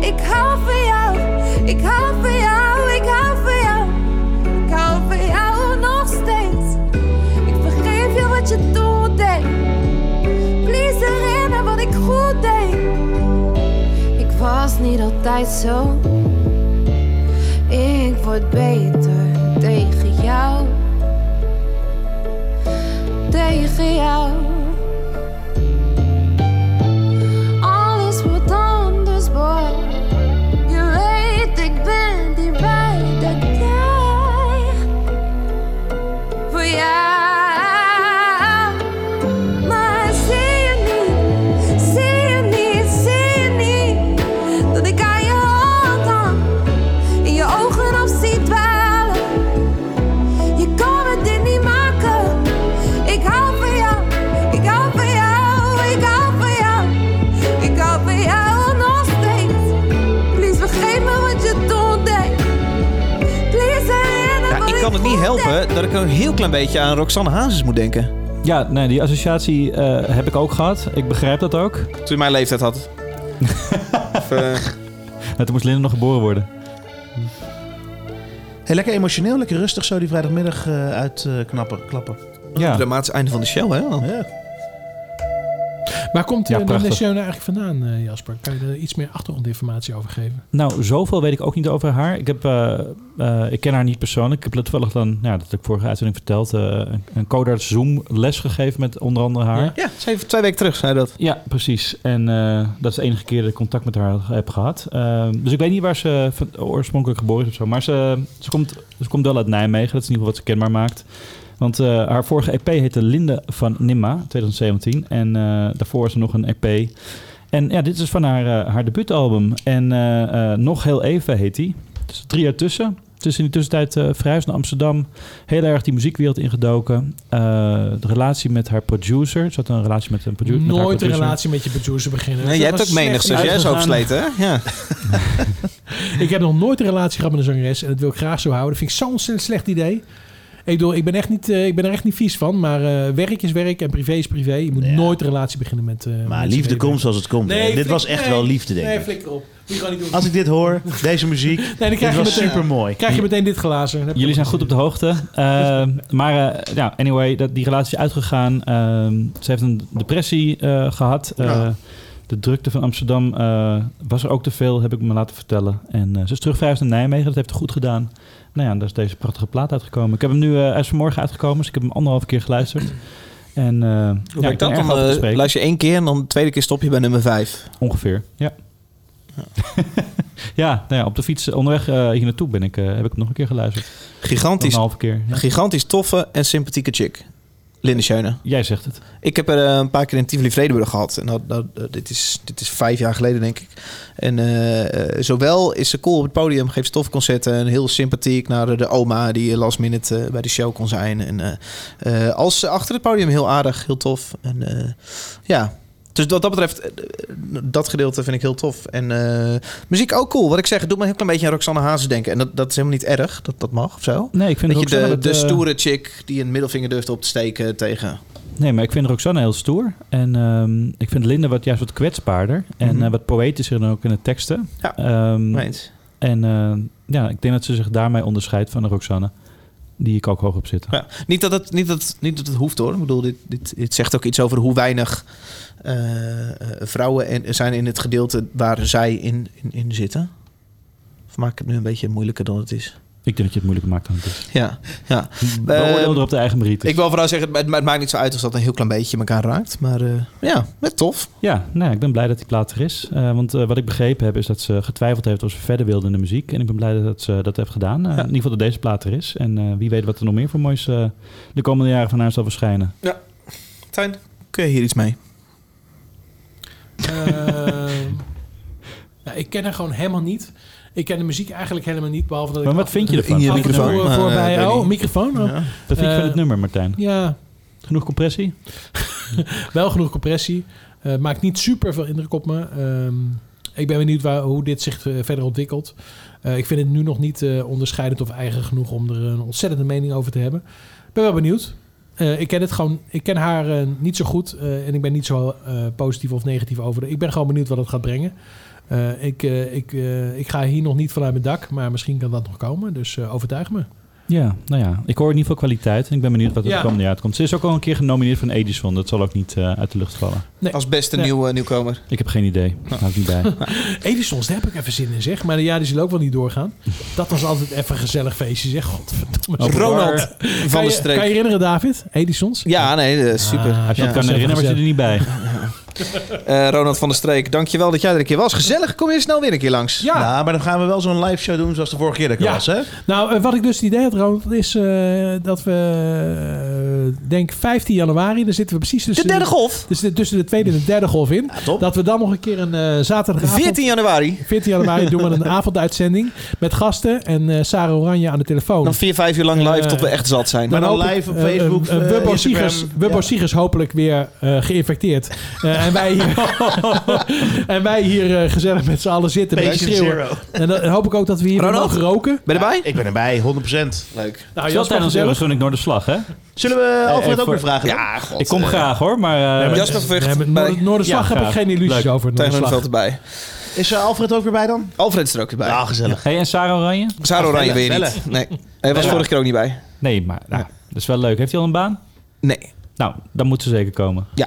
[SPEAKER 12] Ik hou van jou, ik hou van jou, ik hou van jou. Ik hou van jou nog steeds. Ik vergeef je wat je toen deed. Please herinner wat ik goed deed. Ik was niet altijd zo. Ik word beter tegen jou tegen jou.
[SPEAKER 1] kan het niet helpen dat ik een heel klein beetje aan Roxanne Hazes moet denken.
[SPEAKER 4] Ja, nee, die associatie eh, heb ik ook gehad. Ik begrijp dat ook. Toen
[SPEAKER 1] je mijn leeftijd had. of,
[SPEAKER 4] toen moest Linda nog geboren worden.
[SPEAKER 7] Hey, lekker emotioneel, lekker rustig zo die vrijdagmiddag eh uit eh, knappen, klappen.
[SPEAKER 4] Ja.
[SPEAKER 1] Dramatisch einde van de show, hè?
[SPEAKER 7] Ja.
[SPEAKER 3] Waar komt
[SPEAKER 4] Ja,
[SPEAKER 3] de
[SPEAKER 4] prachtig.
[SPEAKER 3] Nationale eigenlijk vandaan, eh, Jasper? Kan je er iets meer achtergrondinformatie over geven?
[SPEAKER 4] Nou, zoveel weet ik ook niet over haar. Ik, heb, eh, eh, ik ken haar niet persoonlijk. Ik heb er toevallig dan, nou, dat heb ik vorige uitzending verteld, eh, een- een Codarts Zoom les gegeven met onder andere haar.
[SPEAKER 1] Ja, twee, twee weken terug zei dat.
[SPEAKER 4] Ja, precies. En eh, dat is de enige keer dat ik contact met haar heb gehad. Ehm, dus ik weet niet waar ze van- oorspronkelijk geboren is of zo. Maar ze, ze, komt, ze Dus komt wel uit Nijmegen. Dat is in ieder geval wat ze kenbaar maakt. Want eh, haar vorige EP heette Linde van Nimma, 2017. En eh, daarvoor is er nog een EP. En ja, dit is van haar, eh, haar debuutalbum. En eh, eh, Nog Heel Even heet die. Dus drie jaar tussen. Dus in die tussentijd eh verhuisd naar Amsterdam. Heel erg die muziekwereld ingedoken. Eh, de relatie met haar producer. Ze had een relatie met een producer. met haar
[SPEAKER 3] Nooit een
[SPEAKER 4] producer.
[SPEAKER 3] relatie met je producer beginnen.
[SPEAKER 1] Nee,
[SPEAKER 3] Dat
[SPEAKER 1] jij hebt
[SPEAKER 3] was
[SPEAKER 1] ook menig
[SPEAKER 3] slecht
[SPEAKER 1] stagiairs
[SPEAKER 3] uitgegaan.
[SPEAKER 1] oversleten, hè? Ja.
[SPEAKER 3] Ik heb nog nooit een relatie gehad met een zangeres. En dat wil ik graag zo houden. Dat vind ik zo'n ontzettend slecht idee. Ik, bedoel, ik, ben echt niet, eh, ik ben er echt niet vies van. Maar eh, werk is werk en privé is privé. Je moet nooit een relatie beginnen met... eh,
[SPEAKER 7] Maar
[SPEAKER 3] met
[SPEAKER 7] liefde
[SPEAKER 3] z'n
[SPEAKER 7] komt zoals het komt.
[SPEAKER 3] Nee,
[SPEAKER 7] hè. dit
[SPEAKER 3] flik-
[SPEAKER 7] was echt
[SPEAKER 3] nee.
[SPEAKER 7] wel liefde, denk ik.
[SPEAKER 3] Nee, flikker op. Moet je gewoon niet doen.
[SPEAKER 7] Als ik dit hoor, deze muziek, nee,
[SPEAKER 3] dan krijg
[SPEAKER 7] dit
[SPEAKER 3] je
[SPEAKER 7] was
[SPEAKER 3] meteen-
[SPEAKER 7] super mooi.
[SPEAKER 3] Krijg je meteen dit glazen. Dan heb
[SPEAKER 4] Jullie zijn goed op de hoogte. Eh, maar eh, ja, anyway, dat, die relatie is uitgegaan. Ehm, ze heeft een depressie eh, gehad. Eh,
[SPEAKER 3] Ja.
[SPEAKER 4] De drukte van Amsterdam eh, was er ook te veel, heb ik me laten vertellen. En eh, ze is terugverhuisd naar Nijmegen, dat heeft ze goed gedaan. Nou ja, en daar is deze prachtige plaat uitgekomen. Ik heb hem nu, eh, hij is vanmorgen uitgekomen, dus ik heb hem anderhalf keer geluisterd. En eh ja, ik
[SPEAKER 1] Hoe
[SPEAKER 4] ben
[SPEAKER 1] werkt dat
[SPEAKER 4] erg
[SPEAKER 1] dan?
[SPEAKER 4] over te
[SPEAKER 1] eh,
[SPEAKER 4] spreken.
[SPEAKER 1] luister je één keer en dan de tweede keer stop je bij nummer vijf.
[SPEAKER 4] Ongeveer, ja. Ja, nou ja, op de fiets onderweg eh, hier naartoe ben ik, eh, heb ik hem nog een keer geluisterd.
[SPEAKER 1] Gigantisch,
[SPEAKER 4] Nog Een halve keer. ja.
[SPEAKER 1] gigantisch toffe en sympathieke chick. Linde Schöne.
[SPEAKER 4] Jij zegt het.
[SPEAKER 1] Ik heb er eh, een paar keer in Tivoli Vredenburg gehad. En dat, dat, dat- dit, is, dit is vijf jaar geleden, denk ik. En eh, eh, zowel is ze cool op het podium, geeft ze toffe concerten... en heel sympathiek naar de, de oma die last minute eh, bij de show kon zijn. En, eh, eh, als ze achter het podium heel aardig, heel tof. En, eh, ja, dus wat dat betreft, eh, dat gedeelte vind ik heel tof. En eh, muziek ook cool. Wat ik zeg, het doet me een heel klein beetje aan Roxanne Hazes denken. En dat, dat is helemaal niet erg, dat, dat mag of zo.
[SPEAKER 4] Nee, ik vind
[SPEAKER 1] Weet je,
[SPEAKER 4] Roxanne
[SPEAKER 1] de,
[SPEAKER 4] dat,
[SPEAKER 1] de
[SPEAKER 4] eh,
[SPEAKER 1] stoere chick die een middelvinger durft op te steken tegen...
[SPEAKER 4] Nee, maar ik vind Roxanne heel stoer. En ehm, ik vind Linda wat, juist wat kwetsbaarder. En
[SPEAKER 1] Mhm.
[SPEAKER 4] eh, wat poëtischer dan ook in de teksten.
[SPEAKER 1] Ja,
[SPEAKER 4] Ehm,
[SPEAKER 1] meens.
[SPEAKER 4] En eh, ja, ik denk dat ze zich daarmee onderscheidt van de Roxanne. Die ik ook hoog op zit.
[SPEAKER 1] Ja, niet, dat het, niet, dat, het- niet dat het hoeft hoor. Ik bedoel, dit, dit, dit zegt ook iets over hoe weinig eh, eh, vrouwen en, zijn in het gedeelte waar zij in, in, in zitten. Of maak ik het nu een beetje moeilijker dan het is?
[SPEAKER 4] Ik denk dat je het moeilijker maakt dan het is.
[SPEAKER 1] Ja, ja.
[SPEAKER 4] Beoordeel
[SPEAKER 1] Ehm,
[SPEAKER 4] er op de eigen merieten.
[SPEAKER 1] Ik wil vooral zeggen, het, ma- het maakt niet zo uit als dat een heel klein beetje elkaar raakt. Maar eh, ja, met tof.
[SPEAKER 4] Ja, nou, ja, ik ben blij dat die plaat er is. Eh, want eh, wat ik begrepen heb, is dat ze getwijfeld heeft of ze verder wilde in de muziek. En ik ben blij dat ze dat heeft gedaan. Eh, In ieder geval dat deze plaat er is. En eh, wie weet wat er nog meer voor moois eh, de komende jaren van haar zal verschijnen.
[SPEAKER 1] Ja. Tijn, kun je hier iets mee?
[SPEAKER 3] Ehm, nou, ik ken haar gewoon helemaal niet. Ik ken de muziek eigenlijk helemaal niet, behalve dat ik...
[SPEAKER 4] Maar wat
[SPEAKER 3] af-
[SPEAKER 4] vind je ervan?
[SPEAKER 3] af en
[SPEAKER 4] In je
[SPEAKER 3] toe
[SPEAKER 4] microfoon, maar,
[SPEAKER 3] Voorbij,
[SPEAKER 4] eh, weet
[SPEAKER 3] oh,
[SPEAKER 4] niet.
[SPEAKER 3] microfoon. oh.
[SPEAKER 4] Ja. Dat vind ik
[SPEAKER 3] Eh,
[SPEAKER 4] van het nummer, Martijn.
[SPEAKER 3] Ja.
[SPEAKER 4] Genoeg compressie?
[SPEAKER 3] Wel genoeg compressie. Eh, maakt niet super veel indruk op me. Ehm, ik ben benieuwd waar, hoe dit zich eh, verder ontwikkelt. Eh, ik vind het nu nog niet eh, onderscheidend of eigen genoeg om er een ontzettende mening over te hebben. Ik ben wel benieuwd. Eh, ik ken het gewoon. Ik ken haar eh, niet zo goed. eh, en ik ben niet zo eh, positief of negatief over. haar. Ik ben gewoon benieuwd wat het gaat brengen. Eh, ik, eh, ik, eh, ik ga hier nog niet vanuit mijn dak, maar misschien kan dat nog komen. Dus eh, overtuig me.
[SPEAKER 4] Ja, nou ja. Ik hoor in ieder geval kwaliteit. En ik ben benieuwd wat er
[SPEAKER 3] Ja.
[SPEAKER 4] de komende jaar uitkomt. Ze is ook al een keer genomineerd voor een Edison. Dat zal ook niet eh, uit de lucht vallen.
[SPEAKER 1] Als beste
[SPEAKER 3] Nee.
[SPEAKER 1] nieuwe nieuwkomer.
[SPEAKER 4] Ik heb geen idee. Hou ik niet bij.
[SPEAKER 3] Edison's, daar heb ik even zin in, zeg. Maar ja, die zullen ook wel niet doorgaan. Dat was altijd even een gezellig feestje, zeg. Godverdomme.
[SPEAKER 1] Oh, Ronald
[SPEAKER 3] Kan je-
[SPEAKER 1] van der Streek.
[SPEAKER 3] Kan je herinneren, David? Edison's?
[SPEAKER 1] Ja, nee, dat is super.
[SPEAKER 3] Ah,
[SPEAKER 4] Als je
[SPEAKER 1] Ja.
[SPEAKER 4] het kan herinneren, was je er niet bij.
[SPEAKER 1] Eh, Ronald van der Streek, dankjewel dat jij er een keer was. Gezellig, kom je snel weer een keer langs.
[SPEAKER 3] Ja.
[SPEAKER 7] Nou, maar dan gaan we wel zo'n live show doen zoals de vorige keer dat ik er
[SPEAKER 3] Ja.
[SPEAKER 7] was, hè?
[SPEAKER 3] Nou, eh, wat ik dus het idee had, Ronald, is eh, dat we eh, denk 15 januari. Dan zitten we precies tussen
[SPEAKER 1] derde golf?
[SPEAKER 3] Tussen, tussen de tweede en de derde golf in. dat we dan nog een keer een eh zaterdagavond...
[SPEAKER 1] 14 januari.
[SPEAKER 3] 14 januari doen we een avonduitzending met gasten en eh, Sarah Oranje aan de telefoon.
[SPEAKER 1] Dan vier, vijf uur lang live tot we echt zat zijn.
[SPEAKER 3] Dan
[SPEAKER 1] Maar dan
[SPEAKER 3] hoop ik,
[SPEAKER 1] live op
[SPEAKER 3] eh,
[SPEAKER 1] Facebook,
[SPEAKER 3] eh,
[SPEAKER 1] eh,
[SPEAKER 3] Wubbo
[SPEAKER 1] Instagram.
[SPEAKER 3] Siegers- Wubbo
[SPEAKER 1] Ja.
[SPEAKER 3] Siegers hopelijk weer eh, geïnfecteerd. Eh, en, wij hier, en wij hier eh, gezellig met z'n allen zitten. met
[SPEAKER 7] Patient
[SPEAKER 3] schreeuwen.
[SPEAKER 7] zero.
[SPEAKER 3] En dan hoop ik ook dat we hier weer mogen roken.
[SPEAKER 1] Ben je erbij?
[SPEAKER 7] ik ben erbij, 100%. Leuk.
[SPEAKER 3] Nou, Jasper,
[SPEAKER 4] tijdens
[SPEAKER 3] gezellig.
[SPEAKER 4] Eurosonic Noorderslag, hè?
[SPEAKER 7] Zullen we
[SPEAKER 4] Eh,
[SPEAKER 7] Alfred
[SPEAKER 4] eh,
[SPEAKER 7] ook
[SPEAKER 4] voor-
[SPEAKER 7] weer vragen?
[SPEAKER 4] Ja, god, Ik kom eh, graag, hoor, maar, eh, Nee, maar- Jasper Vught
[SPEAKER 3] Nee, maar
[SPEAKER 4] bij-
[SPEAKER 3] Noord- Noorderslag
[SPEAKER 4] Ja,
[SPEAKER 3] heb ik
[SPEAKER 4] graag.
[SPEAKER 3] geen illusies
[SPEAKER 4] Leuk.
[SPEAKER 3] over.
[SPEAKER 4] Tegen
[SPEAKER 3] Noorderslag.
[SPEAKER 1] Veld erbij.
[SPEAKER 7] Is eh, Alfred ook weer bij dan?
[SPEAKER 1] Alfred is er ook weer bij. Ja,
[SPEAKER 7] gezellig.
[SPEAKER 4] Hey, en Sarah Oranje?
[SPEAKER 1] Sarah
[SPEAKER 4] Ah,
[SPEAKER 1] Oranje
[SPEAKER 4] bellen,
[SPEAKER 1] weer niet.
[SPEAKER 4] bellen.
[SPEAKER 1] Nee, hij was
[SPEAKER 4] Bellen.
[SPEAKER 1] vorige keer ook niet bij.
[SPEAKER 4] Nee, maar nou, dat is wel leuk. Heeft hij al een baan?
[SPEAKER 1] Nee.
[SPEAKER 4] Nou, dan moet ze zeker komen.
[SPEAKER 1] Ja.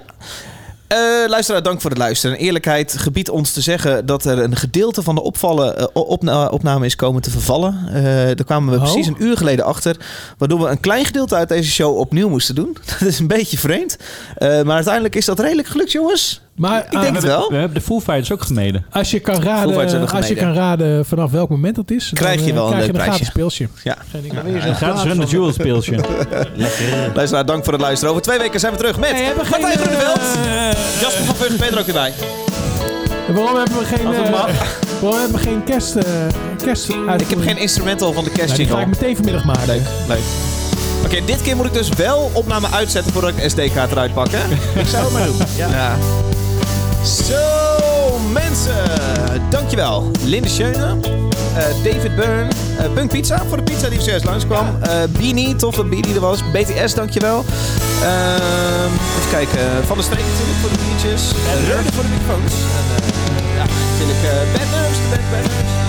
[SPEAKER 1] Eh, luisteraar, dank voor het luisteren. En eerlijkheid gebiedt ons te zeggen dat er een gedeelte van de opvallen, eh, opna- opname is komen te vervallen. Eh, daar kwamen we
[SPEAKER 3] Oh.
[SPEAKER 1] precies een uur geleden achter. Waardoor we een klein gedeelte uit deze show opnieuw moesten doen. Dat is een beetje vreemd. Eh, maar uiteindelijk is dat redelijk gelukt, jongens.
[SPEAKER 3] Maar,
[SPEAKER 1] ik
[SPEAKER 3] ah,
[SPEAKER 1] denk het
[SPEAKER 3] we-
[SPEAKER 1] wel.
[SPEAKER 4] We hebben de Foo Fighters ook gemeden.
[SPEAKER 3] Als je kan
[SPEAKER 1] Full Fighters
[SPEAKER 3] raden,
[SPEAKER 1] hebben
[SPEAKER 3] als je
[SPEAKER 1] gemeden.
[SPEAKER 3] kan raden vanaf welk moment dat is,
[SPEAKER 1] Krijg
[SPEAKER 3] dan,
[SPEAKER 1] je
[SPEAKER 3] eh,
[SPEAKER 1] wel een
[SPEAKER 3] krijg
[SPEAKER 1] leuk
[SPEAKER 3] je een
[SPEAKER 1] prijsje.
[SPEAKER 3] gratis speeltje.
[SPEAKER 1] Ja.
[SPEAKER 3] weer zo'n
[SPEAKER 1] Ja,
[SPEAKER 3] gratis
[SPEAKER 1] plaat
[SPEAKER 3] Run the
[SPEAKER 1] van-
[SPEAKER 3] Jewels
[SPEAKER 4] speeltje.
[SPEAKER 1] Luisteraar, dank voor het luisteren. Over twee weken zijn we terug met Martijn Groeneveld,
[SPEAKER 3] Eh.
[SPEAKER 1] Jasper van Vught, Peter ook weer bij.
[SPEAKER 3] En waarom hebben we geen,
[SPEAKER 1] Als het
[SPEAKER 3] eh,
[SPEAKER 1] mag.
[SPEAKER 3] waarom hebben we geen kerst, eh kerst
[SPEAKER 1] Ik heb geen instrumental van de
[SPEAKER 3] Nou,
[SPEAKER 1] kerst
[SPEAKER 3] die ga ik meteen vanmiddag maken.
[SPEAKER 1] Leuk, leuk. Oké, dit keer moet ik dus wel opname uitzetten voordat ik een SD-kaart eruit pak, hè?
[SPEAKER 7] Ik zou het maar doen. Ja.
[SPEAKER 1] Zo, mensen. Dankjewel. Linde Schöne, eh, David Byrne, eh Punk Pizza voor de pizza die zojuist langskwam. Eh Beanie, tof dat Beanie er was. BTS, dankjewel. Ehm even kijken. Van der Streek natuurlijk voor de biertjes. Eh, Reurde voor de microfoons. En, eh, ja, natuurlijk eh Bad Nerves, de band Bad Nerves.